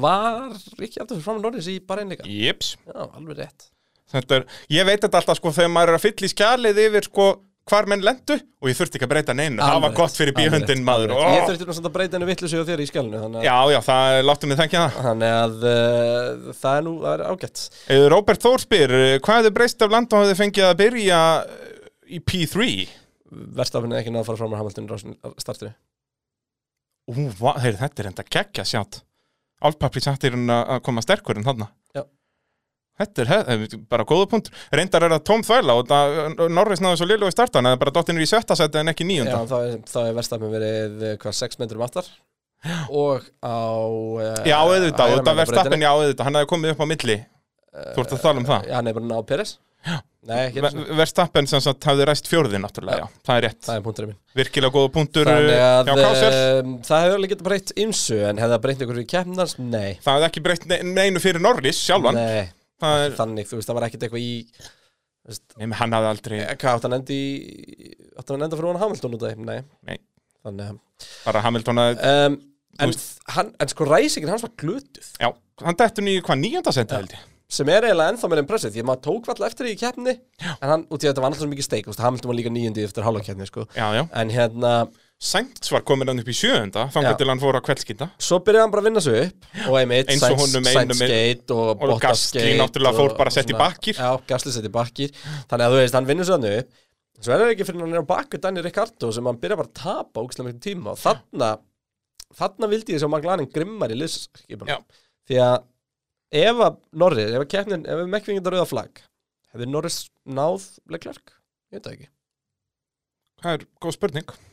S1: Var Ricciardo fyrir fram Norris í bara einleika?
S2: Jéps
S1: Já, alveg rétt
S2: Þetta er, ég veit þetta alltaf sko þegar maður er að fylla í skjalið yfir sko hvar menn lendu og ég þurfti ekki að breyta neinu, það
S1: Alveg
S2: var
S1: rétt,
S2: gott fyrir
S1: alveg rétt,
S2: bíhundin maður
S1: alveg rétt. Ég
S2: Ó,
S1: þurfti nú samt að breyta henni vittlusi á þér í skjálinu Þannig
S2: Já,
S1: að,
S2: já, það láttu mig þengja það
S1: þannig að uh, það er nú það er ágætt
S2: Eh, Róbert Þór spyr, eh, hvað hefði breyst af landa og hefði fengið að byrja eh, í P3?
S1: Verstafinn er ekki náða að fara fram á Hamilton í rásin- startinu
S2: Ú, va- heyrðu, þetta er enda geggja sjátt Álpappi sattir hún að að koma sterkur en þarna
S1: Já.
S2: Þetta er hef, bara góða punktur Reyndar er það tóm þvæla og það, Norris náðu svo liðlega í startan eða bara dottinur í sjötta seti en ekki
S1: Já,
S2: nýjunda
S1: þá er, þá er verstafinn verið eh, hvað, 6 metrum aftar og á uh,
S2: Já, auðvitað, og það verðstappin, já, auðvitað Hann hefði komið upp á milli Þú ert að tala um það
S1: hann er bara náð Peres Nei, Eh, ekki einu sinni.
S2: Ver- Verstappen sem sagt hafði ræst fjórði náttúrulega, já, það er rétt
S1: það er punkturinn minn
S2: Virkilega góða punktur eh,
S1: Þannig að
S2: Já, Kásel
S1: um, það hefur alveg getað breytt ymsu en hefði það breytt ykkur í keppnars? Nei
S2: Það hefði ekki breytt ne- neinu fyrir Norris sjálfan
S1: Nei,
S2: Það er,
S1: þannig, þú veist, það var ekkert eitthvað í
S2: Nei, hann hafði aldrei
S1: Eh, Hvað átt hann endi í átt hann enda fyrir hann Hamilton út af þeim? Nei,
S2: Nei,
S1: þannig
S2: bara Hamilton að
S1: að um,
S2: Þú
S1: en, hann, en sko ræsingin hans var glutuð
S2: Já, hann dættur nýju hvað nýjönda seti held ég
S1: sem er eiginlega ennþá meira impressið því að maður tók vall eftir því í keppni en hann, út í að þetta var alltaf svo mikið steik þú veist, Hamilton var líka nýjundi eftir hálfakeppni sko.
S2: Já, já.
S1: en hérna,
S2: Sainz var komin hann upp í sjöunda
S1: Já.
S2: þangar til hann fór að kveldskynda
S1: svo byrjaði hann bara að vinna sig upp og einmitt,
S2: Eins og
S1: Sainz-
S2: honum einum
S1: Sainz
S2: er-
S1: skate og
S2: og
S1: Bottas
S2: Gasly
S1: skate
S2: náttúrulega fór
S1: og-
S2: bara
S1: og
S2: sett í
S1: svona-
S2: bakkir.
S1: já, Gasli sett í bakkir þannig að þú veist, hann vinnur svo hann upp svo er það ekki fyrir hann er á bakku Danny Ricardo sem hann byrja bara að tapa ógislega mikið tíma og þarna þarna vildi ég sem McLaren grimmar í
S2: Já.
S1: liðskipunum því að ef að Norris, ef að keppnin ef við mekkvingin rauða flagg hefði Norris náð Leclerc? Ég veit það ekki
S2: Það er góð spurning
S1: og,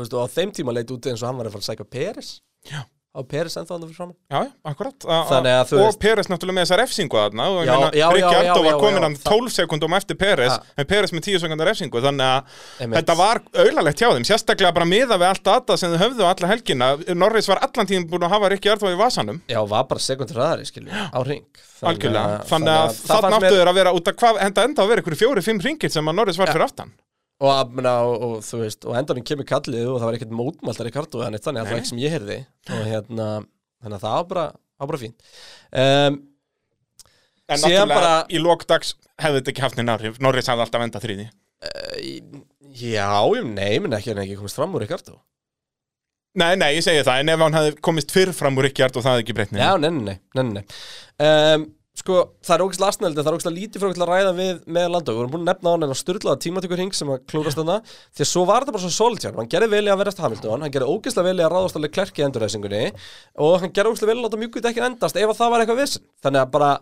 S1: veist, og á þeim tíma leit út eins og hann var að fara að sækja Peres
S2: Já.
S1: á Peres ennþá hann fyrir framann
S2: Já, já, akkurat A- a-
S1: Þannig að þú
S2: Og
S1: veist-
S2: Peres náttúrulega með þessa refsingu þarna og ég
S1: Já,
S2: meina,
S1: já, já, já,
S2: Ricciardo
S1: já,
S2: var
S1: já,
S2: komin hann
S1: það-
S2: 12 sekundum eftir Peres
S1: Ha.
S2: en Peres með 10 sekundar refsingu þannig að
S1: Einmitt.
S2: þetta var auðalegt hjá þeim sérstaklega bara miða við allt data sem þau höfðu alla helgina Norris var allan tíðin búin að hafa Ricciardo í vasanum
S1: Já, var bara sekundur hraðari, skilju, á ring Þannig að-
S2: Algjörlega, þannig að
S1: það
S2: þannig
S1: fannst
S2: áttu
S1: mér-
S2: þeir að vera út að hvað, enda enda að vera ykkur fjóri, fimm ringir sem að Norris var fyrir aftan
S1: og, að- meina, og, og þú veist, og endanum kemur kallið og það var ekkert mótmæltar í kartu þannig, þannig að það var ekki sem ég heyrði og hérna, þannig að það var bara, var bara fín um,
S2: En
S1: Síðan
S2: náttúrulega
S1: bara-
S2: í lokdags hefði þetta ekki haft neina áhrif Norris hafði alltaf endað þriði
S1: Já, ég nei, menn ekki, hann ekki komist fram úr í kartu
S2: Nei, nei, ég segi það, en ef hann hefði komist fyrr fram úr Ricciardo það hefði ekki breytni
S1: Já, nei, nei, nei, nei, nei. Um, Sko, það er ógislega asnældi, það er ógislega lítið frá okkur til að ræða við með landa Við vorum búin að nefna á hann en að styrlaða tímatökur hing sem að klúrast þarna Því að svo var þetta bara svo solid hjá hann, hann gerði vel í að verðast Hamilton Hann gerði ógislega vel í að ráðast alveg klerki í endurreysingunni Og hann gerði ógislega vel í að láta mjúkut ekki endast ef að það var eitthvað vissin Þannig að bara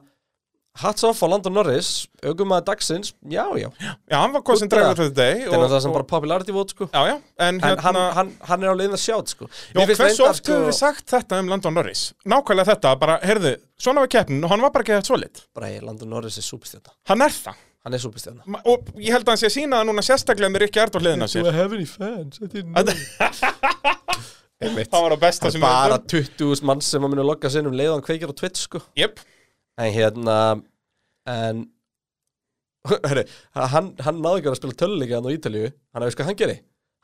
S1: hats off á Landon Norris, augum að dagsins, já, já Þetta
S2: Já, hann var kosin
S1: Út af-
S2: drægur fyrir dag
S1: er náttúrulega sem bara popularity vote, sko
S2: Já, já, en
S1: En hann,
S2: hérna
S1: hann, hann er á leiðin að sjá, sko
S2: Já,
S1: Mér finnst
S2: hversu
S1: reyndar, sko-
S2: oft hefur við sagt þetta um Landon Norris? Nákvæmlega þetta, bara, heyrðu, svona var keppnin og hann var bara ekki þetta svolít
S1: Bara, hey, Landon Norris er súpistjarna,
S2: Hann er það
S1: hann er súpistjarna
S2: Ma- Og ég held að hann sé að sína það núna sérstaklega með Ricciardo hliðina á sér
S1: heavenly fans I didn't know
S2: Það var að besta
S1: Það er
S2: sem
S1: bara
S2: höfðum
S1: 20.000 mann sem að muni logga sig inn um leiðan kveikir á Twitch sko
S2: Jep,
S1: En hérna En Hörru, hann, hann náði ekki að vera að spila töluleika hann á Ítalíu Hann hefði sko hann geri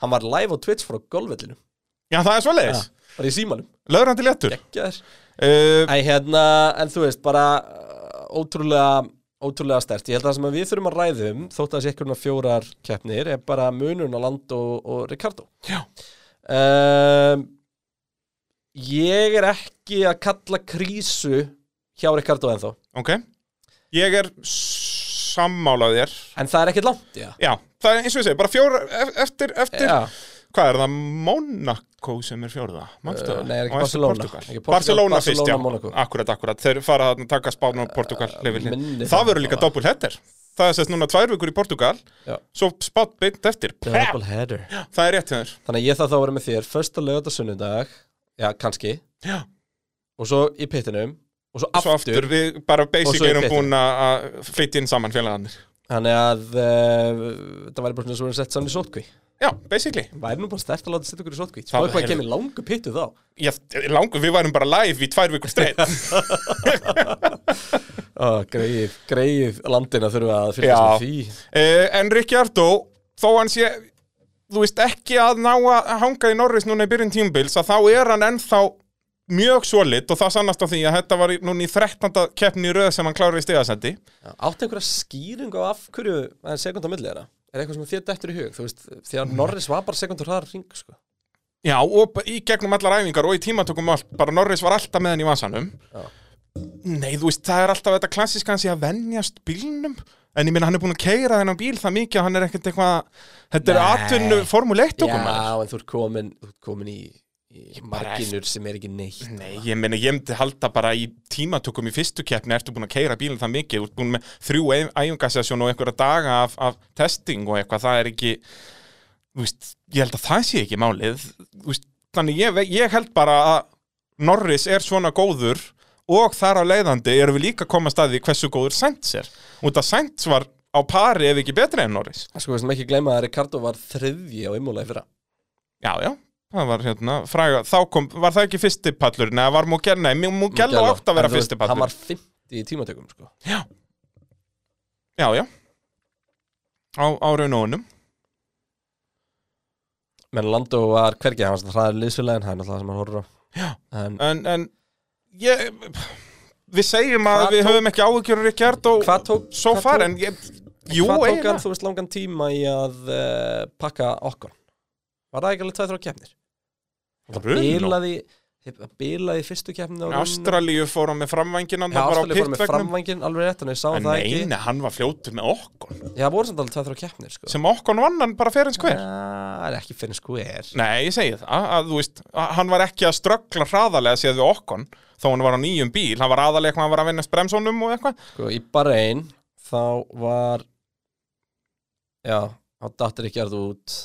S1: Hann var live á Twitch frá golfvellinu
S2: já það er svoleiðis
S1: Bara í símanum
S2: Löðrandi léttur
S1: Gekkjaður
S2: uh,
S1: En hérna, en þú veist, bara uh, Ótrúlega, ótrúlega stert Ég held að það sem að við þurfum að ræðum Þótt að það sé ekkur fjórar keppnir Er bara munurinn á land og, og Ricardo
S2: Já
S1: um, Ég er ekki að kalla krísu hjá Ricardo ennþá
S2: Ok Ég er sammálað þér
S1: En það er ekkert langt Já,
S2: Já, það er eins og ég segi, bara fjóra ef- eftir, eftir
S1: já.
S2: Hvað er það? Monaco sem er fjórða? Manstu
S1: Uh,
S2: það?
S1: nei, er ekki
S2: Og eftir
S1: Barcelona.
S2: Portugal.
S1: Ekki Portugal,
S2: Barcelona fyrst,
S1: Barcelona,
S2: já
S1: Monaco.
S2: Akkurat, akkurat, þeir fara að taka Spán og Portugal
S1: minni
S2: uh,
S1: það
S2: Það verður líka
S1: bara.
S2: doppul hettir Það er sérst núna tvær vikur í Portugal
S1: Já.
S2: Svo Spán beint eftir Pep,
S1: Double header
S2: Það er rétt hjá þér
S1: Þannig að ég þarf þá að vera með þér Fösta lögat og sunnudag Já, kannski
S2: Já.
S1: Og svo í pittinum Og svo
S2: Svo
S1: aftur,
S2: aftur, við bara
S1: Og svo
S2: basically
S1: í
S2: erum
S1: fyrstu.
S2: búin að að flytja inn saman félagarnir
S1: Þannig að uh, Það væri bara svona svo að setja saman í sótkví
S2: Já, basically
S1: Væri nú bara stert að láta setja okkur í sótkví Svo
S2: Það-
S1: eitthvað
S2: heyrðu.
S1: kemur langu pittu þá
S2: Já, langur, við værum bara live í tvær vikur streitt
S1: Ó, Greið, greið landin að þurfa að fylgja
S2: Já.
S1: sem því
S2: Uh, en Ricciardo, þó hann sé þú veist ekki að ná að hanga í Norris núna í byrjun tímbils að þá er hann ennþá mjög solid og það sannast á því að þetta var í- núna í 13. keppni í röð sem hann kláraði í stigasendi
S1: Já, Áttu einhverja skýringu á af hverju Það er sekund á milli þeirra Er eitthvað sem þér dettur í hug Þú veist, því að Norris var bara sekundur hraðar hring sko.
S2: Já, og b- í gegnum allar æfingar og í tímatökum og allt, bara Norris var alltaf með hann í vasanum
S1: Já.
S2: Nei, þú veist, það er alltaf þetta klassíska hans í að venjast bílnum en ég minna hann er búin að keira þennan bíl það mikið að hann er ekkert eitthvað þetta er
S1: Nei.
S2: atvinnu formuleitt
S1: Já,
S2: okkur maður
S1: en þú ert komin, þú ert komin í, í marginur sem er ekki neitt
S2: Nei, ég meina, ég myndi halda bara í tímatökum í fyrstu keppni, ertu búin að keira bílinn það mikið, þú ert búin með þrjú æfingasessjón og einhverja daga af, af testing og eitthvað, það er ekki, þú veist, ég held að það sé ekki málið, þú veist, þannig ég, ve- ég held bara að Norris er svona góður og þar á leiðandi erum við líka að koma að staði hversu góður Sainz er, út að Sainz var á pari ef ekki betri en Norris.
S1: Sko, við sem ekki gleyma að Ricardo var þriðji á Imola í fyrra
S2: Já, já. Það var hérna, fræga, þá kom, var það ekki fyrsti pallur, neða var Mugello, nei, Mugello átt að vera
S1: En þú veist,
S2: fyrsti pallur.
S1: Hann var 50 í tímatökum, sko
S2: Já Já, já Á, á raun og honum
S1: Menn Lando var hvergi, hann var svona hraðar liðsfélagin Það er náttúrulega það sem hann horfður á Já En
S2: En, en ég, Við segjum að
S1: Hvað
S2: við
S1: tók-
S2: höfum ekki áhugjur Ríkjart og
S1: hvað tók
S2: svo
S1: hvað
S2: Uh, far
S1: tók-
S2: en ég, Jú,
S1: Hvað tók
S2: eiginlega
S1: hann, þú veist, langan tíma í að uh, pakka okkur? Var það ekki alveg tveið þrjá keppnir?
S2: Bruno
S1: Bilaði, bilaði í fyrstu keppninu
S2: Ástralíu fór hann með framvængin hann bara á
S1: Ástralíu fór með
S2: pittvögnum
S1: framvængin alveg rétt, en ég sá
S2: En
S1: það ekki
S2: nei, nei, hann var fljótur með okkon
S1: Já, voru samt alveg tveið þrjá keppnir, sko
S2: sem okkon vann hann bara fyrir hans hver
S1: Það er ekki finn skver
S2: Nei, ég segi það, að, þú veist, að, hann var ekki að ströggla hraðarlega séð við okkon þó hann var á nýjum bíl, hann var aðalega eitthvað hann var að vinna bremsónum og eitthvað
S1: Sko, í Bahrein þá var já, þá dattir ekki að það út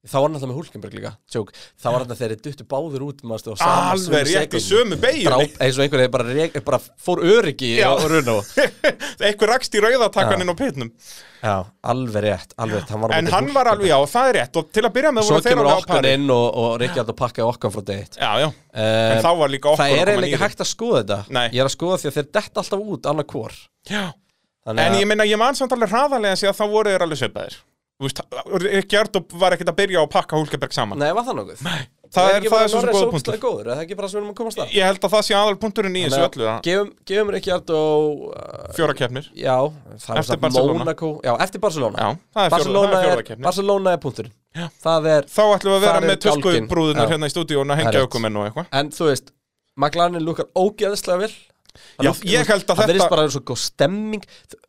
S1: þá var hann alltaf með Hulkenberg líka tjók, þá var hann að þeirri duttu báður út maður,
S2: Alveg rétt í sömu beigjunni
S1: dráp, eins og einhvern veginn bara, rek- bara fór öryggi
S2: Já.
S1: á Runó
S2: Eitthvað rakst í rauðatakaninn á pitnum
S1: já, alveg rétt, alveg rétt hann var á
S2: En
S1: móti
S2: hann var
S1: Hulkenberg.
S2: alveg, já, það er rétt og til að byrja með
S1: svo
S2: voru þeir
S1: kemur
S2: alveg á
S1: okkan
S2: pari
S1: inn og, og Ríkjald og pakkaði okkan frá deitt
S2: Já, já,
S1: um,
S2: en þá var líka okkur
S1: það er
S2: að koma
S1: eiginlega ekki
S2: nýður.
S1: hægt að skoða þetta
S2: Nei.
S1: ég er að skoða því að þeir detta alltaf út annað hvor
S2: Já, en ég meina, ég man samt alveg hraðarlega séð að þá voru þeir alveg svipaðir Þú veist, Gjardob var ekkert að byrja á að pakka Hulkeberg saman
S1: Nei, var það nokkuð? Nei,
S2: það er- það er svo sem góður punktur.
S1: góður, er það ekki bara sem við erum að komast að?
S2: Ég held að það sé aðal punkturinn í þessu öllu að-
S1: gefum, gefum Ríkjard og uh,
S2: Fjóra keppnir
S1: Já, það var
S2: Eftir
S1: samt
S2: Barcelona.
S1: Mónakó Já, eftir Barcelona
S2: Já, það er fjórða-
S1: Barcelona
S2: það er
S1: er,
S2: fjórða keppni.
S1: Barcelona er punkturinn já. Það er,
S2: Þá ætlum við að vera
S1: Þar er
S2: með
S1: gálgin.
S2: tuskubrúðunar
S1: Já.
S2: hérna í stúdíun að
S1: Það er
S2: hengja
S1: rétt.
S2: okkur menn og eitthvað
S1: en þú veist McLaren lukkar ógeðislega vel Hann
S2: Já,
S1: á-
S2: ég held að
S1: Það
S2: þetta-
S1: verðist bara að vera svo góð stemming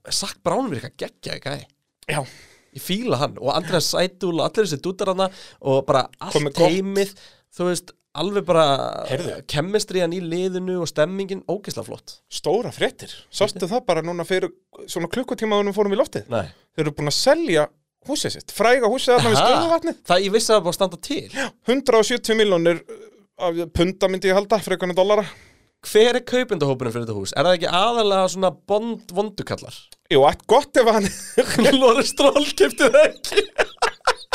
S1: Sack Brown verið eitthvað geggja, ekki það?
S2: Já,
S1: Ég fíla hann og Andrés Sætúl og allir þessi dútar hana og bara allt
S2: Komið gott.
S1: heimið Þú veist, alveg bara
S2: Heyrðu.
S1: kemmistriðan í liðinu og stemmingin ógeðslega flott
S2: stóra fréttir Sástu það bara núna fyrir svona klukkutíma þegar við fórum í loftið
S1: Nei
S2: Þeir eru búin að selja húsið sitt Fræga húsið þarna við
S1: Ha?
S2: stöðuvatni
S1: Það ég vissi að það var búið að standa til
S2: 170 miljónir af punda myndi ég halda, frekarna dollara
S1: Hver er kaupendahópurinn fyrir þetta hús? Er það ekki aðalega svona bond vondukallar?
S2: Jú, allt gott ef hann
S1: Lóri Stról kipti það ekki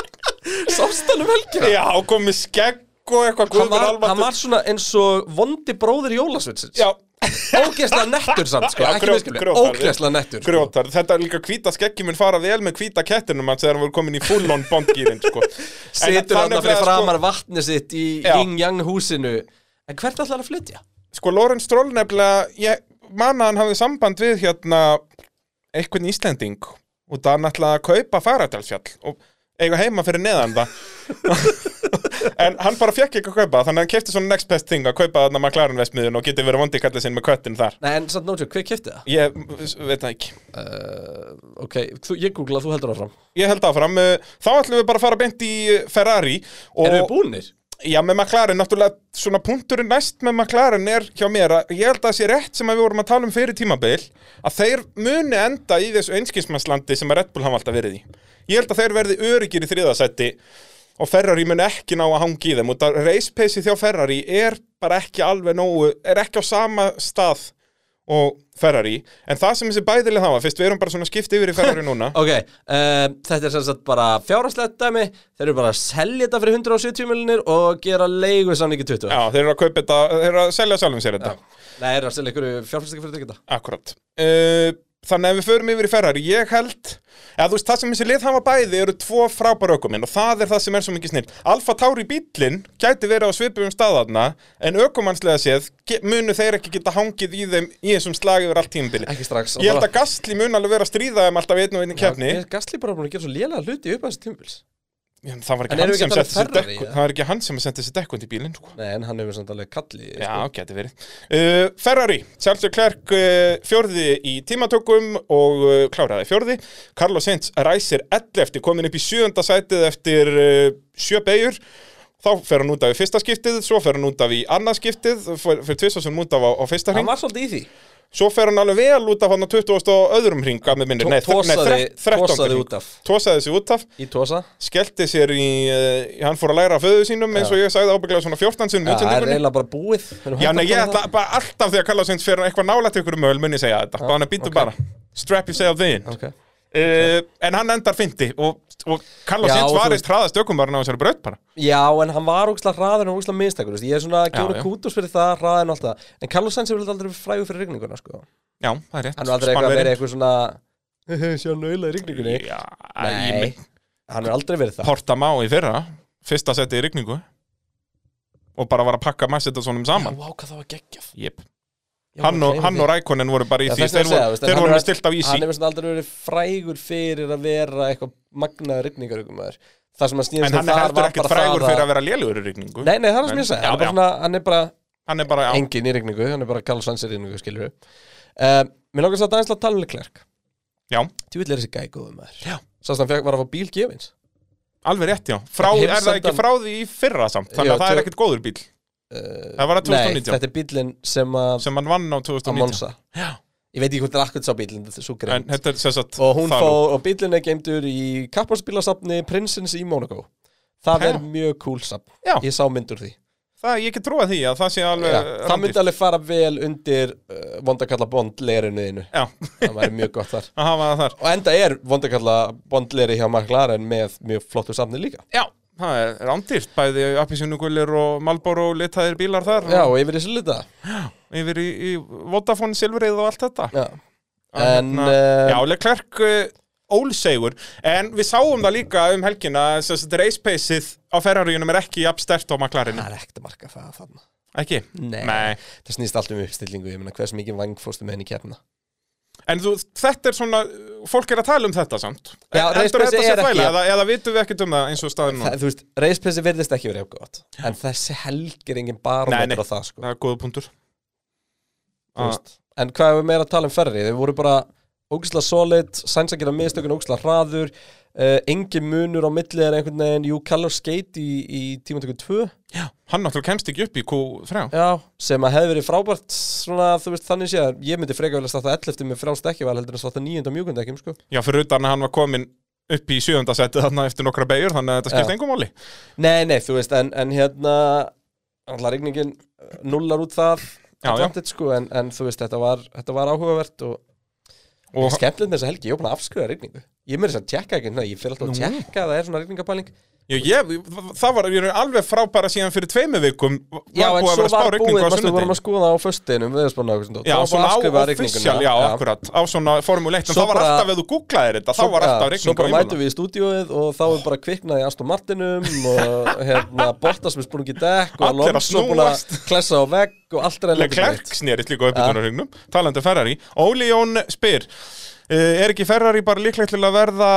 S1: Sást hann um helgina?
S2: Já, komið skegg og eitthvað
S1: Hann
S2: guð minn
S1: var, hann
S2: almáttugur.
S1: var svona eins og vondi bróðir Jólasvitsins
S2: Já,
S1: Ógeðslega nettur samt sko,
S2: Já,
S1: ekki
S2: grjót-
S1: miskilni
S2: grjótharður.
S1: Ógeðslega nettur sko.
S2: grjótar, þetta er líka hvíta skeggi mun fara vel með hvíta kettinum hans þegar hann voru komin í full-on bondgýrin sko. En
S1: Situr hann
S2: þannig
S1: fyrir sko-
S2: að,
S1: framar vatni sitt í
S2: Já.
S1: yin-yang húsinu En hvert ætlar hann að flytja?
S2: sko Lorenz Stroll nefnilega ég man að hann hafði samband við hérna einhvern Íslending og það hann ætlaði að kaupa Fagradalsfjall og eiga heima fyrir neðan það en hann bara fekk ekki að kaupa það, þannig að hann kefti svona next best thing að kaupa þarna McLaren vestmiðun og geti verið vondi kallið sinn með köttin þar
S1: Nei, en samt nótjó, hver kipti það?
S2: ég s- veit það ekki
S1: Ok, þú, ég googla, þú heldur áfram
S2: ég held áfram, eh, þá ætlum við bara að fara beint í eh, Ferrari og
S1: Erum við búnir?
S2: Já, með McLaren, náttúrulega svona punkturinn næst með McLaren er hjá mér að ég held að það sé rétt sem að við vorum að tala um fyrir tímabil að þeir muni enda í þessu einskismannslandi sem að Red Bull hafa alltaf verið í. Ég held að þeir verði öryggir í þriðasætti og Ferrari muni ekki ná að hangi í þeim og það race pace þjá Ferrari er bara ekki alveg nógu, er ekki á sama stað og Ferrari en það sem þessi bæðileg hafa, fyrst við erum bara svona skipt yfir í Ferrari núna
S1: Ok, um, þetta er sem sagt bara fjárhastlegt dæmi, þeir eru bara að selja þetta fyrir 170 miljonir og gera leigu samningi 20.
S2: Já, þeir eru að kaupa þetta, þeir eru að selja sjálfum sér þetta
S1: Nei, þeir eru að selja ykkur fjárfæstingar fyrir þetta.
S2: Akkurat uh, Þannig að við förum yfir í Ferrari Ég held, eða þú veist það sem þessi lið hafa bæði eru tvo frábæra ökuminn og það er það sem er svo mikið snill Alfa Tauri bíllinn gæti verið á svipum staðarna en ökumannslega séð ge- munu þeir ekki geta hangið í þeim í þessum slagi yfir allt tímabili
S1: Ekki strax.
S2: Ég held að Gastli mun alveg vera að stríða þeim alltaf í einn og einn kefni
S1: Er Gastli bara búin að gera svo lélega hluti upp að þessi tímubils?
S2: En Það var
S1: En
S2: ekki
S1: erum
S2: hann
S1: við
S2: sem
S1: ekki að
S2: setti
S1: tala um
S2: sér
S1: Ferrari, eða?
S2: dekkund Það var ekki hann sem setti sér dekkund í bílinn sko.
S1: Nei, en hann hefur samt alveg kallið.
S2: Já, geti verið. Uh, Ferrari, Charles Leclerc uh, fjórði í tímatökum og uh, kláraði fjórði. Carlos Sainz ræsir 11 eftir, komin upp í sjöunda sætið eftir uh, sjö beigur. Þá fer hann út af í fyrsta skiptið, svo fer hann út af í annað skiptið, fer, fer tvisvar sem út af á, á fyrsta
S1: Hann
S2: hring.
S1: var svolítið í því.
S2: Svo fer hann alveg vel út af hann á 20. og öðrum hring, að með minni.
S1: Tó-
S2: Nei, þre-
S1: tosaði-
S2: nei, þre- 13.
S1: tosaði
S2: hring.
S1: út af.
S2: Tosaði sig út af
S1: Í Tosa.
S2: skellti sér í, uh, hann fór að læra af föðu sínum eins og ég sagði ábygglega svona 14 sinum
S1: Já, það er eiginlega bara búið. Erum
S2: Já,
S1: hægt að
S2: nei, ég
S1: tala um
S2: ætla
S1: það?
S2: bara alltaf þegar Carlos Sainz fyrir eitthvað nálægt ykkur um öll mun ég segja þetta, bara hann er býttu
S1: ok.
S2: bara strap yourself in
S1: Ok.
S2: okay. en hann endar fyndi og, og Carlos
S1: Já,
S2: Sainz
S1: og þú-
S2: varist hraðast ökumvarinn á þessari braut bara
S1: Já, en hann var ógslag hraðin og ógslag minnstakur. Ég er svona að
S2: Já,
S1: gefa
S2: já.
S1: kútus fyrir það, hraðin og allt það. En Carlos Sainz hefur aldrei verið frægur fyrir rigninguna, sko.
S2: Já, það er rétt
S1: Hann er aldrei eitthvað að vera
S2: Spánverjinn.
S1: eitthvað svona Sjá nöyla í rigningunni
S2: Já, ég
S1: Nei,
S2: minn
S1: hann er aldrei verið það
S2: Porta Má í fyrra, fyrsta seti í rigningu og bara var að pakka massetta svonum saman
S1: vá, hvað það var geggjaf
S2: yep. Hann og, hann og Rækonin voru bara í því þeir voru, þeir voru með stilt af ísi
S1: Hann hefur svona aldrei verið frægur fyrir að vera eitthvað magnaður rigningarugumæður Það sem að snýðast
S2: En
S1: um
S2: hann er
S1: þar
S2: heldur
S1: var
S2: ekkert
S1: bara það
S2: frægur
S1: að-
S2: fyrir að vera lélugur í rigningu
S1: Nei, nei, það er það sem ég
S2: En-
S1: segi,
S2: Já,
S1: hann er bara svona,
S2: já.
S1: hann er bara
S2: Hann er bara, já,
S1: engin í rigningu, hann er bara Karl Sainz í rigningu, skilur við. Um, mér langar satt aðeins til að tala um Leclerc.
S2: já,
S1: Tjúvill er þessi gæi góður maður. Já. Sast hann fekk, var að fá bíl gefins.
S2: alveg rétt, já frá,
S1: Hann hefur
S2: Er það
S1: samt
S2: ekki
S1: hann-
S2: frá því í fyrra samt Þannig
S1: Já,
S2: að það
S1: tvö-
S2: er ekkert góður bíl Það var að
S1: Eh, Nei,
S2: 2019
S1: þetta er bílinn sem að,
S2: sem hann vann á
S1: á
S2: 2019
S1: Monza. Já. Ég veit ekki hvort það akkur sá bílinn, þetta er svo
S2: En
S1: greint.
S2: þetta er sem sagt
S1: og hún
S2: þar út.
S1: fór, og bílinn er geimdur í kapparsbílasafni Prinsins í Monaco. Það
S2: Já.
S1: er mjög cool safn.
S2: Já. Eh,
S1: Ég sá myndur því.
S2: Það, ég get trúað því að það sé alveg
S1: Já. Það
S2: rándýrt.
S1: myndi alveg fara vel undir uh, vondakalla bond leirunuðinu.
S2: Já,
S1: Það væri mjög gott þar.
S2: að hafa það þar
S1: Og enda er vondakalla bondleri hjá McLaren með mjög flottu safni líka.
S2: Já, það er rándýrt Bæði appisjónugulir og Malboro litaðir bílar þar
S1: Já,
S2: og
S1: og yfir þessu lita.
S2: Yfir í, í Vodafone, Silverið og allt þetta
S1: Já.
S2: Að
S1: En,
S2: hérna,
S1: eh,
S2: Já, Leclerc uh, ólsegur En við sáum það líka um helgina sem sagt race pace-ið á ferraríunum er ekki jafn stert á maklarinu
S1: Það er ekkert að marka það þarna.
S2: Ekki?
S1: eh, Nei. Það snýst allt um uppstillingu, ég meina hvers mikið vang fórstu með henni í kefna.
S2: En þú, þetta er svona Fólk er að tala um þetta samt
S1: Já,
S2: Heldur
S1: race
S2: þetta
S1: pace
S2: sé
S1: er ekki-
S2: þvæla eða, eða vitum við ekkert um það eins og staðin nú
S1: Það, þú veist, reispessi virðist ekki verið jafn gott. En þessi helg er engin
S2: Nei, nei.
S1: barómetur á það, sko.
S2: Það er góða punktur Ah,
S1: Þú veist. En hvað hefur meira að tala um Ferrari? Þeir voru bara ógislega solid, Sainz að gera mistökun ógislega hraður, uh, engin munur á milli er einhvern veginn, jú, Callum Skate í, í tímatöku 2
S2: Hann náttúrulega kemst ekki upp í Q3
S1: Já, sem að hefði verið frábært svona, þú veist, þannig sé að ég myndi freka vel að starta 11 með frjálst ekki vel heldur en að starta 9 mjúkund ekki, sko.
S2: Já, fyrir utan að hann var komin upp í sjöfundasetti þarna eftir nokkra beigur þannig að þetta skipti
S1: Já.
S2: engum máli
S1: Nei, nei, þú veist, en, en hérna alltaf regningin eh, nullar út það
S2: Já, já.
S1: Atlantic, sko, en, en þú veist, þetta var, þetta var áhugavert og
S2: og,
S1: skemmtilegt með þessa helgi, ég er búin að afskrifa rigningu ég er með þess að tjekka ekki, hérna, ég fyrir alltaf að tjekka að það er svona rigningapæling
S2: Já, ég, það var ég er alveg frábæra síðan fyrir tveimu vikum var
S1: Já, en
S2: búið að
S1: svo
S2: vera spá
S1: var
S2: rigningu
S1: búið,
S2: á
S1: varstu, við vorum
S2: sunnudegi
S1: að skoða á föstinum viðspána og
S2: Já, svona á official, já, akkurat á svona Formule 1, en
S1: Svo
S2: það var
S1: bara-
S2: alltaf ef þú googlaðir þetta, þá var alltaf
S1: Svo
S2: rigningu
S1: bara mætum við í stúdíóið og þá er bara kviknaði Aston Martinum og hérna Bottas með sprungi dekk og
S2: Allir að
S1: Alonso búin að
S2: snúast.
S1: klessa á vegg og allt er enn
S2: Leclerc snerist líka upp í konarhugnum talandi um Ferrari, Óli Jón spyr Uh, er ekki Ferrari bara líklegt til að verða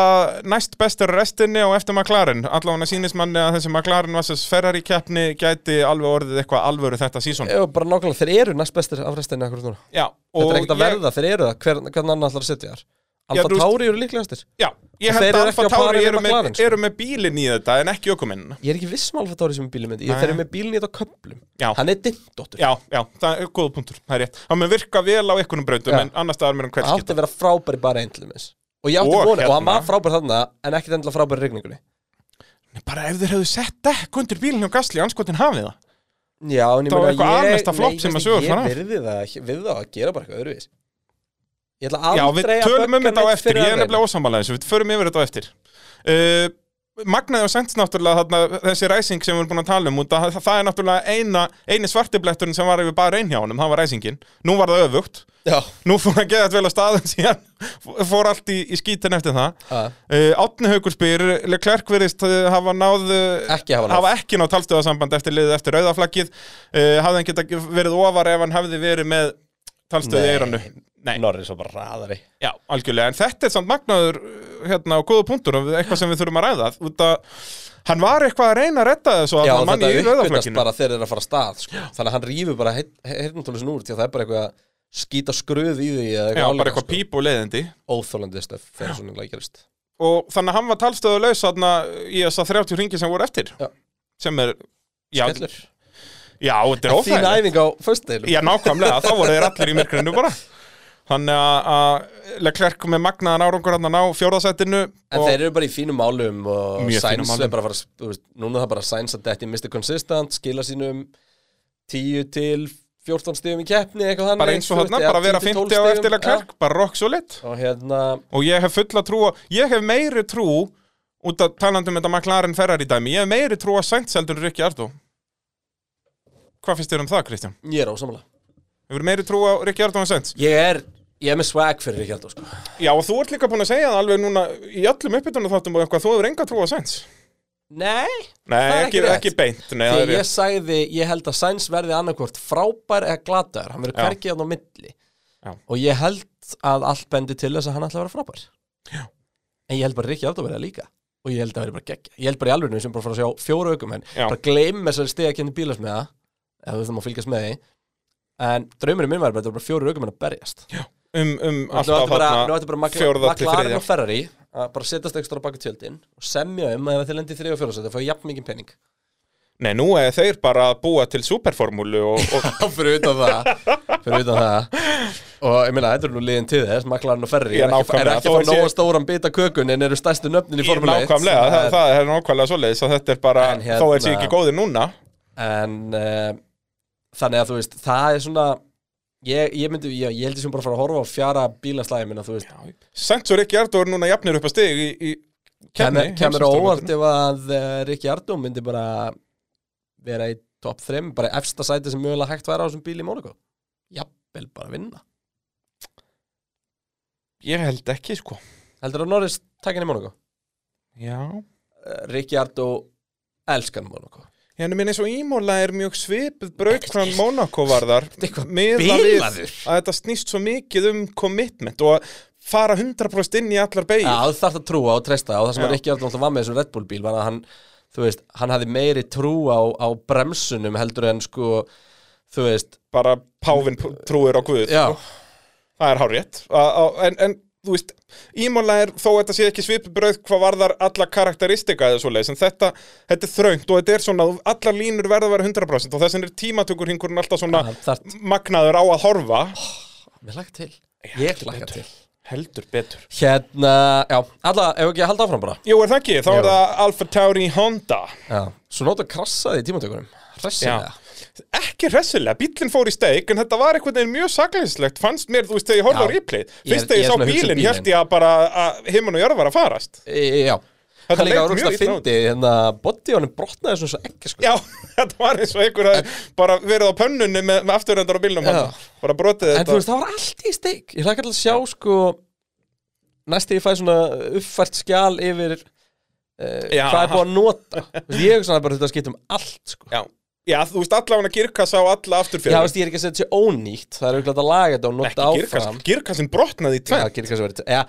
S2: næst bestur restinni og eftir McLaren allavega sýnist manni að þessi McLaren vs. Ferrari keppni gæti alveg orðið eitthvað alvöru þetta sísón
S1: Já, bara nákvæmlega, þeir eru næst bestir af restinni akkurat núna
S2: Já,
S1: Þetta
S2: og
S1: er ekkert að verða, þeir eru það, hver, hvern annan ætlar að setja þar
S2: Já,
S1: Alfa
S2: þú veist-
S1: Tauri eru líklegastir
S2: Já, ég
S1: Og
S2: held
S1: þeir
S2: að
S1: eru ekki
S2: Alfa
S1: á pari
S2: Tauri
S1: við
S2: eru með,
S1: McLaren, sko.
S2: eru með bílinn í þetta en ekki ökuminn
S1: Ég er ekki viss um Alfa Tauri sem er bílið myndi,
S2: Nei.
S1: þeir eru með bílinn í þetta á köplum
S2: Já.
S1: Hann er dindóttur
S2: Já, já, það er góða punktur, það er rétt Það mun virka vel á einhvernum brautum
S1: Já.
S2: en annars staðar mér um
S1: Það átti
S2: hverskita
S1: að vera frábæri bara einn til þess Og ég átti
S2: Og
S1: og, vonu, og hann
S2: hérna.
S1: var frábær þarna En ekkert endilega frábæri í rigningunni
S2: Bara ef þeir hefðu sett dekk undir bílinn og gasli anskotin hafið það
S1: Já, en ég
S2: Það var
S1: meina, ég-
S2: eitthvað almesta
S1: nei,
S2: flopp
S1: ég
S2: sem
S1: veist
S2: að sögur
S1: ekki,
S2: fara af.
S1: Ég virði það, ekki- við það að gera bara eitthvað öðruvis Ég ætla
S2: Já, við
S1: aldrei að
S2: tölum um
S1: bögga
S2: þetta á
S1: neitt
S2: eftir,
S1: fyrir
S2: ég er
S1: aðra.
S2: nefnilega ósammála þessu, við förum yfir þetta á eftir uh, Magnaði og sent náttúrulega þarna, þessi ræsing sem við erum búin að tala um út að það, það er náttúrulega eina, eini svartibletturinn sem var yfir bara einn hjá honum, það var ræsingin Nú var það öfugt,
S1: Já,
S2: nú fór hann geðað vel á staðin síðan fór allt í, í skítin eftir það
S1: Ha.
S2: uh, Átni Haukur spyr Leclerc virðist uh, hafa náð uh,
S1: Ekki hafa náð.
S2: hafa ekki náð talstöðasamband eftir liðið eftir rauðaflaggið uh, hafði hann geta verið ofar ef hann hafði verið með talstöði
S1: Nei.
S2: eiranu Nei,
S1: Norris var bara raðari
S2: já, algjörlega, en þetta er samt magnaður uh, hérna á góða punktur og eitthvað sem við þurfum að ræða út að hann var eitthvað að reyna að redda þessu
S1: Já,
S2: að
S1: og
S2: manni
S1: þetta
S2: í
S1: uppgötast
S2: rauðaflagginu
S1: bara þegar þeir eru að fara af stað sko. Þannig að hann rýfur bara heyrnumtólusin úr Því að það er bara eitthvað að skýta skröð í því eða
S2: Já, bara
S1: álíka,
S2: eitthvað
S1: sko.
S2: píp og leiðindi
S1: Óþolandi stöf þegar svona lækjarist
S2: og þannig að hann var talstöðu laus þarna í þessa 30 ringi sem voru eftir
S1: Já.
S2: sem er já,
S1: Skellur
S2: já þetta er
S1: Þín
S2: óþægilegt
S1: æfing á föstudeginu
S2: já, nákvæmlega, þá voru þeir allir í myrkrinu bara þannig að- að Leclerc með magnaðan árangur hann að ná fjórðasættinu
S1: En þeir eru bara í fínum málum og
S2: Mjög fínum
S1: Sainz
S2: málum.
S1: er bara að fara að- þú veist, Núna er það bara Sainz að detti Mr. Consistent skila sínum 10 til 14 stíðum í keppni eitthvað þannig
S2: bara eins og
S1: þú veist,
S2: þarna,
S1: eða
S2: bara vera
S1: 10 til 12
S2: 50 á eftir
S1: stigum,
S2: Leclerc, bara rock solid
S1: ja. Og hérna
S2: og ég hef fulla trú, á- ég hef meiri trú út af talandum þetta McLaren Ferrari dæmi, ég hef meiri trú að Sainz heldur Rikki Ardó hvað finnst þér um það Kristján?
S1: Ég er ósamlega
S2: Hefur meiri trú á Rikki Ardó en Sainz?
S1: Ég er, ég er með swag fyrir ekki alltaf sko.
S2: Já, og þú ert líka búin að segja það alveg núna í öllum uppbytunum þáttum og eitthvað, þú hefur enga trú á Sainz
S1: Nei Það
S2: Nei,
S1: er
S2: ekki,
S1: ekki rétt.
S2: ekki beint, nei, það er
S1: Þegar ég
S2: rétt
S1: sagði, ég held að Sainz verði annarkvort frábær eða glataður, hann verður
S2: Já.
S1: hverkið hann á milli
S2: Já.
S1: og ég held að allt bendi til þess að hann ætla að vera frábær Já. en ég held bara Rikki Aldó verða líka og og ég held að það verði bara geggja ég held bara í alveg sem bara fara að sjá fjóra aukum en
S2: Já.
S1: bara gleym þessari stiga kynni bílas með það ef þú þurfum að fylgjast með því en draumurinn minn var bara, þetta var bara fjóra aukum en að berjast
S2: um, um
S1: Nú ætti
S2: alltaf
S1: bara, nú
S2: þarna
S1: ætti bara makla-
S2: fjórða til
S1: McLaren
S2: þriðja
S1: og Ferrari að bara setjast ekstra á baki tjöldin og semja um að ef þeir lendi í þriðja og fjóra sæti þá fá ég jafn mikið pening
S2: Nei, nú er þeir bara að búa til superformúlu og, og
S1: fyrir utan það fyrir utan það og ég meina, þetta er nú liðin til þess McLaren og Ferrari
S2: Já,
S1: er ekki, er
S2: nákvæmlega.
S1: ekki
S2: Þó
S1: að fá
S2: sé-
S1: nóga stóran bita kökun en eru stærstu nöfnin í
S2: Í
S1: Formule 1
S2: Nákvæmlega, það, það er nákvæmlega svoleiðis að þetta er bara,
S1: En hérna-
S2: þó er sér ekki góðir núna
S1: en uh, þannig að þú veist, það er svona ég, ég myndi, ég, ég held ég sem bara að fara að horfa á fjara bílaslæði minna, þú veist
S2: Samt svo Rikki Ardó er núna jafnir upp að stig í, í kefni
S1: kemur, kemur á óvart ef að eh, Rikki Ardó myndi bara vera í top 3, bara efsta sæti sem mögulega hægt væri á þessum bíl í Mónaco jafnvel bara vinna
S2: Ég held ekki, sko
S1: heldur að Norris takin í Mónaco
S2: Já
S1: Rikki Ardó elskan Mónaco
S2: Hérna minn eins og Ímóla er mjög svipið braut frá Mónakó varðar
S1: eitthvað
S2: miðað við að
S1: bilaður.
S2: þetta snýst svo mikið um commitment og að fara 100% inn í allar beig
S1: Já, þú þarft að trúa og treysta og það sem
S2: Já.
S1: að Rikki Ardó alltaf var með þessum Red Bull bíl var að hann, þú veist, hann hafði meiri trú á, á bremsunum heldur en sko, þú veist
S2: bara páfinn p- trúir á Guð
S1: Já,
S2: það er hárétt Að- að- en, en þú veist, Ímóla er þó þetta sé ekki svipibröð hvað varðar alla karakteristika eða svoleiðis, en þetta, þetta er þröngt og þetta er svona, allar línur verða að vera 100% og þessin er tímatökur hingurinn alltaf svona
S1: Já, Ah, þarft.
S2: magnaður á að horfa
S1: mér lagt til Ég lagt til
S2: heldur betur
S1: Hérna, já, alla, ef ekki að halda áfram bara
S2: Jú, er það ekki? Þá
S1: Jú.
S2: er það Alfa Tauri Honda
S1: Já Svo nota krassaði í tímatökunum Hressilega
S2: Ekki hressilega, bílinn fór í steik en þetta var einhvern veginn mjög saklæsislegt fannst mér, þú veist, þegar ég horfði á
S1: Já.
S2: replay
S1: Ég er-
S2: fyrst þegar
S1: ég
S2: ég
S1: er
S2: sá
S1: svona að hugsa um
S2: bílinn,
S1: bílinn.
S2: hélt ég að bara að himman og jörð var að farast
S1: e, Já
S2: Þetta
S1: Hann líka
S2: leit
S1: var rúkst
S2: mjög
S1: að
S2: illa út.
S1: fyndi Hérna, boddi honum brotnaði svona svo ekki sko
S2: Já, þetta var eins og einhver að bara verið á pönnunni með, með afturrendar á bílnum
S1: Já.
S2: hann. bara brotið
S1: En þú
S2: þetta
S1: veist, það var allt í steik Ég hlaka alltaf að sjá sko Næst þegar ég fæ svona uppfært skjal yfir
S2: Já.
S1: Hvað er búið að nota Þú veist, Ég hugsa hugsaði bara þetta skipt um allt sko
S2: Já. Já, þú veist, allavega girkassa á alla
S1: Já,
S2: afturfjörður
S1: veist, ég er ekki að setja sér ónýtt Það er auðvitað að laga þetta og nota
S2: Ekki
S1: áfram
S2: girkass, girkassin brotnaði í
S1: Já,
S2: tvenn
S1: Kirkas verið Já,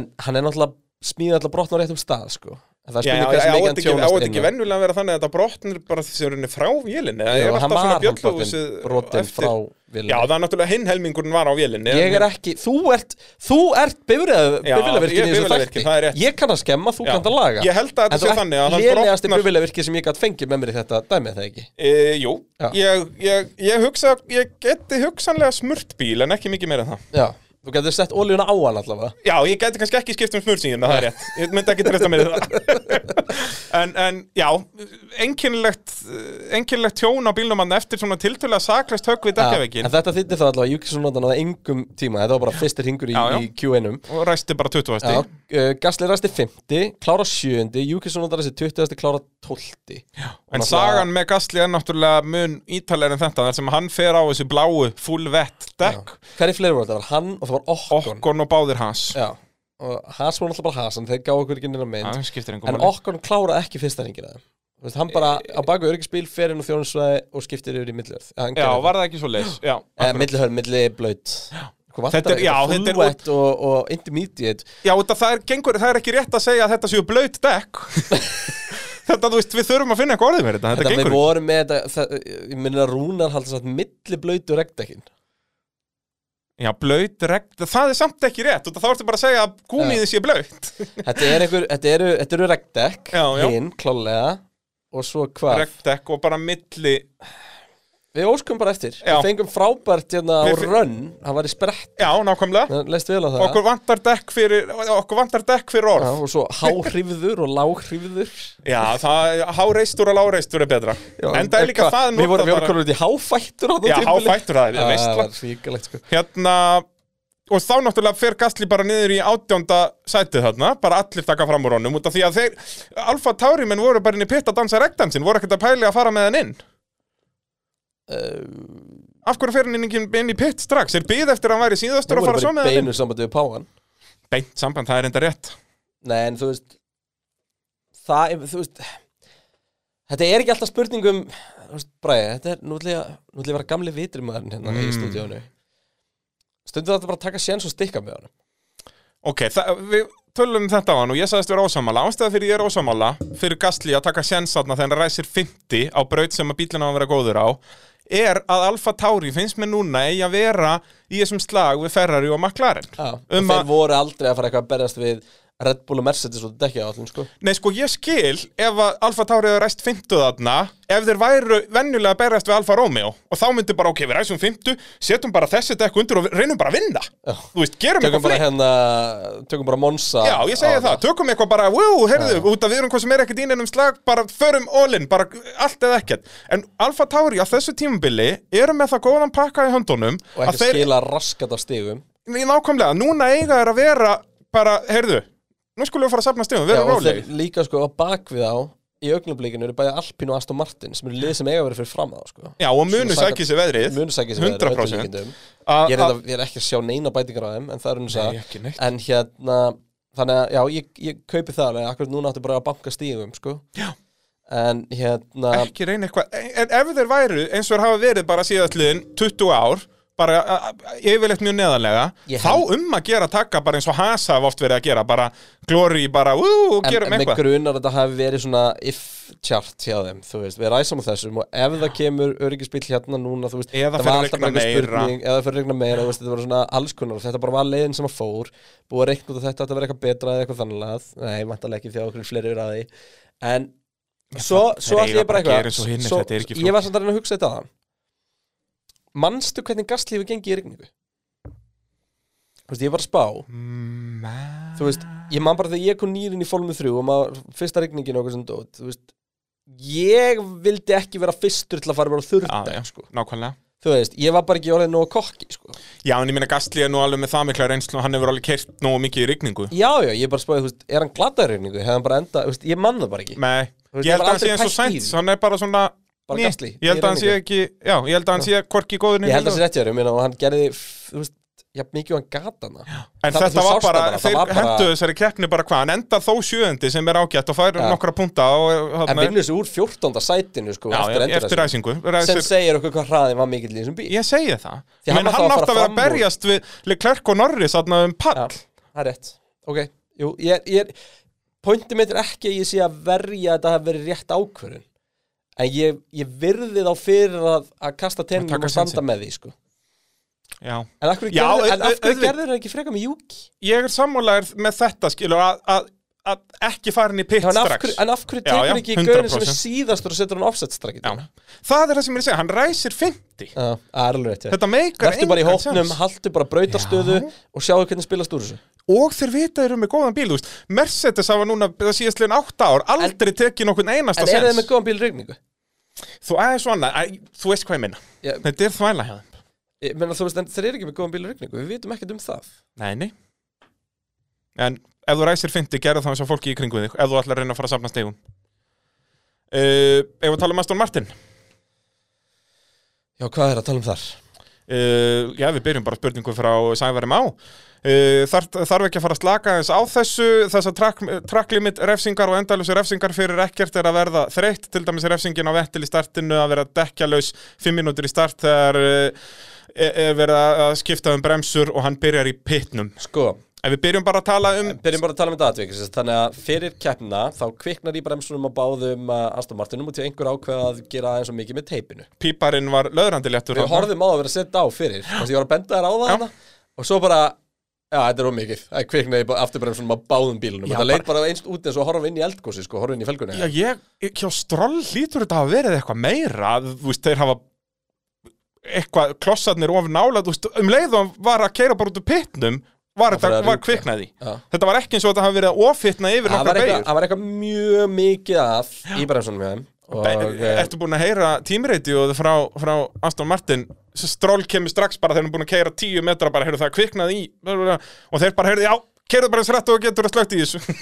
S1: en hann er náttúrulega smíðið alltaf brotna á réttum stað, sko En það
S2: Já,
S1: spyrir
S2: já,
S1: hversu
S2: á
S1: mikið hann
S2: þetta ekki, á
S1: tjónast
S2: þetta
S1: inn
S2: ekki venjulega að vera þannig að þetta brotnir bara því sem er henni frá vélinni Það
S1: Já,
S2: er
S1: hann
S2: alltaf
S1: var
S2: svona
S1: hann
S2: bjöllúsið
S1: brotinn- brotinn frá vélinni.
S2: Já, það er náttúrulega hinn helmingurinn var á vélinni
S1: Ég er ekki, þú ert, þú ert
S2: Já, ég er
S1: bifriðavirkin í þessu
S2: bifvélavirkinn, það
S1: þætti
S2: er rétt.
S1: Ég kann að skemma, þú
S2: Já.
S1: kann að laga
S2: Ég held að þetta sé þannig að hann
S1: Lélegasti
S2: brotnar-
S1: bifriðavirki sem ég gætt fengið með mér í þetta dæmi er það ekki
S2: e, Jú,
S1: Já.
S2: ég, ég, ég hugsa, ég geti hugsanlega smurt bíl en ekki mikið meira en það
S1: Já, þú getur sett ólíuna á hann allavega
S2: Já, ég gæti kannski ekki skipt um smurtsingina, það er rétt. Ég myndi ekki treysta mér í það. en, en já, einkennilegt, einkennilegt tjón á bílnum hann eftir svona tiltölulega saklast högg við
S1: En
S2: dekkjavegin
S1: þetta þýtti það allavega, Júkisson notan á það engum tíma Þetta var bara fyrstir hingur í,
S2: Já, já.
S1: í Q1-um
S2: og ræsti bara 20
S1: Já,
S2: stíg.
S1: uh, Gasly ræsti 50, klára 7 Júkisson notan þessi 20, klára 12
S2: En sagan með Gasly er náttúrulega mun ítalegir en þetta, þar sem hann fer á þessu bláu full vett dekk,
S1: Hver er fleiri voru þetta? Það var hann og það var Okkon
S2: okkon og báðir hans.
S1: Já, og Haas voru alltaf bara Haas en þeir gáðu okkur ekki nýra mynd
S2: Það skiptir
S1: En
S2: engum máli.
S1: Okkon kláraði ekki fyrsta hringina Þú veist, hann bara
S2: Eh,
S1: á baku öryggisbíl fer inn á þjónusvæði og skiptir yfir í millihörð Hann
S2: Já,
S1: gerði
S2: var það ekki svo leis? Já.
S1: það. eh, Millihörð, millihlaut. Hvað vantar
S2: Þetta er- já,
S1: eitthvað?
S2: þetta er-
S1: Fluet og, og intermediate
S2: Já, þetta, það, er, gengur, það er ekki rétt að segja að þetta séu blöyt dekk Þetta, þú veist, við þurfum að finna eitthvað orðið með þetta Þetta,
S1: Þetta við
S2: gengur ekki.
S1: vorum með þetta það, Ég minna að Rúnar haldi satt milliblöyt og regndekkin
S2: Já, blöyt, regn, það er samt ekki rétt og þá ertu bara að segja að gúmiðið sé blöyt
S1: Þetta er einhver, þetta eru, þetta eru regndekk
S2: Já, já.
S1: Hinn, klálega Og svo hvað?
S2: Regndekk og bara milli
S1: Við óskum bara eftir
S2: Já.
S1: Við fengum frábært hérna á
S2: Við fe-
S1: rönn Hann var í sprett
S2: Já, nákvæmlega
S1: Hann leist vel á það
S2: Okkur vantar dekk fyrir, okkur vantar dekk fyrir
S1: Já,
S2: orð
S1: og svo háhrifður og láhrifður
S2: Já, það, háreistur og láreistur er betra En það er líka það
S1: Við vorum
S2: notað
S1: voru
S2: bara-
S1: komin út í háfættur á það
S2: Já, háfættur það,
S1: Það
S2: veist
S1: var svíkalegt sko
S2: Hérna Og þá náttúrulega fer Gastli bara niður í átjónda sætið þarna, bara allir taka fram úr honum út af því að þeir, Alfa Tauri menn voru bara inn í pitt að dansa rektansinn, voru ekkert að pæli að fara með hann inn
S1: Eh,
S2: Af hverju fer hann inn í- inn í pitt strax? Er byð eftir að hann væri
S1: Það
S2: síðastur að
S1: voru
S2: fara svo
S1: bara
S2: með
S1: í
S2: hann inn?
S1: beinu sambandi við páan
S2: Beint samband, það er enda rétt
S1: Nei, en þú veist Það, er- þú veist Þetta er ekki alltaf um, spurningum Bræði, þetta er, nú ætlum ég að Nú ætlum ég að vera gamli vitri maðurinn hérna
S2: Mm.
S1: í stúdíónu Stundum þetta bara að taka séns og stikka með honum
S2: Ok, það, við, tölum um þetta á hann og ég sagðist vera ósámála ástæða fyrir ég er ósámála fyrir Gastli að taka sjensatna þegar hann ræsir 50 á braut sem að bílina á að vera góður á er að Alfa Tauri finnst mér núna eigi að vera í þessum slag við Ferrari og McLaren
S1: um
S2: um
S1: þeir
S2: að,
S1: voru aldrei að fara eitthvað að berjast við Red Bull og Mercedes og dekja á allir sko.
S2: nei sko ég skil ef að Alfa Tauri hefur ræst 50 þarna ef þeir væru venjulega að berast við Alfa Romeo og þá myndi bara ok við ræsum 50 setjum bara þessi dekk undir og reynum bara að vinna þú veist, gerum
S1: tökum
S2: eitthvað
S1: bara
S2: flink
S1: hérna tökum bara Monza
S2: Já, ég segja
S1: á
S2: það, tökum eitthvað bara, wow, heyrðu, út af við erum hvað sem er ekkert í neinum slag, bara förum all-in, bara allt eða ekkert. En Alfa Tauri á þessu tímabili eru með það góðan pakka í höndunum
S1: og
S2: að
S1: ekki skila raskat af stigum
S2: Nei, nákvæmlega, núna eiga er að vera bara, heyrðu, nú skulum við fara að safna stegum,
S1: Já,
S2: vera
S1: og
S2: róleg.
S1: þeir líka sko á bakvið á í augnablikinu eru bæði Alpine og Aston Martin sem eru lið sem eiga verið fyrir fram á sko.
S2: Já, og munu
S1: Svona
S2: sækja sér veðrið,
S1: munu sækja sér veðrið
S2: 100%.
S1: með öllum líkindum.
S2: A-
S1: ég, er
S2: a-
S1: þetta, ég er ekki að sjá neina bætingar á þeim en það er hún
S2: Nei, ekki neitt.
S1: að en hérna þannig að já ég, ég kaupi það alveg akkurat núna áttu bara að banka stígum sko.
S2: Já.
S1: en hérna
S2: Ekki reyna eitthvað, en ef þeir væru eins og þeir hafa verið bara síðastliðin 20 ár, bara a- a- yfirleitt mjög neðanlega,
S1: Ég
S2: þá
S1: held-
S2: um að gera taka bara eins og Hasa hafa oft verið að gera, bara glory, bara, ú,
S1: en,
S2: gerum
S1: en mig
S2: eitthvað.
S1: grunar að þetta hafi verið svona if chart hjá þeim, þú veist, við ræsum á þessum og ef það kemur öryggisbíl hérna núna þú veist, það
S2: Eða fer að
S1: var alltaf bara
S2: rigna
S1: einhver
S2: meira.
S1: spurning eða það fyrir að regna meira, þú veist, þetta var svona alls konar þetta bara var leiðin sem að fór, búið að reikna út að þetta að vera eitthvað betra eða eitthvað þannig að nei, vantarlega ekki því að okkur fleiri eru að því en svo, svo
S2: þeir
S1: allir
S2: eiga
S1: ég bara
S2: bara að
S1: eitthvað
S2: gera eins og hinir,
S1: svo,
S2: þetta er ekki
S1: ég var samt að reyna að hugsa þetta að manstu hvernig gastlífi gengi í rigningu? Þú veist, ég var að spá
S2: Mm,
S1: þú veist, ég man bara þegar ég kom nýrin í fólmið þrjú og maður, fyrsta rigningin og okkur sem dót, þú veist ég vildi ekki vera fyrstur til að fara bara á
S2: Já, já,
S1: þurrdag,
S2: sko,
S1: sko
S2: nákvæmlega.
S1: þú veist, ég var bara ekki orðið nógu kokki, sko
S2: Já, en ég meina Gastli er nú alveg með það mikla reynslu og hann hefur alveg kert nógu mikið í rigningu.
S1: já, já, ég bara spáði, þú veist, er hann gladdaður rigningu, hefði hann bara enda, þú veist, ég man það bara ekki
S2: Nei,
S1: Þú veist, ég
S2: ég held
S1: var
S2: að hann sé
S1: aldrei
S2: eins og
S1: pælt í
S2: sænt,
S1: því.
S2: hann er bara svona...
S1: Bara
S2: Ný.
S1: Gasly,
S2: Ég held
S1: í
S2: að hann sé ekki, já, ég held að hann sé hvorki góður
S1: ég
S2: niður.
S1: held að það sé rétt hjá þér, ég meina, og hann gerði þú veist, jafn mikið og hann gata hana
S2: En
S1: Það-
S2: þetta
S1: þú
S2: var
S1: sást
S2: bara,
S1: það bara, það
S2: þeir
S1: var bara-
S2: henduðu þessari keppni bara hvað, hann endar þó sjöðandi sem er ágætt og fær
S1: Já.
S2: nokkra punta og eh,
S1: en
S2: þarna-
S1: vinnur þessu úr 14. sætinu, sko,
S2: Já,
S1: eftir
S2: já, eftir
S1: endurræsingu.
S2: ræsingu.
S1: sem
S2: Ræsir,
S1: segir okkur hvað hraðin var mikill í þessum bíl
S2: ég segi það.
S1: Því
S2: Menn
S1: hann var þá
S2: hann
S1: að
S2: átti að
S1: fara
S2: vera að
S1: fram úr.
S2: berjast við Leclerc og Norris aðna um
S1: Já,
S2: pall.
S1: það er rétt Ok, jú, ég er, ég er Pointi mitt er ekki að ég sé að verja að þetta hafi verið rétt ákvörðun En ég, ég virði þá fyrir að, að kasta
S2: Að taka
S1: tennum og standa
S2: sénsinn.
S1: með því sko.
S2: Já.
S1: En af hverju
S2: Já,
S1: gerðir-
S2: au-
S1: en af
S2: au-
S1: hverju
S2: auðvitað.
S1: gerður það ekki frekar með Juki?
S2: Ég er sammálaður með þetta, skilur, að- að að ekki fara inn í pitt
S1: En af
S2: strax.
S1: hverju, en af hverju
S2: Já,
S1: tekur
S2: já,
S1: ekki gaurin sem er
S2: 100%.
S1: síðastur og setur hann offset strakki
S2: Já. Það er það sem ég er að segja, hann ræsir 50
S1: það er alveg rétt ja.
S2: Þetta meikar
S1: Vertu bara í
S2: engan
S1: hópnum,
S2: sens.
S1: haltu bara brautarstöðu og sjáu hvernig spilast úr þessu
S2: Og þeir vita þeir eru með góðan bíl, þú veist Mercedes hafa núna, það síðast liðin 8 ár Aldrei tekið nokkurn einasta
S1: En eru
S2: sens
S1: þið með góðan bíl í rigningu?
S2: Þú er svona, æ, þú veist hvað ég minna
S1: Já.
S2: Þetta er þvæla hjá þeim
S1: Ég meina, þú veist, en þeir eru ekki með góðan bíl í rigningu Við vitum ekkert um það
S2: Nei, nei En ef þú ræsir 50, gerðu það eins og fólki í kringu þig Ef þú ætlar að reyna að fara að safna stegum uh, Ef við tala um Aston Martin
S1: Já, hvað er að tala um þar?
S2: Uh, já, við byrjum bara spurningu frá Sævarim á. Uh, þar, þarf ekki að fara að slaka eins á þessu, þessar track, track limit refsingar og endalusi refsingar fyrir ekkert er að verða þreytt, til dæmis refsingin á vettil í startinu að vera dekkjalaus 5 mínútur í start þegar uh, er er verið að skipta um bremsur og hann byrjar í pitnum.
S1: Sko,
S2: En við byrjum bara að tala um,
S1: byrjum bara að tala um þetta atvik sem sagt, þannig að fyrir keppna þá kviknar í bremsunum að báðum uh, Aston Martinum og til einhver ákveða að gera eins og mikið með teipinu
S2: píparinn var löðrandi léttur.
S1: við horfðum á að vera sett á fyrir þú veist, ég var að benda þær á það hana, og svo bara já, þetta er ómikið, það kviknar í afturbremsunum að báðum bílunum,
S2: Já,
S1: þetta leit bara eins út eins og að horfa inn í eldgósi, sko, horfa inn í felgunni
S2: Já, ég, hjá Stroll hlýtur þetta hafa verið eitthvað meira, að, þú veist, þeir hafa eitthvað, klossarnir of nála, þú veist, um leið og hann var að keira bara út úr pittnum, var
S1: Það var
S2: þetta,
S1: að
S2: var
S1: rjúka.
S2: kviknaði.
S1: Já.
S2: Þetta var ekki eins og þetta hafa verið að ofitna yfir
S1: það var
S2: nokkra
S1: eitthvað-
S2: beigur.
S1: það var eitthvað mjög mikið að í bremsunum hjá þeim og eh,
S2: Ertu búin að heyra tímreitið frá, frá Aston Martin, svo Stroll kemur strax bara þegar hann er búin að keira tíu metra, bara heyrðu það kviknaði í, og þeir bara heyrðu, já, keirðu bara eins rætt og getur að slögt í þessu.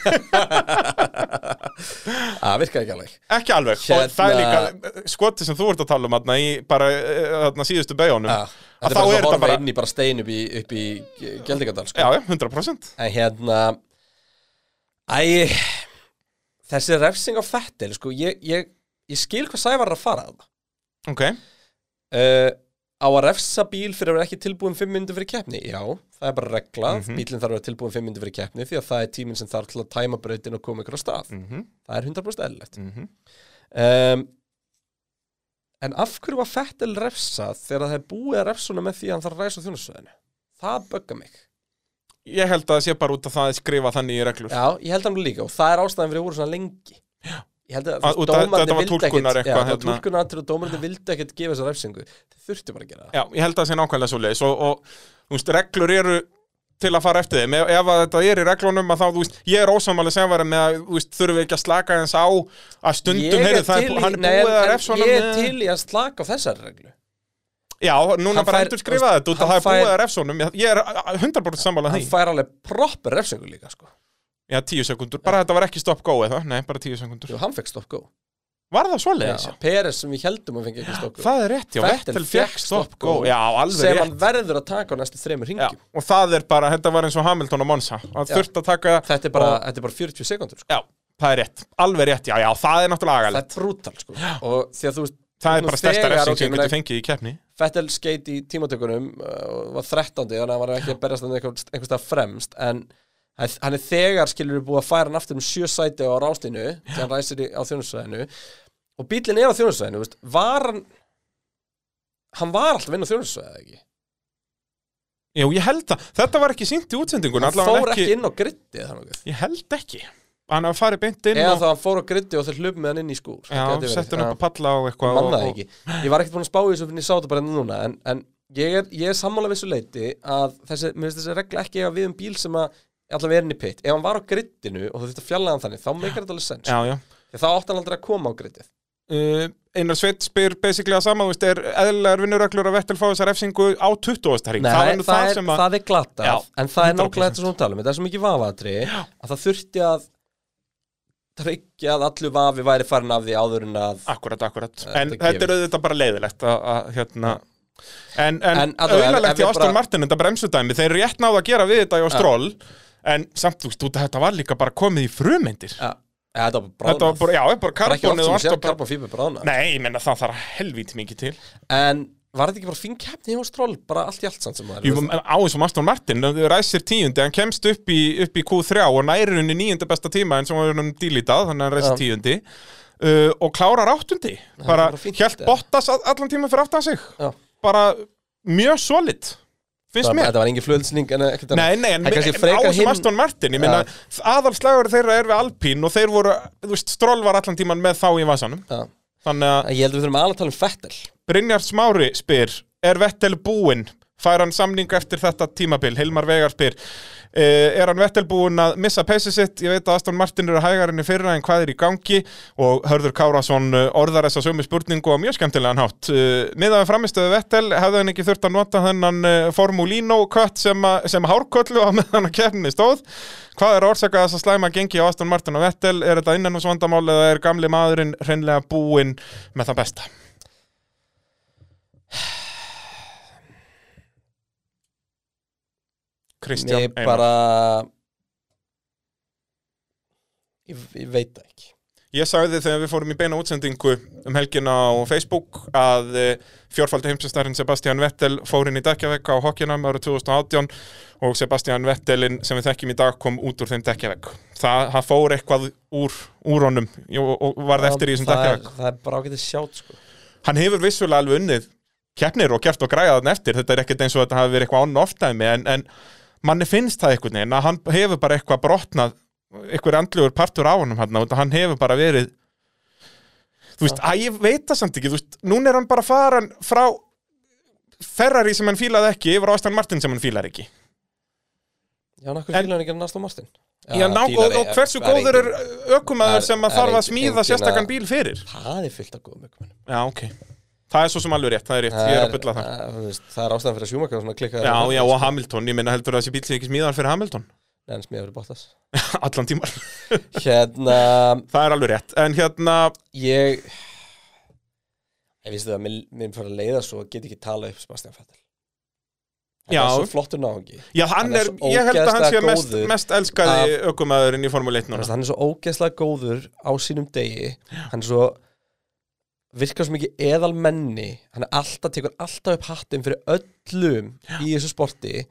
S1: það virkaði ekki alveg
S2: ekki alveg, og
S1: Hérna-
S2: það er líka skoti sem þú ert að tala um þarna í bara eh, þarna síðustu beigunum
S1: Já, þetta
S2: að þá
S1: er bara svo
S2: er
S1: að
S2: þetta
S1: horfa
S2: bara
S1: inn í bara stein upp í, upp í Gjaldingadal sko.
S2: Já, já, 100%
S1: En hérna Æ Þessi refsing á Fettel sko, ég, ég, ég skil hvað Sævar er að fara að
S2: Ok,
S1: uh, Á á að refsa bíl fyrir að vera ekki tilbúin 5 minnundur fyrir keppni? Já, það er bara regla, bílinn þarf að vera tilbúin 5 minnundur fyrir keppni því að það er tíminn sem þarf til að tæma brautin og koma ykkur á stað.
S2: Mm. Mhm,
S1: Það er 100% eðlilegt. um, en af hverju var Fettel refsað þegar það er búið að refsa honum með því að hann þarf að ræsa á þjónusvæðinu? Það bögga mig.
S2: Ég held að það sé bara út af það að skrifa þannig í reglur.
S1: Já, ég held hann líka og það er ástæðan fyrir að voru svona lengi Ég held að,
S2: Að-
S1: þú
S2: út af-
S1: veist, dómarnir
S2: þetta var
S1: vildu ekkit-
S2: túlkunar
S1: Já,
S2: eitthvað,
S1: það var
S2: hérna.
S1: túlkunar og dómarnir vildi ekkert gefa þessa refsingu Þau þurftu bara að gera það
S2: Já, ég held að það sé nákvæmlega svo leiðis og, og þú veist, reglur eru til að fara eftir þeim, ef, ef að þetta er í reglunum að þá, þú veist, ég er ósamálega sem var með að, þú veist, þurfum við ekki að slaka hans á að
S1: Ég
S2: stundum,
S1: er
S2: heyrðu, það
S1: til
S2: er,
S1: í-
S2: hann er
S1: nei, en-
S2: búið að
S1: en
S2: refsa honum
S1: Ég er
S2: með-
S1: til í að slaka á þessari reglu
S2: Já, núna
S1: Hann
S2: bara
S1: fær-
S2: endur skrifaði þetta út að
S1: hann
S2: það er búið
S1: fær-
S2: að refsa honum Ég- Ég er a- a- 100% sammálað
S1: Hann
S2: því
S1: fær alveg proper refsingu líka sko
S2: Já, 10 sekundur, bara þetta var ekki stopp go eða Nei, bara 10 sekundur
S1: Jú, hann fekk stopp go
S2: Var það svoleiðis?
S1: Peres sem við heldum að fengi ekki stopp go
S2: Það er rétt, já,
S1: Vettel
S2: Vettel
S1: fékk
S2: fekk stopp go
S1: stopp-go
S2: Já, alveg
S1: Sem hann
S2: rétt
S1: verður að taka á næstu þremur
S2: Já,
S1: ringjum
S2: og það er bara, þetta var eins og Hamilton og Monsa Það
S1: Já.
S2: þurft að taka
S1: Þetta er bara,
S2: og,
S1: þetta er bara 40 sekundur sko
S2: Já, það er rétt, alveg rétt, já, já, það er náttúrulega
S1: Það
S2: agalegt
S1: er brútal sko Og því að þú veist
S2: Það er
S1: nú
S2: bara stærsta
S1: þegar,
S2: refsing
S1: ok,
S2: sem
S1: meina,
S2: getur fengið í keppni
S1: Fettel skeit í tímatökunum uh, og var 13. þannig að hann var ekki að berjast hann einhvers einhvers staðar fremst en hann hann er þegar skilur við búið að færa hann aftur um sjö sæti á ráslinu þegar hann ræsir í, á þjónusvæðinu og bílinn er á þjónusvæðinu veist, var hann hann var alltaf inn á þjónusvæðinu ekki
S2: Jú, ég held það, þetta var ekki sínt í útsendingun
S1: hann fór ekki, inn á gritti
S2: Ég held ekki Hann hafa farið beint inn
S1: eða
S2: og-
S1: þá hann fór á gritti og þeir hlup með hann inn í skúr
S2: Já,
S1: Það gæti verið.
S2: settu hann upp
S1: Já.
S2: að palla og eitthvað
S1: mann
S2: og-
S1: það
S2: og-
S1: ekki ég var ekkert búin að spá í þessu fyrir ég sá þetta bara hérna núna en, en ég er, ég er sammála vissu leiti að þessi, mér finnst þessi regla ekki að við um bíl sem að allavega er inn í pitt ef hann var á grittinu og þú þurfti að fjalla hann þannig þá meikar þetta alveg sens
S2: Já, já
S1: því þá átti hann aldrei að koma á grittið
S2: uh, Einar Sveit spyr basically að sama, þú veist, er eðlilegar vinnuröglur að Vettel fá þessa refsingu á 20. ring það var nú það,
S1: er,
S2: sem að
S1: það er glatað
S2: Já,
S1: en það er
S2: 100%.
S1: nákvæmlega þetta sem hún tala um þetta er svo mikið vafaðatri að það þurfti að tryggja að allu vafi væri farin af því áður en að
S2: Akkurat, akkurat,
S1: Þetta
S2: en
S1: gefur.
S2: þetta er auðvitað bara leiðilegt að, að hérna En, en,
S1: En
S2: en
S1: allavega, ef- ef
S2: auðvitað í
S1: við
S2: Aston
S1: bara-
S2: Martin, þetta bremsudæmi þeir eru rétt náðu að gera við þetta á stról en samt, þú veist, út að þetta var líka bara komið í frumindir
S1: ja, ja, þetta var bara
S2: Þetta var bara, já, bara
S1: bara ekki
S2: karbonið
S1: oft
S2: og
S1: sem
S2: allt og
S1: sé
S2: bara
S1: karbonfíber bráðnað
S2: Nei, ég menna það þarf helvítið mikið til
S1: En var þetta ekki bara fín keppni hjá Stroll, bara allt í allt samt sem það
S2: Jú, en á eins og Aston Martin, þau ræsir tíundi, hann kemst upp í, upp í Q3 og nærir henni níunda besta tíma eins og hann er um dílítað, þannig að hann ræsir
S1: Já.
S2: tíundi uh, og klárar áttundi, bara
S1: bara fínt, eh.
S2: hjælt
S1: eða?
S2: Bottas all- allan tíma fyrir aftan sig,
S1: Já.
S2: bara mjög solid, finnst
S1: það,
S2: mér.
S1: þetta var engin flöðsning en ekkert
S2: Nei, nei, en,
S1: Það er
S2: en
S1: kannski
S2: á
S1: frekar
S2: þessum
S1: hinn-
S2: Aston Martin, ég meina aðalslagur þeirra er við Alpín og þeir voru, þú veist, Stroll var allan tíman með þá í vasanum,
S1: Já.
S2: þannig að
S1: Ég held að við þurfum aðlega að tala um Fettel
S2: Brynjar Smári spyr Er Vettel búinn? Fær hann samning eftir þetta tímabil? Hilmar Vegar spyr eh, Er hann Vettel búinn að missa peysi sitt? Ég veit að Aston Martin eru hægarinn í fyrra en hvað er í gangi? Og Hörður Kárasson eh, orðar þessa sömu spurningu á mjög skemmtilegan hátt Eh, Miðað við framistöðu Vettel hefði hann ekki þurft að nota þennan eh, Formulino kött sem, að- sem hárköllu á meðan að kefni stóð Hvað er orsakað þess að slæma gengi á Aston Martin og Vettel? Er þetta innanhúsvandamál eða er gamli maðurinn hreinlega búinn með það besta? Kristján
S1: Ég
S2: Einar.
S1: bara ég, ég veit það ekki
S2: Ég sagði þegar við fórum í beina útsendingu um helgina á Facebook að eh, fjórfaldi heimsistarinn Sebastian Vettel fór inn í dekkjavegg á Hockenheim árið 2018 og Sebastian Vettelin sem við þekkjum í dag kom út úr þeim dekkjavegg. Það, það fór eitthvað úr, úr honum og, og varð eftir í þessum
S1: það, er-
S2: dekkjavegg.
S1: það er bara ágætið sjátt sko.
S2: Hann hefur vissulega alveg unnið keppnir og gert og græða þann eftir. Þetta er ekkert eins og þetta hafi verið eitthvað onn oftæmi en, en manni finnst það einhvern veginn að hann hefur bara eitthvað brotnað einhver andlugur partur á honum hann hann hefur bara verið þú veist, að ég veit það samt ekki þú veist, núna er hann bara faran frá Ferrari sem hann fílaði ekki yfir á Aston Martin sem hann fílar ekki
S1: Já, en okkur
S2: En-
S1: fílan ekki að næsta Martin
S2: Já, ná, og, og hversu góður er
S1: það er-
S2: ökumæður sem
S1: það
S2: að
S1: er
S2: þarf að
S1: engin- engin
S2: smíða
S1: að-
S2: sérstakann bíl fyrir
S1: Það er fyllt af góðum ökumönnum
S2: Já, ok Það er svo sem alveg rétt, það er rétt, ég er að bylla það
S1: er- þú veist, Það er ástæðan fyrir að sjúmaka svona klikkaði
S2: Já, já, og Hamilton, ég meina heldur að þessi bíl sé ekki smíðan fyrir Hamilton
S1: Nei, en smíða fyrir Bottas
S2: Allan tímar
S1: Hérna,
S2: Það er alveg rétt, en hérna
S1: ég ég vissi það að mér, mér fyrir að leiða svo að geta ekki tala upp Sebastian Vettel hann
S2: Já.
S1: er svo flottur náungi
S2: Já, hann,
S1: Hann er
S2: er,
S1: svo
S2: ég held að hann sé
S1: ógeðslega
S2: mest,
S1: góður
S2: mest elskaði ökumæðurinn í Formule 1 núna
S1: hann er svo ógeðslega góður á sínum degi hann er svo virkar svo mikið eðalmenni hann er alltaf, tekur alltaf upp hattinn fyrir öllum í þessu sporti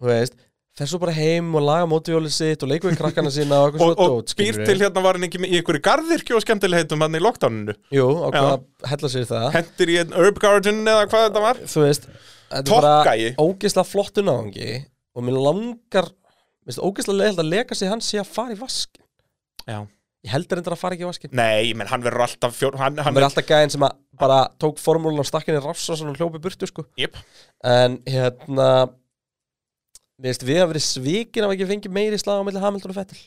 S1: þú veist, fer svo bara heim og laga mótivjólið sitt og leikur við krakkana sína og eitthvað
S2: og,
S1: svona
S2: og
S1: dót,
S2: býr
S1: skilurðu.
S2: til hérna var hann ekki með í einhverju garðirkju og skemmtilegheitum hann í lockdowninu
S1: Jú, og hvað hella sér í það
S2: hendir í einn herb garden eða hvað þetta var
S1: þú veist, þetta er bara
S2: Toppgæi.
S1: ógeðslega flottu náðungi og mér langar mér finnst ógeðslega leiðilegt að leka sig hann sé að fara í vaskin
S2: já.
S1: ég heldur endur að fara ekki í vaskin
S2: nei, menn hann verður alltaf fjór, hann, hann
S1: hann er alltaf gæðin sem að bara tók formúlun á stakkinni rafsrásan og hljópi burtu sko
S2: Jep.
S1: en hérna við veist við hafa verið svikin af ekki fengið meiri slag á milli Hamilton og Fettil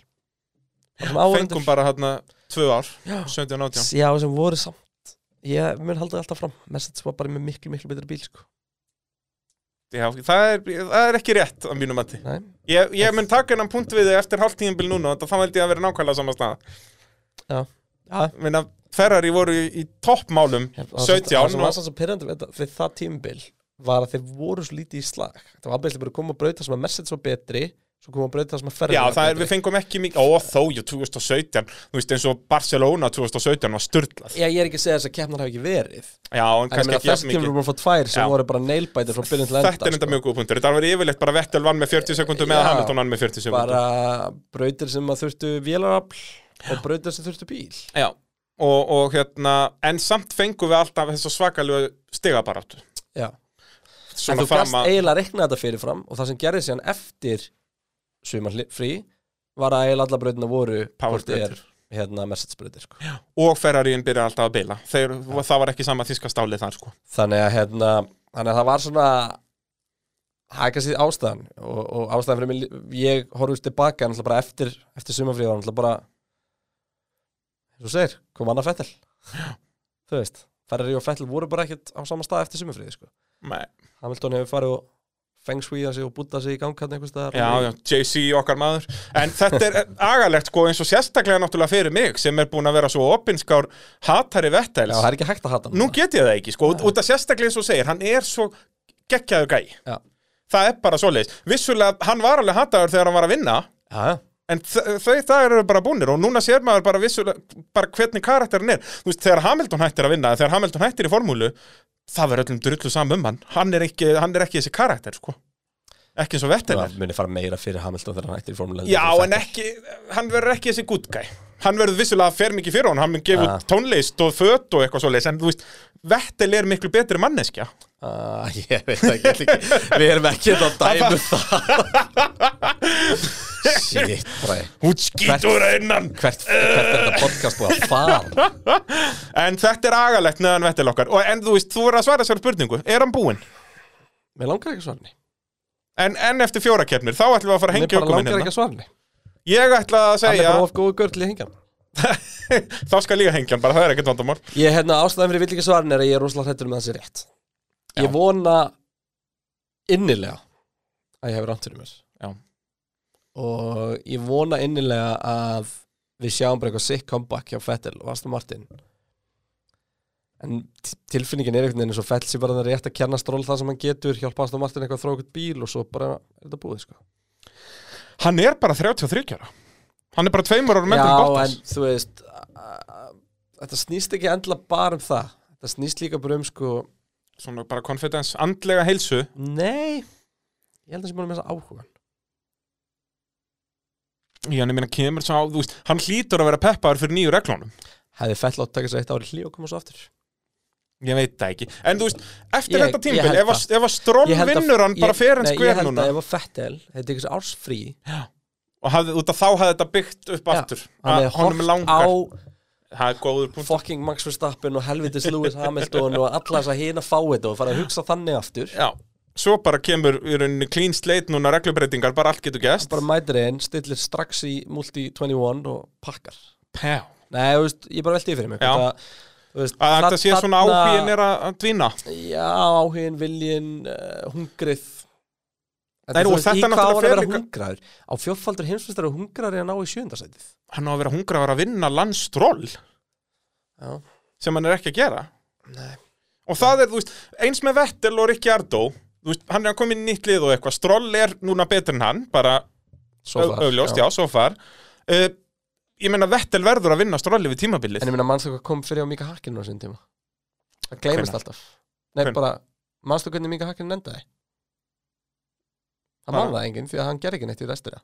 S2: fengum bara hérna tvö ár 17 og 18
S1: já sem voru samt ég mun halda alltaf fram Mercedes var bara með miklu miklu betri bíl sko
S2: já, það, er, það er ekki rétt á mínum mati
S1: Nei.
S2: ég, ég mun taka hennan punkt við þig eftir hálftíðinbil núna þetta þá held ég að vera nákvæmlega saman staða
S1: já Já,
S2: minna Ferrari voru í, í toppmálum
S1: það var samt- það var
S2: 17
S1: svona
S2: og
S1: aðsans að pyrrandi við, þetta- við það tímbil var að þeir voru svo lítið í slag það var aðbæðislega bara að koma að brauta sem að Mercedes var betri svo koma að brauta sem að Ferrari
S2: Já,
S1: var
S2: það er,
S1: betri.
S2: við fengum ekki mikið, ó þó, jú, 2017, þú veist eins og Barcelona 2017 var styrlað.
S1: Já, ég er ekki að segja þess að keppnar hafi ekki verið
S2: Já, en
S1: En ég
S2: kannski
S1: meina
S2: ekki
S1: þessi
S2: jafn
S1: tímur
S2: mikið.
S1: voru bara að fá tvær sem
S2: Já.
S1: voru bara nailbætir frá byrjun til enda
S2: Þetta er enda
S1: sko.
S2: mjög góð punktur. Þetta var yfirleitt bara Vettel vann með 40 sekundum eða
S1: Já.
S2: Hamilton vann með 40 sekundum.
S1: Bara brautir sem að þurftu vélarafl og brautir sem þurftu bíl
S2: Já. Og, og hérna, en samt fengum við alltaf þessu svakalegu stigabaráttu.
S1: Já. En þú
S2: Svona
S1: gast
S2: fram að,
S1: eiginlega að rekna þetta fyrirfram og það sem gerði síðan eftir sumar frí var að eiginlega allar brautina voru
S2: Power
S1: hvort er,
S2: brautir.
S1: hérna, Mercedes brautir sko.
S2: og Ferrarín byrja alltaf að bila. Þeir, það var ekki sama þíska stálið þar, sko.
S1: þannig, að, hérna, þannig að það var svona það er kannski ástæðan og, og ástæðan fyrir mig, ég horfðist tilbaka náttúrulega bara eftir, eftir sumarfríð var náttúrulega bara eins og þú segir, kom annað fettel þú veist, Ferrari og fettel voru bara ekkert á sama stað eftir sumarfríði sko.
S2: Nei.
S1: Hamilton hefur farið og fengsvíða sig og búta sig í gangarni einhvers staðar
S2: Já, já, JC okkar maður En þetta er agalegt sko eins og sérstaklega náttúrulega fyrir mig sem er búin að vera svo opinskár hatari
S1: Já,
S2: Vettels
S1: það er ekki hægt að hata hann
S2: Nú get ég það ekki sko, út að sérstaklega eins og þú segir hann er svo geggjaður gæ
S1: Já.
S2: Það er bara svoleiðis Vissulega, hann var alveg hataður þegar hann var að vinna
S1: Já, já,
S2: En þ- þau það eru bara búnir og núna sér maður bara vissulega bara hvernig karakterin er Þú veist, þegar Hamilton hættir að vinna þegar Hamilton hættir í formúlu það verður öllum drullu saman um hann hann er ekki, hann er ekki þessi karakter sko ekki eins og Vettel er
S1: það muni fara meira fyrir Hamilton þegar hann hættir í formulega
S2: Já, en ekki, hann verður ekki þessi gúttgæ Hann verður vissulega fer mikið fyrir hann Hann mun gefa
S1: Ah.
S2: út tónlist og föt og eitthvað svoleiðis En þú veist, Vettel er miklu betri manneskja
S1: Ah, ég veit það ekki, ekki Við erum ekki að um dæmu það Shit, fræ
S2: Hún skýtur að innan
S1: hvert, hvert er þetta podcast búið að fara
S2: En þetta er agalegt neðan Vettel okkar og, En þú veist, þú verður að svara sér spurningu Er hann búinn?
S1: Mér langar ekki að svara henni
S2: En, en eftir fjóra keppnir, þá ætlum við að fara að
S1: Mér
S2: hengja
S1: bara
S2: okkur minn
S1: langar ekki
S2: hérna
S1: að svara henni
S2: Ég ætla að
S1: Hann er
S2: segja
S1: bara of góðu görl í hengjan
S2: Þá skal ég hengja hann bara, það er ekkert vandamál
S1: Ég, hérna, ástæðan fyrir ég vill ekki svara henni er að ég er rosalega hrættur um að það sé rétt Ég vona innilega að ég hefur rántur um mér
S2: Já.
S1: Og ég vona innilega að við sjáum bara eitthvað sick comeback hjá Fettel og Aston Martin En t- tilfinningin er einhvern veginn eins og Fettel sé bara það rétt að kenna stról það sem hann getur hjálpa Aston Martin eitthvað að þróa eitthvað bíl og svo bara er þetta búið sko
S2: Hann er bara 33 ára Hann er bara tveimur árum
S1: Já,
S2: endur Bottas
S1: en þú veist a- Þetta snýst ekki endilega bara um það Þetta snýst líka bara um sko
S2: Svona bara confidence, andlega heilsu
S1: Nei Ég held að það sé bara með þessa áhugan
S2: Já, en ég meina kemur sá, þú veist, hann hlýtur að vera peppaður fyrir nýju reglónum.
S1: Hefði fell átt að taka þess eitt ári hlý og koma svo aftur
S2: Ég veit það ekki. En þú veist, eftir
S1: Ég-
S2: þetta
S1: ég
S2: tímbil,
S1: held
S2: ef, að- ef að strón
S1: Ég held að-
S2: vinnur hann bara
S1: ég-
S2: fer en
S1: nei,
S2: skver
S1: Ég held
S2: núna
S1: að ef að Fettel hefði tekið sér árs frí
S2: og hafði, út af þá hafði þetta byggt upp aftur.
S1: Hann
S2: Að
S1: hefði
S2: Honum er
S1: hort á
S2: langar. Það er góður punkt.
S1: fucking Max Verstappen og helvitis Lewis Hamilton og alla þess að hina fá þetta og fara að hugsa þannig aftur
S2: Já. Svo bara kemur í rauninni clean slate núna reglubreitingar, bara allt getur gæst.
S1: Bara mætir einn, stillir strax í Multi 21 og pakkar
S2: pæ.
S1: Nei, þú veist, ég bara velti því fyrir mig
S2: Já.
S1: hvort að, þú veist,
S2: Að þetta
S1: þa-
S2: sé svona
S1: þarna-
S2: áhugin er að að dvína.
S1: Já, áhugin, viljin, uh, hungrið
S2: Nei,
S1: þú
S2: og
S1: veist,
S2: þetta
S1: í hvað á
S2: náttúrulega
S1: að vera
S2: fer líka-
S1: hungraður? Á fjórfaldur heimsfyrstari og hungraður er að ná í sjöndasætið
S2: Hann á að vera hungra að vera að vinna landstról
S1: Já,
S2: sem hann er ekki að gera.
S1: nei
S2: Og það er, þú veist, eins með Vettel og Ricciardo Þú veist, hann er að koma inn í nýtt lið og eitthvað Stroll er núna betur en hann, bara
S1: Svo
S2: au-
S1: far,
S2: augljóst, já, svo far uh, Ég meina, Vettel verður að vinna Strolli við tímabilið
S1: En ég meina, mannstu hvað kom fyrir á Mika Hakkinu á sinni tíma Það gleymist
S2: Hvenær?
S1: alltaf Nei,
S2: Hvenær?
S1: bara, manstu hvernig Mika Hakkinen endaði? Hann
S2: Bara-
S1: man það enginn því að hann gerði ekki neitt í restina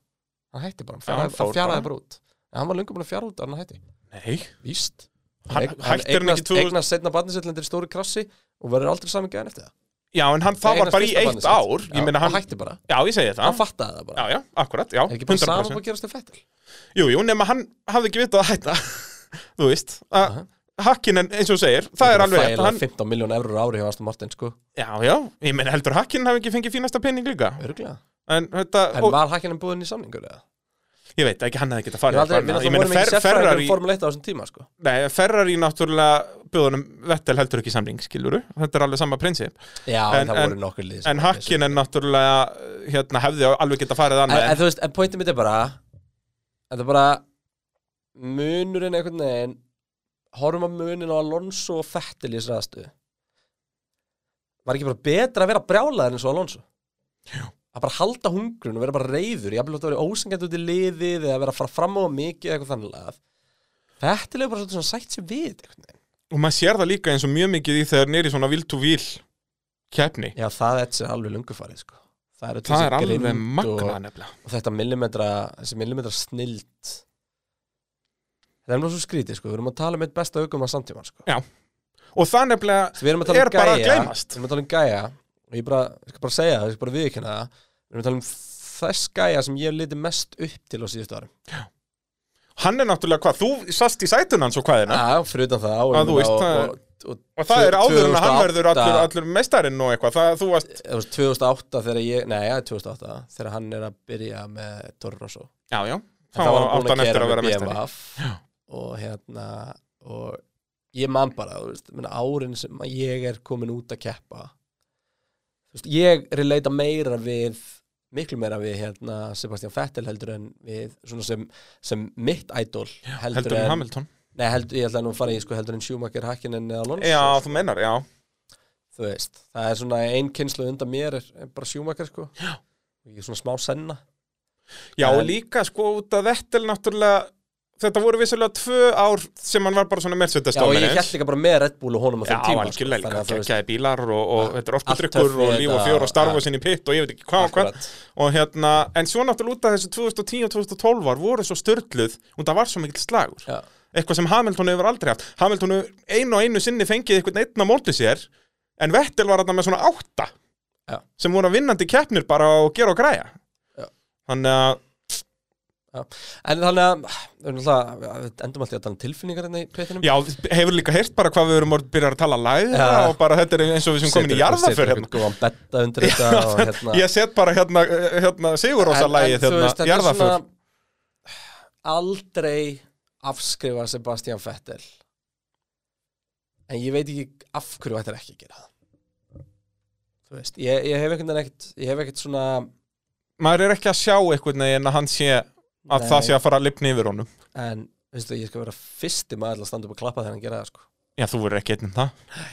S1: Hann hætti bara, hann
S2: Já,
S1: fjaraði,
S2: hann
S1: hann
S2: fór
S1: fjaraði
S2: bara.
S1: bara út En hann var löngu búin að fjara út að hann hætti
S2: Nei
S1: Víst
S2: Hann-
S1: eign-
S2: hættir hann ekki
S1: eignast,
S2: 2000?
S1: eignast setna barnisillendir stóri krassi og verður aldrei saman gæðan eftir það
S2: Já, en hann, það var
S1: Eignast
S2: bara í
S1: fyrsta barnið
S2: eitt
S1: sitt.
S2: ár
S1: Já,
S2: Ég meina hann
S1: hætti bara,
S2: Já, ég segi
S1: hann
S2: það
S1: fattaði það bara
S2: Já, já, akkurat, já,
S1: Er ekki bara saman
S2: 100%
S1: búin að gerast þau fettil
S2: Jú, jú, nema hann hafði ekki vitað að hætta Þú veist að Hakkinen, eins og þú segir, það er alveg rétt,
S1: Fæla
S2: hann,
S1: 15 miljón eurur ári hjá Aston Martin, sko
S2: Já, já, ég meina heldur Hakkinen hafi ekki fengið fínasta pening líka
S1: Öruglega
S2: En þetta,
S1: En
S2: og,
S1: var Hakkinen búinn í samningur eða?
S2: ég veit ekki, hann hefði getað
S1: Ég,
S2: farið
S1: aldrei,
S2: eitthvað
S1: við náttúrulega
S2: annað.
S1: vorum ekki
S2: Fer-
S1: sérfræðingur
S2: Ferrari-
S1: um Formule 1 á þessum tíma, sko
S2: Nei, Ferrari náttúrulega bjóðunum Vettel heldur ekki samling, skiluru Þetta er alveg sama prinsip
S1: Já,
S2: En-
S1: en, það
S2: en-
S1: voru nokkur lið sem
S2: En
S1: voru eins og-
S2: Hakkinen náttúrulega, hérna, hefði alveg getað
S1: en,
S2: farið annað
S1: en þú veist, en pointið mitt er bara Þetta er bara Munurinn einhvern veginn Horfum að munin á Alonso og Fettil í þessari aðstöðu Var ekki bara betra að vera brjálaður eins og Alonso Að bara halda hungrun og vera bara reyður Ég að blóta að vera ósengjandi út í liðið Eða vera að fara fram á of mikið eða eitthvað þannig lagað Fettil er bara svolítið svona sætt sér við einhvern veginn
S2: Og maður sér það líka eins og mjög mikið í þegar nýri svona vil to vil keppni.
S1: Já, það er sér alveg lungufarið sko Það er, öll
S2: Það
S1: þessi
S2: er alveg
S1: grimmd
S2: magna
S1: og-
S2: nefnilega.
S1: og þetta millimetra þessi millimetra snild þetta er náttúrulega svo skrítið sko við erum að tala um eitt besta augum að samtíma sko.
S2: Og það nefnilega,
S1: við erum að tala um
S2: Er bara
S1: gæja
S2: að
S1: við
S2: gleymast.
S1: erum að tala um gæja og ég bara, ég skal bara segja það, ég skal bara viðkynna það við erum að tala um þess gæja sem ég hef litið mest upp til á síðustu árum
S2: hann er náttúrulega hvað, þú sast í sætun hans og hvaðina
S1: já, fyrir utan það og,
S2: Að Ah, þú veist,
S1: og,
S2: það
S1: og, og,
S2: og það er áður en að hann
S1: 2008
S2: verður allur, allur meistarinn og eitthvað. Það, þú varst,
S1: það var 2008 þegar ég, nei, ja, 2008 þegar hann er að byrja með Toro Rosso
S2: já, já,
S1: En
S2: þá
S1: það var hann
S2: átt
S1: búin
S2: hann
S1: að gera
S2: eftir
S1: með
S2: að vera meistari.
S1: BMF og hérna og ég man bara, þú veist, menna, árin sem að ég er komin út að keppa þú veist, ég releita meira við miklu meira við hérna Sebastian Vettel heldur en við svona sem, sem mitt idol heldur,
S2: Heldur en Hamilton.
S1: nei, heldur, ég ætla nú að fara í sko, heldur en Schumacher, Hakkinen eða Alonso
S2: Já,
S1: sko,
S2: þú mennar, já.
S1: þú veist, það er svona ein kynslu undan mér er, er bara Schumacher sko já. ég er svona smá senna En-
S2: Já, og líka sko út að Vettel náttúrulega, þetta voru vissulega tvö ár sem hann var bara svona
S1: já, og
S2: Mercedes-dóminn
S1: ég held líka bara með Red Bull og honum á
S2: Já,
S1: þeim tíma sko,
S2: algjörlega,
S1: þannig
S2: líka,
S1: að þú veist-
S2: geggjaði bílar og, og þetta er
S1: Allt
S2: orkutrykkur
S1: töff
S2: og
S1: við
S2: líf og
S1: þetta,
S2: fjór og starfa
S1: já.
S2: sinni pitt og ég veit ekki hvað og hvað
S1: Akkurat.
S2: og hérna, en svo náttúrulega út af þessu 2010 og 2012 var voru svo störluð og það var svo mikill slagur
S1: Já.
S2: eitthvað sem Hamilton hefur aldrei haft Hamilton hefur einu og einu sinni fengið eitthvað neittna móti sér en Vettel var þarna með svona átta
S1: Já.
S2: sem voru vinnandi keppnir bara og gera og græja
S1: Já.
S2: þannig að
S1: En þannig að, við erum náttúrulega- við endum alltaf að tala um tilfinningar hérna í pétinum
S2: Já, hefur líka heyrt bara hvað við erum orðið byrjar að tala læðra
S1: Já.
S2: og bara þetta er eins og við sem komin í jarðaför hérna.
S1: Setur góðan betta undir þetta og hérna
S2: Ég set bara hérna, hérna Sigurósa lægið
S1: þú veist,
S2: hérna,
S1: þetta er
S2: jarðaför
S1: svona- Aldrei afskrifa Sebastian Vettel En ég veit ekki af hverju þetta er ekki að gera það Þú veist, ég, ég hef einhvern veginn ekkert Ég hef ekkert svona
S2: Maður er ekki að sjá einhvern veginn að hann sé að
S1: Nei.
S2: það sé að fara að lipna yfir honum
S1: En, veistu, ég skal vera fyrsti maður til að standa upp og klappa þegar hann gera það sko
S2: Já, þú verður ekki einn um það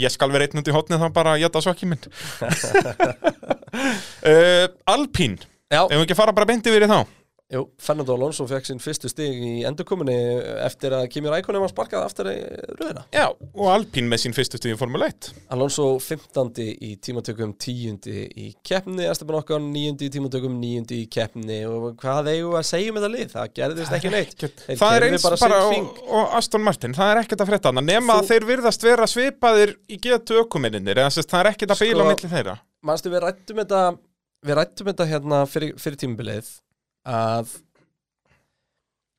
S2: Ég skal vera einn út í hotnið þá bara að jæta svaki minn uh, Alpín
S1: Já,
S2: Ef við ekki að fara bara beint yfir í þá
S1: Jú, Fernando Alonso fekk sinn fyrstu stig í endurkominni eftir að Kimi Rækonum var sparkað aftur í röðina.
S2: Já, og Alpín með sín fyrstu stíði Formule 1
S1: Alonso 15. í tímatökum, 10. í keppni, Esteban Okkar 9. í tímatökum, 9. í keppni og hvað eigum við að segja með það lið? Það gerðist ekki neitt. Þeir
S2: Það er
S1: keyrðu
S2: eins bara
S1: sinn
S2: og,
S1: hring.
S2: og Aston Martin, það er ekkert að frétta hana nema
S1: Þú-
S2: að þeir virðast vera svipaðir í getu ökuminninir eða sérst það er ekkert að bíla á
S1: Sko-
S2: milli þeirra
S1: Manstu, við rættum þetta, við rættum þetta hérna fyrir, fyrir tímabilið að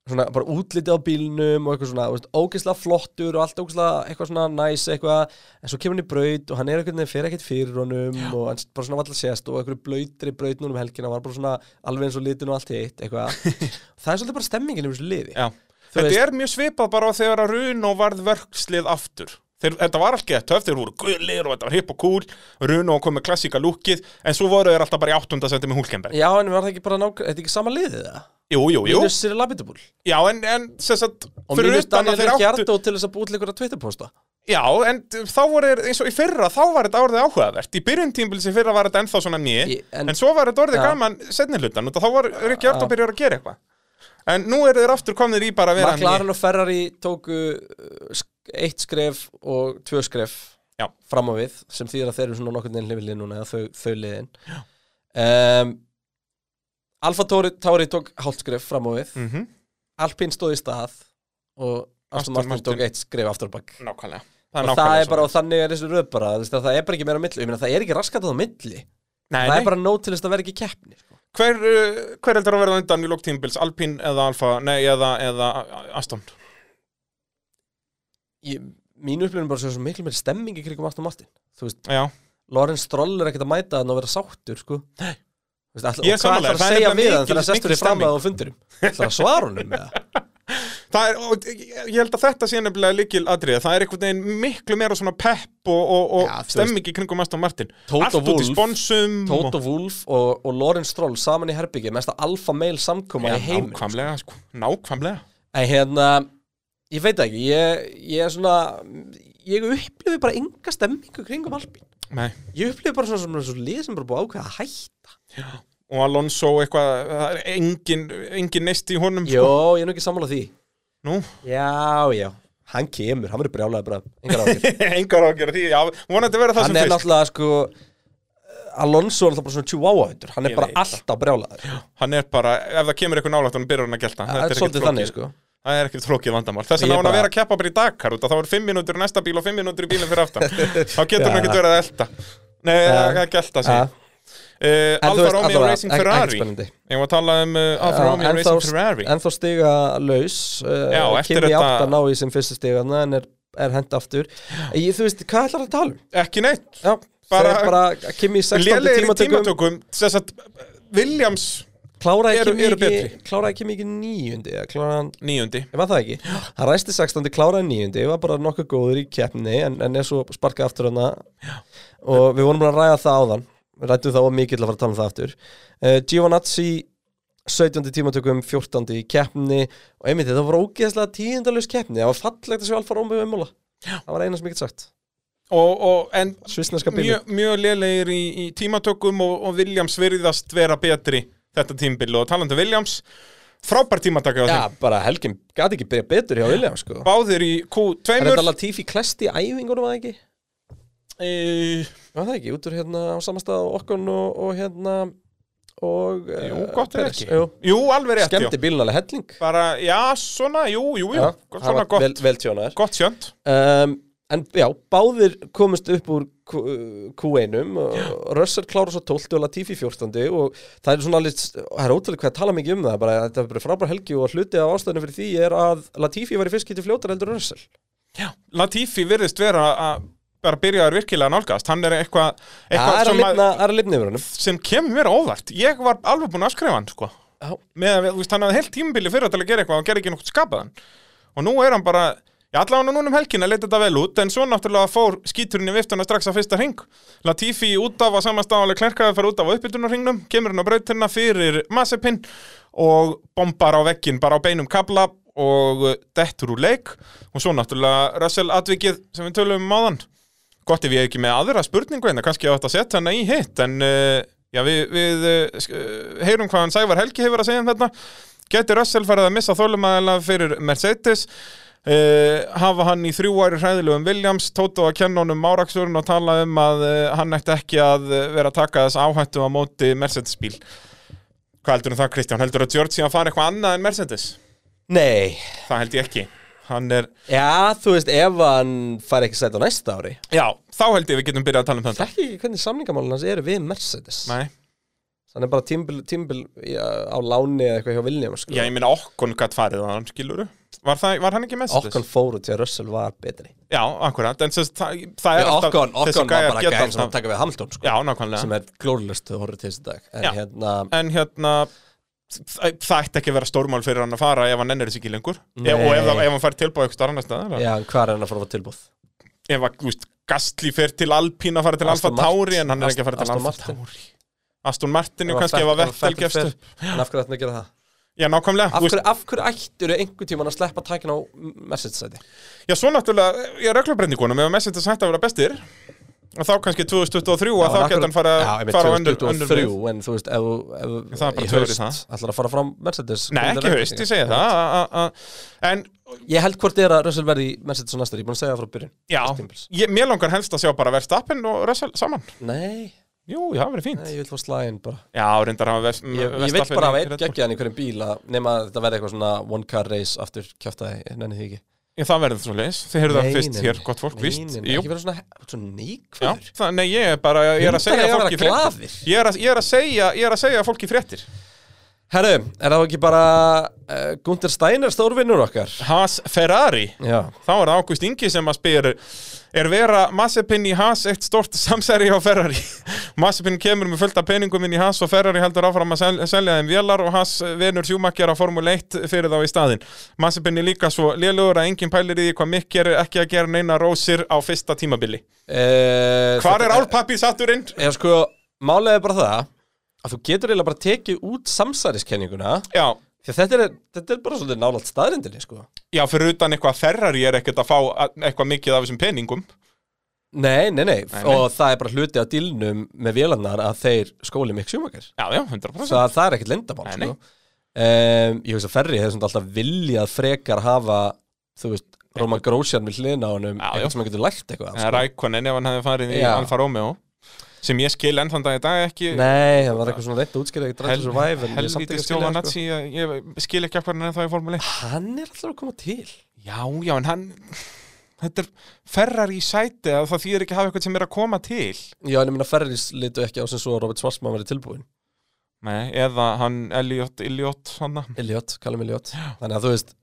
S1: svona bara útlitið á bílnum og eitthvað svona, þú veist, ógeðslega flottur og allt ógeðslega eitthvað svona næs eitthvað en svo kemur hann í braut og hann er eitthvað fyrir ekkert fyrir honum og hann bara svona valla sést og eitthvað blautri braut núna um helgina var bara svona alveg eins og litin og allt hitt eitthvað það er svolítið bara stemmingin um þessu liði
S2: Já.
S1: Þú
S2: Þetta
S1: veist-
S2: er mjög svipað bara á þegar að Runo varð verkslið aftur þeir, Þetta var alltaf töf, þeir voru gullir og þetta var hipp og cool Runo kom með klassíka lúkið en svo voru þeir alltaf bara í 8. senti með Hulkenberg
S1: Já, en var það ekki bara nákvæm, þetta er ekki sama liðið það?
S2: Jú, jú, jú,
S1: Mínus Cyril Abitibúl
S2: já en, en sérst að
S1: og
S2: fyrir
S1: mínus
S2: utan að
S1: Daniel
S2: þeir áttu
S1: Ricciardo til þess að búið leikur að Twitterposta
S2: Já, en þá voru þeir, eins og í fyrra, þá var þetta orðið áhugavert. Í byrjun tímbils í fyrra var þetta ennþá svona nýi,
S1: Í- en-
S2: en, svo var þetta orðið
S1: Já.
S2: gaman setni hlutan, og þá var Rikki Arto byrjar að gera eitthvað. En nú eru þeir aftur komnir í bara að vera nýi.
S1: McLaren og Ferrari tóku uh, sk- eitt skref og tvö skref
S2: Já.
S1: fram á við sem þýðir að þeir eru svona nokkurn veginn hlifilið núna eða þau, þau liðin um, Alfa Tóri Tári tók hálfskrif fram á við
S2: Mhm.
S1: Alpín stóð í stað og Aston
S2: Aston
S1: Martin
S2: Martin.
S1: tók eitt skrif aftur á bak
S2: Nákvæmlega
S1: og það er bara, og þannig er þessi röð bara þú veist, að það er bara ekki meira á milli, ég meina það er ekki raskat á milli,
S2: Nei,
S1: það
S2: nei.
S1: er bara nót til þess að það verði ekki keppni sko.
S2: Hver, uh, hver heldur að verða undan í lók tímbils? Alpín eða Alfa? Nei, eða, eða Aston?
S1: ég, mínu upplifin er bara svo, svo miklu meiri stemming í krigum Aston Martin, þú veist
S2: Já,
S1: Lorenz Stroll er ekkert að mæta þannig að vera sáttur sko. Nei Vist, all,
S2: Ég er
S1: og hvað
S2: sammála,
S1: ætlar að
S2: það
S1: segja
S2: er nefnilega
S1: við hann
S2: mikil-
S1: þegar sestur
S2: mikil
S1: í fram
S2: stemming.
S1: að á fundurum ætlar að svara honum með það
S2: það er, og, ég, ég held að þetta sé nefnilega líkil atriða Það er einhvern veginn miklu meira svona pepp og, og, og
S1: Já, þú
S2: stemming í kringum Aston Martin
S1: Toto
S2: Allt út í
S1: Wolff.
S2: sponsum
S1: Toto Wolff og, og Lorenz Stroll saman í herbyggi mesta alfa meil samkoma
S2: Já,
S1: í heiminn
S2: nákvæmlega, sko, nákvæmlega
S1: en hérna, ég veit það ekki ég, ég er svona ég upplifi bara enga stemmingu kringum Alpín
S2: Nei.
S1: ég upplifi bara svona svona svona lið sem bara búið að ákveða að hætta
S2: Og Alonso eitthvað, það er engin, engin neist í honum
S1: Jó,
S2: sko.
S1: ég er nú ekki sammála því
S2: Nú,
S1: Já, já, hann kemur, hann verður brjálega bara engar ákveð
S2: engar á að gera því Já, vonandi vera það
S1: hann
S2: sem
S1: er
S2: fyrst
S1: náttúrulega sko Alonso er náttúrulega bara svona chihuahua hundur hann er
S2: Ég
S1: bara
S2: veit það.
S1: alltaf brjálaður
S2: Hann er bara, ef það kemur eitthvað nálægt honum byrjar hann að gelta
S1: það er svolítið þannig sko
S2: Það er ekkert flókið vandamál. Þess
S1: Ég
S2: vegna á hann að
S1: bara-
S2: vera að keppa bara í Dakar út að þá er fimm mínútur í næsta bíl og fimm mínútur í bílinn fyrir aftan. þá getur hann
S1: Já.
S2: ekkert verið að elta. Nei, að að gelta
S1: Ja,
S2: sig. Uh,
S1: En þú
S2: Alfa
S1: veist,
S2: Romeo
S1: allavega,
S2: Racing
S1: ek- ekkert
S2: Ferrari.
S1: spennandi.
S2: Ég var að tala um uh, Alfa Romeo
S1: en,
S2: Racing Ferrari.
S1: en þá stiga laus
S2: Já,
S1: uh,
S2: eftir
S1: kemur ég
S2: þetta-
S1: átt að ná í sem fyrstu stiga en er, er hent aftur ég, þú veist, hvað ætlar að tala um?
S2: Ekki neitt.
S1: Já,
S2: Bara-
S1: bara, bara Kimi í 16.
S2: Lélegir í
S1: tímatökum,
S2: tímatökum. Þess að Williams
S1: kláraði
S2: eru-
S1: Kimi
S2: eru
S1: ekki,
S2: betri.
S1: kláraði Kimi ekki níundi eða kláraði hann
S2: níundi.
S1: Ég var það ekki. Hann ræsti 16. kláraði 9. Var bara nokkuð góður í keppni en, en er svo sparkað aftur hana. Og við vorum bara að ræða það áðan. Við rættum það og mikill að fara að tala um það aftur. Uh, Giovanazzi 17. tímatökum, 14. í keppni og einmitt þetta var ógeðslega tíðindalus keppni. Það var fallegt að sjá Alfa Romeo ummála. Það var eina sem ég get sagt.
S2: Og, og, en
S1: Svissneska bílu.
S2: mjög mjö lélegir í, í tímatökum og, og Williams virðast vera betri þetta tímbil og talandi um Williams frábær tímataka á
S1: Já,
S2: þeim
S1: bara helgin gati ekki byrja betur hjá William sko.
S2: báðir í Q2
S1: Er þetta Latifi klest í æfingunum að ekki?
S2: e,
S1: Var það ekki, út úr hérna á samastað og okkon og, og hérna og
S2: Jú,
S1: eh,
S2: gott er
S1: Peres.
S2: ekki
S1: Jú.
S2: Jú, alveg rétt
S1: Skemmti
S2: já.
S1: bílun alveg helling
S2: Bara, já, svona, jú, jú, jú
S1: Já, hann
S2: Svona
S1: var
S2: gott,
S1: Vel, vel tjónaður
S2: gott sjönd
S1: um, En já, báðir komust upp úr Q- Q1-um og Russell klára svo 12 og Latifi 14 og það er svona alveg, það er ótrúlega hvað að tala mikið um það bara, þetta er bara frábær helgi og hluti af ástæðinu fyrir því er að Latifi var í fyrst getið fljótar heldur en Russell
S2: Latifi virðist vera að bara byrjaður virkilega að nálgast Hann er eitthvað
S1: Það er
S2: eitthva
S1: að
S2: sem, að-
S1: lifna- það er að lifna yfir honum
S2: sem kemur mér á óvart Ég var alveg búinn að skrifa hann, sko
S1: Já.
S2: með að, þú veist, hann hafði heilt tímabili fyrir til að gera eitthvað og hann gerði ekki nokkuð skapaðan og nú er hann bara, já allavega núna um helgina leit þetta vel út, en svo náttúrulega fór skíturinn í viftuna strax á fyrsta ring Latifi út af að samastáðanlega klerkaði fara út af uppbytunarringnum, kemur hann á brautina fyrir Mazepin og bombar á veggin, bara á beinum kabla og uh, dettur úr leik og svo náttúrulega Russell atvikið sem við tölum um áðan gott ef ég er ekki með aðra spurningu en það kannski átt að setja hana í hitt en uh, já, við, við uh, sk- uh, heyrum hvað hann Sævar Helgi hefur að segja um þetta geti Russell farið að missa þólumæðala fyrir Mercedes Uh, hafa hann í þrjú ári hræðilegum Williams, Tóta að kenna honum áraksurinn og tala um að uh, hann ætti ekki að uh, vera að taka þess áhættu á móti Mercedes bíl Hvað heldur um það Kristján? Heldur að George síðan fari eitthvað annað en Mercedes?
S1: Nei,
S2: Það held ég ekki Hann er,
S1: já, þú veist, ef hann fær ekki sætt á næsta ári
S2: já, þá held ég við getum byrjað að tala um þetta
S1: þekki ekki hvernig samningamálun hans eru við Mercedes
S2: Nei
S1: hann er bara tímbil, tímbil í- á láni eða eitthvað hjá Williams
S2: Já,
S1: sko.
S2: ég meina okkon gætt farið á hann, skiluru Var, það, var hann ekki með sér
S1: Okkon fóru til að Russell var betri
S2: Já, akkurat, en sérst, það, það er alltaf þessi gæjar geta alltaf-
S1: taka við Hamilton sko,
S2: Já, nákvæmlega
S1: sem er glóðlust að horfa til þessi dag en
S2: Já.
S1: hérna,
S2: En hérna, það, það ætti ekki að vera stórmál fyrir hann að fara ef hann ennir þessi ekki lengur
S1: Nei.
S2: e Og ef, það- ef hann fær tilbúið eitthvað starf næsta eða?
S1: já, en hvað er hann að fara á tilbúð?
S2: Ef að, þú veist, Gastli fer til Alpín að fara til Alfa
S1: Aston Martin.
S2: Tauri En hann er ekki að fara til
S1: Aston
S2: Alfa
S1: Martin.
S2: Tauri Aston Martin, og kannski ef að Vettel gefst upp.
S1: en af hverju ættum að gera það?
S2: Já, nákvæmlega,
S1: af
S2: þú veist,
S1: hverju, af hverju ættur einhvern tímann að sleppa tækin á Mercedes-sæti?
S2: já, svo náttúrulega Ég er reglubrenningunum, ef að Messi þetta sætt að vera bestir og þá kannski 2023 að þá geta hann fara,
S1: já, einmitt,
S2: fara á önnur, önnur
S1: 2023,
S2: lið.
S1: en þú veist, ef, þú- ef
S2: Það er bara
S1: í
S2: tvö ár í
S1: haust
S2: það.
S1: ætlar að fara fram Mercedes
S2: Nei,
S1: hvernig
S2: ekki
S1: er
S2: haust, ég segi það a- a- a- En
S1: Ég held hvort er að Russell verði í Mercedes og næstur, ég er búin að segja það frá byrjun
S2: já,
S1: Þess tímabils.
S2: ég, mér langar helst að sjá bara Verstappen og Russell saman
S1: Nei,
S2: Jú, já, það verið fínt
S1: nei, ég vil fá slæðin bara
S2: Já, reyndar hafa Vers-
S1: Ég, ég vil
S2: Verstappen
S1: bara
S2: í
S1: hafa einn
S2: Red Bull.
S1: geggjaðan í hverjum bíl að nema að þetta verði eitthvað svona one car race aftur kjöftaði, ég nenni því ekki
S2: Já, það verður svo leis, þið heyrðu það
S1: Nei,
S2: fyrst
S1: nei,
S2: hér,
S1: nei.
S2: gott fólk,
S1: Nei,
S2: víst
S1: nei, nei,
S2: Jú.
S1: Ekki vera svona, svona
S2: Já,
S1: neikvæður
S2: það, nei, ég er bara, ég er að
S1: Hundar
S2: segja
S1: eiga að
S2: fólki
S1: vera glaðir.
S2: Ég er að, ég er að segja, ég er að segja fólki fréttir
S1: Herru, er það ekki bara uh, Gunther Steiner stórvinnur okkar?
S2: Haas Ferrari
S1: Já
S2: Þá er það Ágúst Ingi sem að spyr Er vera Massepin í Haas eitt stort samsæri á Ferrari? Massepin kemur með fullt af peningum inn í Haas og Ferrari heldur áfram að sel selja þeim vélar og Haas eh, venur sjúmakkjar á Formule 1 fyrir þá í staðinn. Massepin er líka svo lélugur að enginn pælir í því hvað mikk er ekki að gera neina rósir á fyrsta tímabili.
S1: uh,
S2: Hvar er álpappi satturinn?
S1: Ég sko, málega er bara það að þú getur eiginlega bara tekið út samsæriskenninguna
S2: Já,
S1: því að þetta er, þetta er bara svolítið nálægt staðrindinni sko
S2: já, fyrir utan eitthvað að Ferrari er ekkert að fá að- eitthvað mikið af þessum peningum.
S1: Nei, nei, nei,
S2: nei.
S1: og það er bara hluti á dílnum með vélarnar að þeir skóli mikk sjúmakar
S2: Já, já, 100%.
S1: það, það er ekkert lindamál
S2: Nei,
S1: sko.
S2: nei.
S1: um, ég hugsa að Ferri hefði svona alltaf viljað frekar hafa þú veist, Roman Grosjan við hliðina á honum,
S2: Já, já.
S1: eitthvað sem hann getur lært eitthvað af,
S2: sko. Rækonin ef hann hefði farið í
S1: Já.
S2: Alfa Romeo sem ég skil enn þann dag í dag ekki
S1: nei, það var eitthvað svona reynd að útskýra ekki Drive to Survive, en ég samt
S2: helvítið
S1: ekki að
S2: stjóða
S1: skilja það,
S2: nazi ég ég skil ekki akkur hann er það í Formule 1
S1: sko. hann er alltaf að koma til
S2: já, já, en hann þetta er ferrar í sæti að það þýðir ekki að hafa eitthvað sem er að koma til
S1: já, en ég minna Ferri litu ekki á sem svo að Robert Schwarzman verið tilbúin
S2: Nei, eða hann Elliot, Elliot hana.
S1: Elliot, kallum Elliot, þannig að þú veist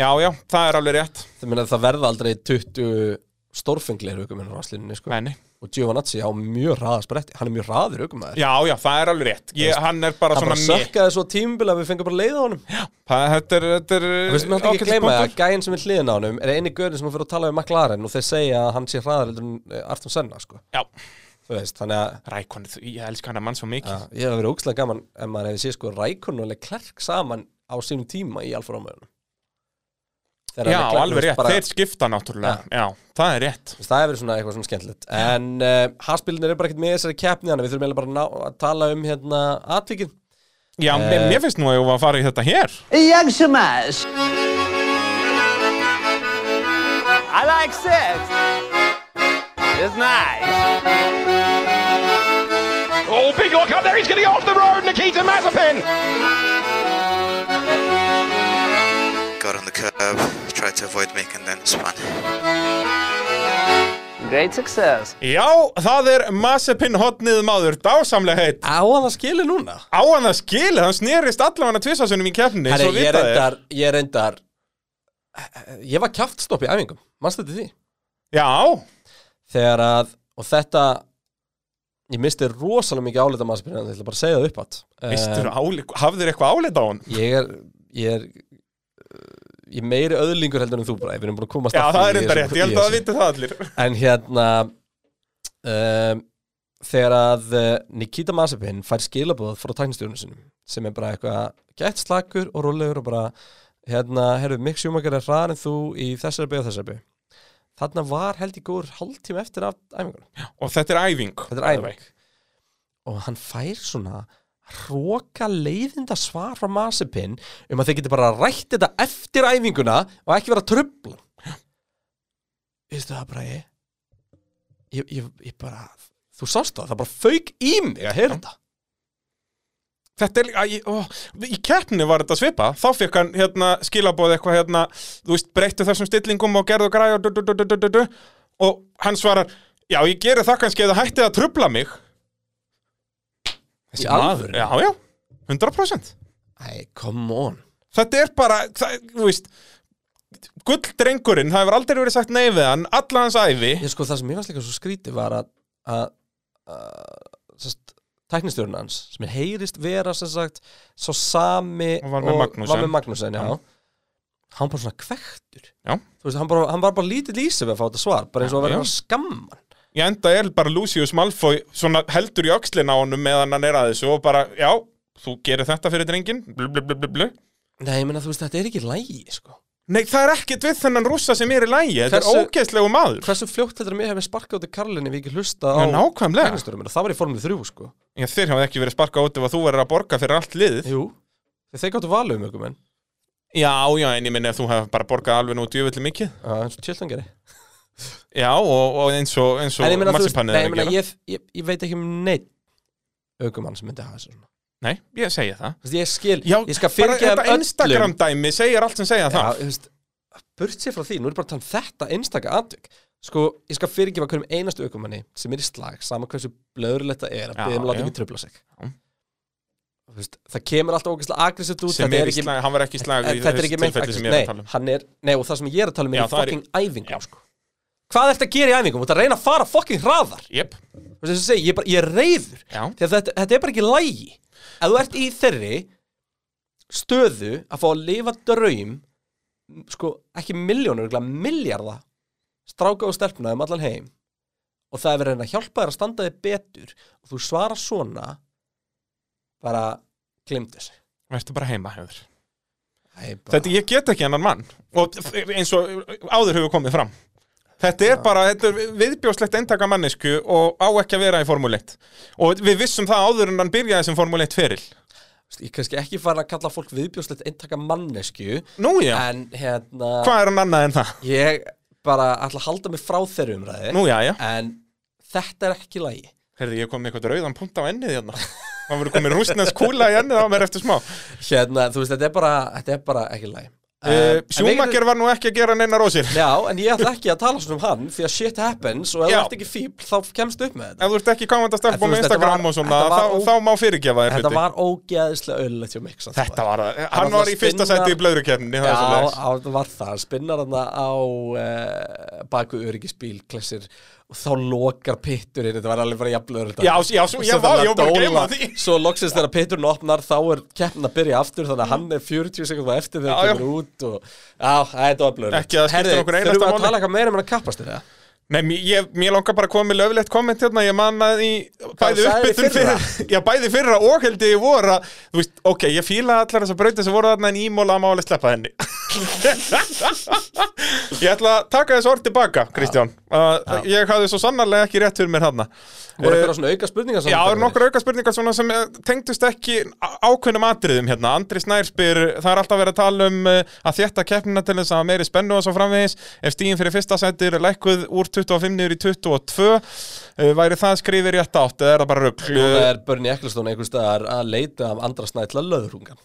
S2: já, já, það er alveg rétt
S1: það, minna, það verða aldrei 20 stórfengleir aukumennur á slíninni sko.
S2: Meni.
S1: og Giovanazzi á mjög hraða spretti hann er mjög hraður aukumæður
S2: já, já, það er alveg rétt ég, hann er bara
S1: hann
S2: svona
S1: bara
S2: mér
S1: sökkaði svo tímbil að við fengum bara leið á honum
S2: þetta er, þetta er
S1: Þú veist, maður hætti ekki að
S2: ágætis
S1: gleyma það,
S2: punktur.
S1: gæinn sem er hliðin á honum er eini görinn sem hann fyrir að tala við McLaren og þeir segja að hann sé hraðar heldur en eh, Ayrton Senna, sko.
S2: já,
S1: Þú veist, þannig að
S2: Rækonin, ég elska hann að mann svo mikið
S1: ja, ég hef verið ógslag gaman ef maður hefði séð sko Rækon og Leclerc saman á sínum tíma í Alfa Romeo. Þegar
S2: já,
S1: Leclerc, þú
S2: alveg
S1: veist,
S2: rétt,
S1: bara-
S2: þeir skipta náttúrulega já, það er rétt
S1: þú veist, Það hefur verið svona eitthvað svona skemmtilegt. En uh, haspilin eru bara ekkert með í þessari keppni, þannig að við þurfum eiginlega bara að, ná, að tala um hérna atvikið.
S2: Já, mér,
S1: Eh.
S2: mér finnst nú að ég var að fara í þetta hér
S6: Jak się masz?
S3: I like sex. It's nice.
S4: Oh, big look up there. He's going to go off the road. Nikita Mazepin.
S7: got on the curb, tried to avoid making them spun.
S6: Great success.
S2: Já, það er Masepin hotnið maður dásamlega heitt
S1: Á að það skilja núna?
S2: Á hann að skila, hann snerist allavega tvisasunum í keppni
S1: Herri,
S2: svo
S1: ég
S2: vitað er.
S1: reyndar, ég reyndar, ég var kjáftstopp í æfingum, mannstu þetta því?
S2: Já,
S1: þegar að, og þetta ég misti rosalega mikið álita maður spyrir, en ég ætla bara að segja það upp átt
S2: mistur áleik, hafðir eitthvað áleik á hann
S1: ég er ég er eh, ég er meiri öðlingur heldur en þú bara, við erum búin að komast
S2: Já,
S1: að því
S2: það er
S1: í
S2: reyndar
S1: þessu-
S2: rétt, ég
S1: í
S2: held að það
S1: þessu.
S2: viti það allir
S1: en hérna um, þegar að eh, Nikita Mazepin fær skilabóð frá tæknistjónu sinum sem er bara eitthvað gett slakur og rólegur og bara hérna, herru, Mick Schumacher er hraðar en þú í þessari byggð og þessari byggð þarna var held í góður hálftíma eftir af æfingunum
S2: Og þetta er æfing
S1: Þetta er æfing Og hann fær svona hróka leiðinda svar frá Masipin um að þeir geti bara rætt þetta eftir æfinguna og ekki vera tröfl Veistu það bara ég ég, ég, ég bara þú sást það, það bara fauk í mig að heyra þetta
S2: Þetta er líka, æ, ó, í keppni var þetta svipa, þá fekk hann hérna skilabóð eitthvað hérna, þú veist, breyttu þessum stillingum og gerðu og græðu og du, du, du, du, du, du, du, og hann svarar, já, ég geri það kannski eða hætti að trubla mig.
S1: Í alvöru?
S2: Já, já, 100%.
S1: Æ, come on
S2: Þetta er bara, það, þú veist, gulldrengurinn, það hefur aldrei verið sagt nei við hann, alla hans æfi.
S1: Ég sko það sem ég fannst líka svo skrítið var að að, að tæknistjórun hans sem er heyrist vera sem sagt svo sami
S2: Og var með Magnussen.
S1: var með Magnussen já. hann bara svona kvektur
S2: Já.
S1: þú veist, hann, bara, hann var bara lítið lýsið við að fá þetta svar bara eins og að
S2: Já,
S1: vera
S2: já.
S1: skamman
S2: Ég enda er bara Lucius Malfoy svona heldur í öxlin á honum meðan hann er að þessu og bara, já, þú gerir þetta fyrir drengin, blu, blu, blu, blu, blu.
S1: nei, ég meina þú veist, þetta er ekki lægi sko.
S2: Nei, það er ekkert við þennan rússa sem er í lægi Þetta er
S1: Hversu-
S2: ógeðslegu maður
S1: Hversu fljótt heldur að mér hefði sparkað út í Karlinni við ekki hlusta á
S2: Já, nákvæmlega.
S1: kæristurum minnar? Það var í formule 3 sko
S2: Já, þeir hafa ekki verið sparkað út ef að þú verður að borga fyrir allt liðið
S1: Jú Þeir þeir gáttu valið um ykkur menn
S2: Já, já, en ég minni að þú hefur bara borgað alveg nú djöfulli mikið
S1: Já, eins og tjöldangari
S2: Já, og, og eins og, eins og
S1: En ég meina þú veist
S2: massipannið
S1: Nei, ég
S2: er að
S1: meina
S2: gera
S1: ég, ég, ég veit ekki um neitt Ökumann sem myndi hafa þessu svona
S2: Nei, ég segi það
S1: Þú veist, Ég skil
S2: Já,
S1: Ég skal
S2: bara
S1: fyrirgefa
S2: þetta
S1: þeim öllum
S2: Instagram dæmi segir allt sem segja
S1: Já,
S2: það
S1: þú veist, burt sér frá því, nú er bara að tala um þetta einstaka atvik Sko, ég skal fyrirgefa hverjum einastu aukumanni sem er í slag, sama hversu blöðurlegt það er að
S2: Já,
S1: byrja um að láta
S2: já.
S1: ekki tröfla sig
S2: Já.
S1: Þú veist, Það kemur alltaf ógeðslega agressivt út
S2: sem
S1: þetta
S2: er í slag, hann var ekki í slag
S1: en
S2: í
S1: þetta er
S2: þessu
S1: ekki meint
S2: tilfelli
S1: aggressivt,
S2: sem ég er að tala
S1: nei,
S2: um
S1: hann er, nei, og það sem ég er að tala um
S2: Já,
S1: er í
S2: það er í-
S1: fucking æfingum, sko Hvað ertu að gera í æfingum? Þú ert að reyna að fara fucking hraðar
S2: um. Jep,
S1: Þú veist, þess að segja, ég, er bara, ég er reyður
S2: Já.
S1: Þegar þetta, þetta er bara ekki lægi Ef þú ert í þeirri stöðu að fá að lifa draum sko, ekki miljónur, miljarda stráka og stelpna um allan heim og það er verið að reyna að hjálpa þér að standa þér betur og þú svarar svona bara glimtu þessu
S2: verður bara heima hefur
S1: Það er bara-
S2: Þetta ég get ekki annan mann og eins og áður hefur komið fram Þetta er bara, þetta er viðbjóðslegt eintaka mannesku og á ekki að vera í Formule 1 og við vissum það áður en hann byrjaði sem Formule 1 feril
S1: ég er kannski ekki farin að kalla fólk viðbjóðslegt eintaka mannesku
S2: Nú já,
S1: en hérna
S2: hvað er hann annað en það?
S1: ég bara ætla að halda mig frá þeirri umræði
S2: Nú já, já,
S1: en þetta er ekki lægi
S2: herði ég kom með eitthvað rauðan punkt á ennið hérna Það voru komið rústnæðs kúla í ennið á mér eftir smá
S1: hérna, þú veist, þetta er bara, þetta er bara ekki læg
S2: uh, Sjúmakker var nú ekki að gera neina rósir
S1: Já, en ég ætla ekki að tala svona um hann því að shit happens og ef
S2: Já.
S1: þú ert ekki fíbl þá kemst upp með þetta
S2: Ef þú ert ekki komandi að
S1: En
S2: stelpa
S1: þú
S2: með
S1: veist, þetta
S2: Instagram
S1: var-
S2: og svona
S1: þetta var
S2: þá,
S1: ó-
S2: þá má fyrirgefa þér
S1: Þetta
S2: hluti
S1: var ógeðislega öllulegt hjá sko. mig samt
S2: Þetta
S1: maður.
S2: var, hann
S1: var
S2: var í fyrsta
S1: spinnar-
S2: sæti í blöðrukefni
S1: Já, á, það var það, hann spinnar hann á uh, baku öryggisbíl klessir og þá lokar pitturinn, þetta var alveg bara jafnlegur
S2: Já, já, svo- já, vá, ég var bara að gleyma því.
S1: Svo loksins þegar pitturinn opnar þá er keppnin að byrja aftur þannig að hann er 40 sekundar eftir þegar
S2: Já,
S1: hann
S2: já.
S1: kemur út og já, þetta var blöður
S2: Ekki að það skiptir okkur einasta
S1: Þurfum við
S2: máli.
S1: að tala eitthvað meira um hann að kappast þér, eða?
S2: Nei, mér, ég, mér langar bara að koma með löfilegt komment hérna, ég man að í bæði
S1: sagðir í
S2: uppbytun
S1: fyrra?
S2: fyrir, já bæði fyrra og heldig í voru að, þú veist, ok, ég fíla allar þessar brautir sem voru þarna en ímóla að máli sleppa henni. ég ætla að taka þessu orð tilbaka, Kristján, uh, ég hafði svo sannarlega ekki rétt fyrir mér þarna.
S1: Voru eitthvað svona auka spurningar samt
S2: Eh, Já, það
S1: þarna?
S2: eru nokkur auka spurningar svona sem eh, tengdust ekki á- ákveðnum atriðum hérna. Andri Snær spyr, það er alltaf verið að tala um eh, að þétta keppnina til þess að hafa meiri spennu og svo framvegis. Ef stíðin fyrir fyrsta sæti er lækkuð úr 25 niður í 22, eh, væri það skrifir rétt átt eða er það bara rugg?
S1: Núna er Bernie Ecclestone einhvers staðar að leita af andra snætla löðrungan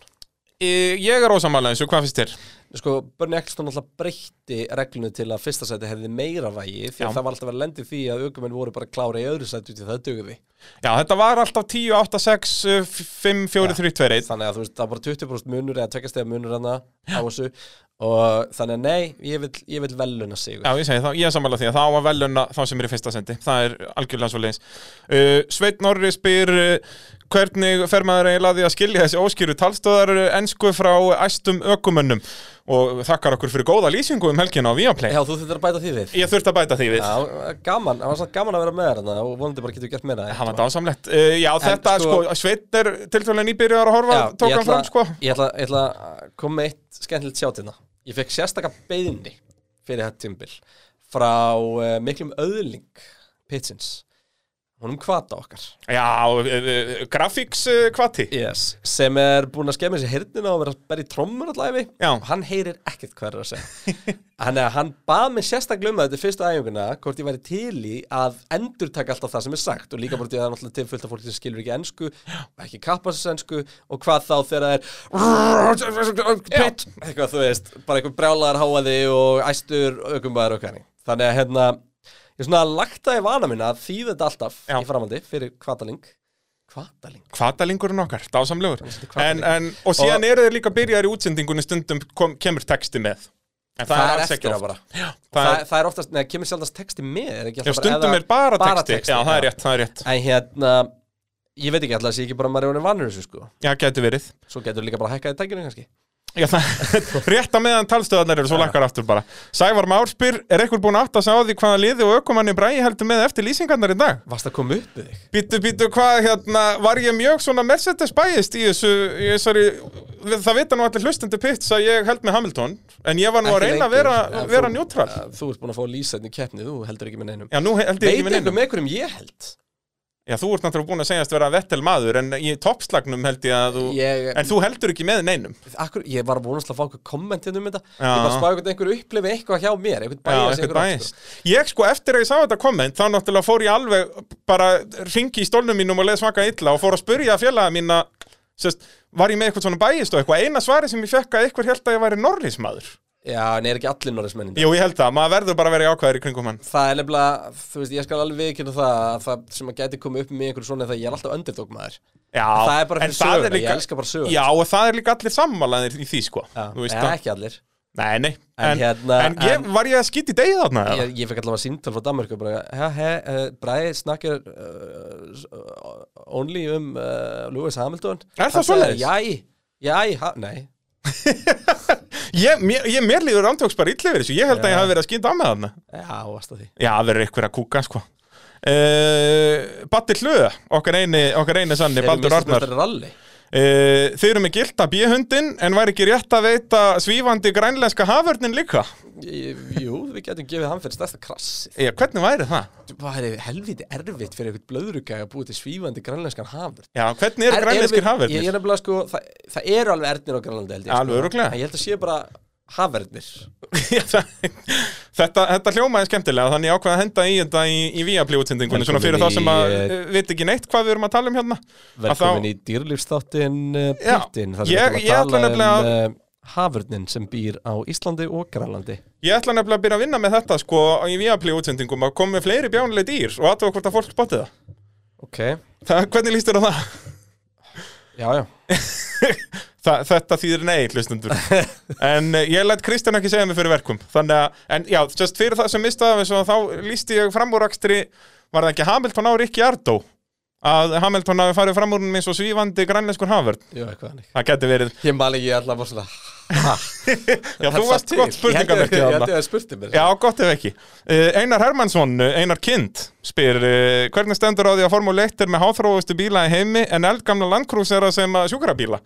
S2: Eh, Ég er ósamála eins og hvað finnst þér?
S1: Sko, Bernie Ecclestone alltaf breytti reglunu til að fyrsta sæti hefði meira vægi því að
S2: Já.
S1: það var alltaf að lendi því að aukumenn voru bara klára í öðru sæti út í það dugði
S2: Já, þetta var alltaf 10, 8, 6, 5, 4, 3, 2, 1.
S1: Þannig að þú veist, það var bara 20% munur eða tveggjastega munur hana á þessu og þannig að nei, ég vil, ég vil veluna sig
S2: Já, ég segi það, ég er sammála því að það á að veluna þá sem er í fyrsta sendi, það er algjörlega svo leiðis uh, Sveit Norri spyr uh, hvernig fer maður eiginlega að því að skilja þessi óskýru talstöðar ensku frá æstum ökumönnum og þakkar okkur fyrir góða lýsingu um helgina á Viaplay
S1: Já, þú þurftir að bæta því við
S2: Ég þurft að bæta því við,
S1: Já, gaman, það var samt gaman að vera með þér hana og vonandi bara getur við gert meira
S2: það var dásamlegt uh, Já, þetta, sko,
S1: sko-
S2: Sveit er tilfæðlega nýbyrjar að horfa,
S1: Já,
S2: tók
S1: ég
S2: hann
S1: ætla-
S2: fram, sko
S1: Ég ætla, ég ætla að koma með eitt skemmtilegt sjátina Ég fekk sérstaka beiðni fyrir þetta tímbil frá uh, miklum öðling Pitsins honum kvata okkar
S2: Já, uh, uh, grafíks uh, kvati
S1: yes. sem er búinn að skemmi sér hirdina og vera að berja í trommur allæfi
S2: Já.
S1: og hann heyrir ekkert hvað er að segja Þannig að hann bað mér sérstaklega um það þetta fyrstu æfinguna hvort ég væri til í að endurtaka alltaf það sem er sagt og líka bara því að það er náttúrulega til fullt af fólki sem skilur ekki ensku ekki kappassensku og hvað þá þegar það er pit eitthvað þú veist, bara einhver brjálaðar háaði og æstur aukumbaður og hvernig þannig að hérna ég svona lagt það í vana minna að þýða þetta alltaf
S2: Já.
S1: í framhaldi fyrir kvataling kvataling
S2: Kvatalingurinn okkar, dásamlegur en,
S1: hvatalingur.
S2: en, Og síðan eru þeir líka byrjaðir í útsendingunni stundum kom, kemur texti með En það, er alls ekki
S1: eftir á
S2: oft
S1: bara það,
S2: það er,
S1: það er oftast, neða, kemur sjálfast texti með er ekki
S2: Já,
S1: alltaf bara-
S2: stundum
S1: eða-
S2: er bara texti, Já, það er
S1: já.
S2: rétt, það er rétt
S1: En hérna, ég veit ekki alltaf að sé ekki bara maður er honum vanur þessu sko
S2: Já, getur verið
S1: Svo getur líka bara hækkað í tækinu kannski
S2: Já, það- Rétt að meðan talstöðarnar eru, svo lakkar aftur bara Sævar Már spyr, er einhver búinn að átta sig á því hvaða liði og ökumanni bræði heldur með eftir lýsingarnar í dag?
S1: Varst að koma upp með þig?
S2: Býtu, býtu, hvað, hérna, var ég mjög svona Mercedes bæjist í þessu, ég, sorry, það vita nú allir hlustandi pitts að ég held með Hamilton En ég var nú að reyna að vera, vera njútrál
S1: ja, Þú ert búin að fá lýsa í keppni, þú heldur ekki með neinum
S2: Já, nú held ég
S1: Veit
S2: ekki með
S1: einhver
S2: neinum
S1: með einhverjum ég held
S2: Já, þú ert náttúrulega búinn að segjast vera vettel maður, en í toppslagnum held ég að þú
S1: Ég-
S2: En þú heldur ekki með neinum
S1: Akkur, Ég var að vonast að fá eitthvað kommentin um þetta
S2: Já.
S1: Ég bara spáði einhvern einhver upplifi eitthvað hjá mér Einhvern
S2: Já,
S1: bæjast,
S2: eitthvað
S1: einhver
S2: bæjast. Ég sko eftir að ég sá þetta komment þá náttúrulega fór ég alveg bara ringi í stólnum mínum og leið smaka illa og fór að spurja félaga mín að sest, var ég með eitthvað svona bæjist og eitthvað eina svari sem ég fekk að eitthvað held að ég væri norlísmaður
S1: Já, en er ekki allir norðismennin
S2: Jú, ég held það, maður verður bara að vera jákvæður í kringum hann
S1: Það er nefnilega, þú veist, ég skal alveg viðkynna það að það sem að gæti komið upp með einhverju svona er það að ég er alltaf underdog maður
S2: Já,
S1: Það er bara
S2: en
S1: fyrir
S2: það er
S1: söguna, ég
S2: líka-
S1: elska bara söguna.
S2: Já, og það er líka allir sammálaðir í því sko
S1: Já,
S2: Þú
S1: ja,
S2: veist það.
S1: ekki allir
S2: Nei, nei,
S1: En
S2: en, en,
S1: hérna,
S2: ég,
S1: en-
S2: var ég að skýti degi þarna? eða?
S1: Ég, ég fekk allavega síntal frá Danmarku bara, he, he, uh, Bræði snakkar uh, s- uh, only um uh, Lewis Hamilton
S2: Er það
S1: Hann sagði,
S2: svoleiðis?
S1: Jæ, jæ, ha, nei
S2: Ég, mér, ég, mér líður ándjóks bara illi yfir þessu Ég held að
S1: Já.
S2: ég hafi verið að skýta á með þarna
S1: Já, varst að því
S2: Já, það verður einhver að kúka, sko Uh, Batti Hlöða, okkar eini, okkar eini sanni, Baldur Arnar uh,
S1: Meistarameistari rally
S2: Þið eru með gilda bíhundin en væri ekki rétt að veita svífandi grænlenska haförnin líka
S1: Ég- Jú, við getum gefið hann fyrir stærsta krassi
S2: Já, hvernig væri það?
S1: Það er helviti erfitt fyrir einhvern blöðrugæg að búið til svífandi grænlenskan hafur
S2: Já, hvernig eru grænlenskir
S1: Ég
S2: haförnir?
S1: er nefnilega sko, það, það eru alveg erðnir á Grænlandi held ég sko.
S2: Alveg örugglega.
S1: En Ég held að sé bara hafverðnir
S2: Já, það- þetta, þetta hljómaði skemmtilega þannig ég ákvað að henda í þetta í, í Víaplí útsendingunni svona fyrir
S1: Velkomin
S2: þá sem að
S1: í,
S2: uh, vit ekki neitt hvað við erum að tala um hérna Að þá-
S1: Velkomin í dýrlífsþáttin uh,
S2: Já,
S1: Pítin
S2: ég-
S1: við
S2: ég
S1: ætlum
S2: ætla
S1: að tala um
S2: nefnilega
S1: uh, hafverðnin sem býr á Íslandi og Grænlandi
S2: Ég ætla nefnilega að byrja að vinna með þetta sko í Víaplí útsendingum að koma með fleiri bjánuleg dýr og aðtöða hvort að fólk spotti það.
S1: Ok,
S2: það Hvernig líst þér á það?
S1: já, já
S2: Þa, þetta þýðir nei, hlustendur En eh, ég læt Kristján ekki segja mig fyrir verkum Þannig að, en já, just fyrir það sem mistaði af þessu að þá lísti ég framúrakstri Var það ekki Hamilton á Rikki Ardó að Hamilton hafi farið framúrunum eins og svífandi grænlenskur hafvörn
S1: Jú, eitthvað hannig
S2: Það geti verið
S1: Ég mali ég ætla bara svona ha,
S2: Já,
S1: er
S2: þú
S1: það
S2: varst
S1: til?
S2: gott spurningamerki
S1: Ég
S2: þarna.
S1: held að það spurti mér
S2: Já, gott ef ekki. Eh, Einar Hermannsson, eh, Einar Kind, spyr eh, hvernig stendur á því að Formule 1 er með háþróustu bíla í heimi en eldgamla landkrúsera sem að sjúkrabíla?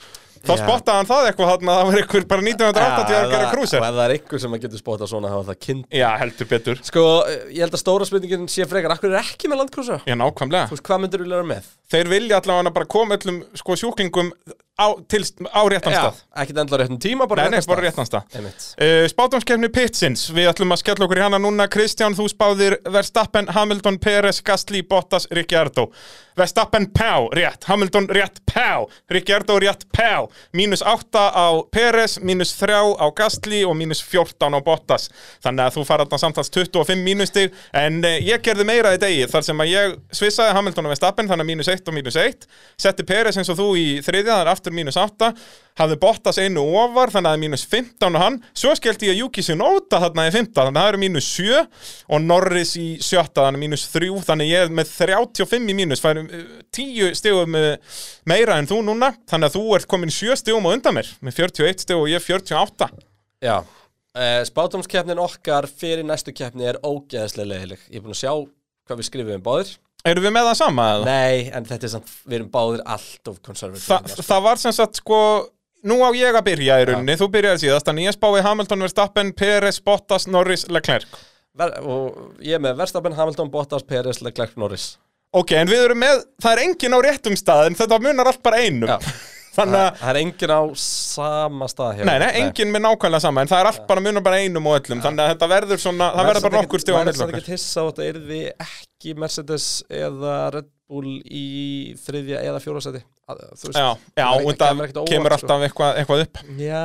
S2: Þá
S1: Já.
S2: spottaði hann það eitthvað hann að það var einhver bara 1980 að gera
S1: Og
S2: krúser.
S1: ef það er einhver sem að getur spotta svona hafa það kind
S2: Já, heldur betur.
S1: Sko, eh, ég held að stóra spurningin sé frekar Akkur er ekki með landkrúsa?
S2: Já, nákvæmlega.
S1: Þú veist, hvað myndir við lera með?
S2: Þeir vilja allavega bara koma öllum sko, sjúklingum á, til, á réttan stað.
S1: ekkert endla réttum tíma, bara
S2: Nei, nei, bara réttan stað.
S1: Einmitt.
S2: Uh, spátumskefni Pitsins, við ætlum að skella okkur í hana núna Kristján, þú spáðir Verstappen, Hamilton, Peres, Gastli, Bottas, Ricciardo Verstappen, Pá, rétt Hamilton, rétt, Pá, Ricciardo, rétt, Pá mínus 8 á Peres mínus 3 á Gastli og mínus 14 á Bottas, þannig að þú fara þarna samtals 25 mínustig en uh, ég gerði meira í degi, þar sem að ég svissaði Hamilton og Verstappen, þannig að mínus 1 og mínus 1 setti Peres eins og þú í þriðja, þannig aftur mínus 8 hafði Bottas einu ofar, þannig að það er mínus 15 og hann, svo skellti ég Juki Sinóta þarna í 15, þannig að það eru mínus 7 og Norris í 7, þannig að mínus 3 þannig að ég er með 35 í mínus færum 10 stegum eh, meira en þú núna, þannig að þú ert komin 7 stegum á undan mér, með 41 steg og ég 48
S1: Já, uh, spátumskeppnin okkar fyrir næstu keppni er ógeðslega leiðileg. Ég er búinn að sjá hvað við skrifum báðir.
S2: Erum við með það sama eða?
S1: Nei, en þetta er samt, við erum báðir allt of konservatíð.
S2: Þa, það var sem sagt sko Nú á ég að byrja í rauninni, þú byrjaði síðast Þannig ég spáði Hamilton, Verstappen, Peres, Bottas, Norris, Leclerc
S1: Ver, og ég er með Verstappen, Hamilton, Bottas, Peres, Leclerc, Norris.
S2: Ok, en við erum með, það er engin á réttum stað en þetta munar allt bara einum
S1: Já.
S2: Þannig
S1: Það
S2: að,
S1: það er engin á sama stað hér.
S2: nei, nei, engin með nákvæmlega sama en það er allt bara munar bara einum og öllum þannig að þetta verður svona, það verður bara nokkur stíð á
S1: Það er
S2: milli
S1: samt
S2: okkar
S1: ekki tissa á þetta, er þið ekki Mercedes eða Red Bull í þriðja eða fjóra seti.
S2: Já, já, og það kemur
S1: sko.
S2: alltaf eitthvað, eitthvað upp
S1: Já,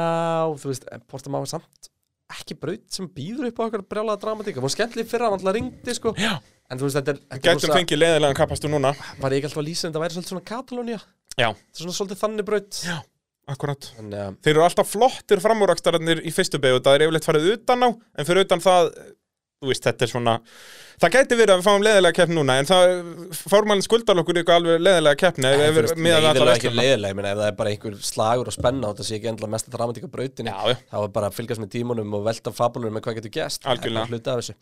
S1: þú veist, eh, en Porta Má er samt ekki braut sem býður upp á eitthvað brjálaða dramatíka. Hún skemmtileg fyrir hann alltaf ringdi, sko. Já. En þú veist, þetta er... þetta er
S2: Gætum
S1: rosa-
S2: fengið leiðilegan kapastu núna
S1: Var ég ekki alltaf að lýsa en það væri svolítið svona Katalónia.
S2: Já,
S1: Þetta er svona svolítið þannig braut. Já.
S2: akkurat
S1: Þannig að...
S2: Þeir eru alltaf flottir framúrakstararnir í fyrstu beigðu, það er yfirleitt farið utan á en fyrir utan það þú veist, þetta er svona það gæti verið að við fáum leðilega keppni núna en það, formálinn skuldar okkur ykkur alveg leðilega keppni ef við erum miðað við alla
S1: Leiðilega ekki
S2: veisluna.
S1: leiðilega, ég meina ef það er bara einhver slagur og spenna og þetta sé ekki endilega mesta dramatík á brautinni
S2: Já, já.
S1: þá er bara að fylgjast með tímunum og velta fabulunum með hvað getur gæst
S2: Algjörlega.
S1: hluta af þessu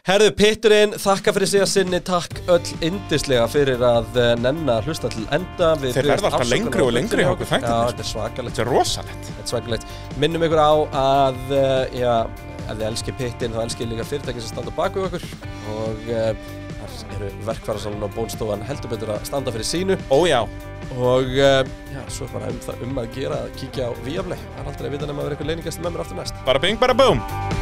S1: Herðu, Pitturinn, þakka fyrir sig að sinni takk öll yndislega fyrir að eh, nenna að hlusta til enda Við
S2: Þeir
S1: biðjumst
S2: verða alltaf
S1: afsökunar
S2: lengri
S1: á
S2: og lengri
S1: hlutunum
S2: hjá
S1: okkur.
S2: okkur þættirnir.
S1: Já, þetta er svakalegt
S2: þetta er rosalegt
S1: Þetta er svakalegt. Minnum ykkur á að, uh, já, ef þið elskir pittin þá elskir líka fyrirtæki sem standa baku ykkur og uh, þar eru verkfærasalun og bólstofan heldur betur að standa fyrir sínu
S2: ójá,
S1: og uh, já, svo er bara um það um að gera að kíkja á Víaflei. Það er aldrei að vita nema að vera ykkur leiningastur með mér aftur næst.
S2: bara bing bara boom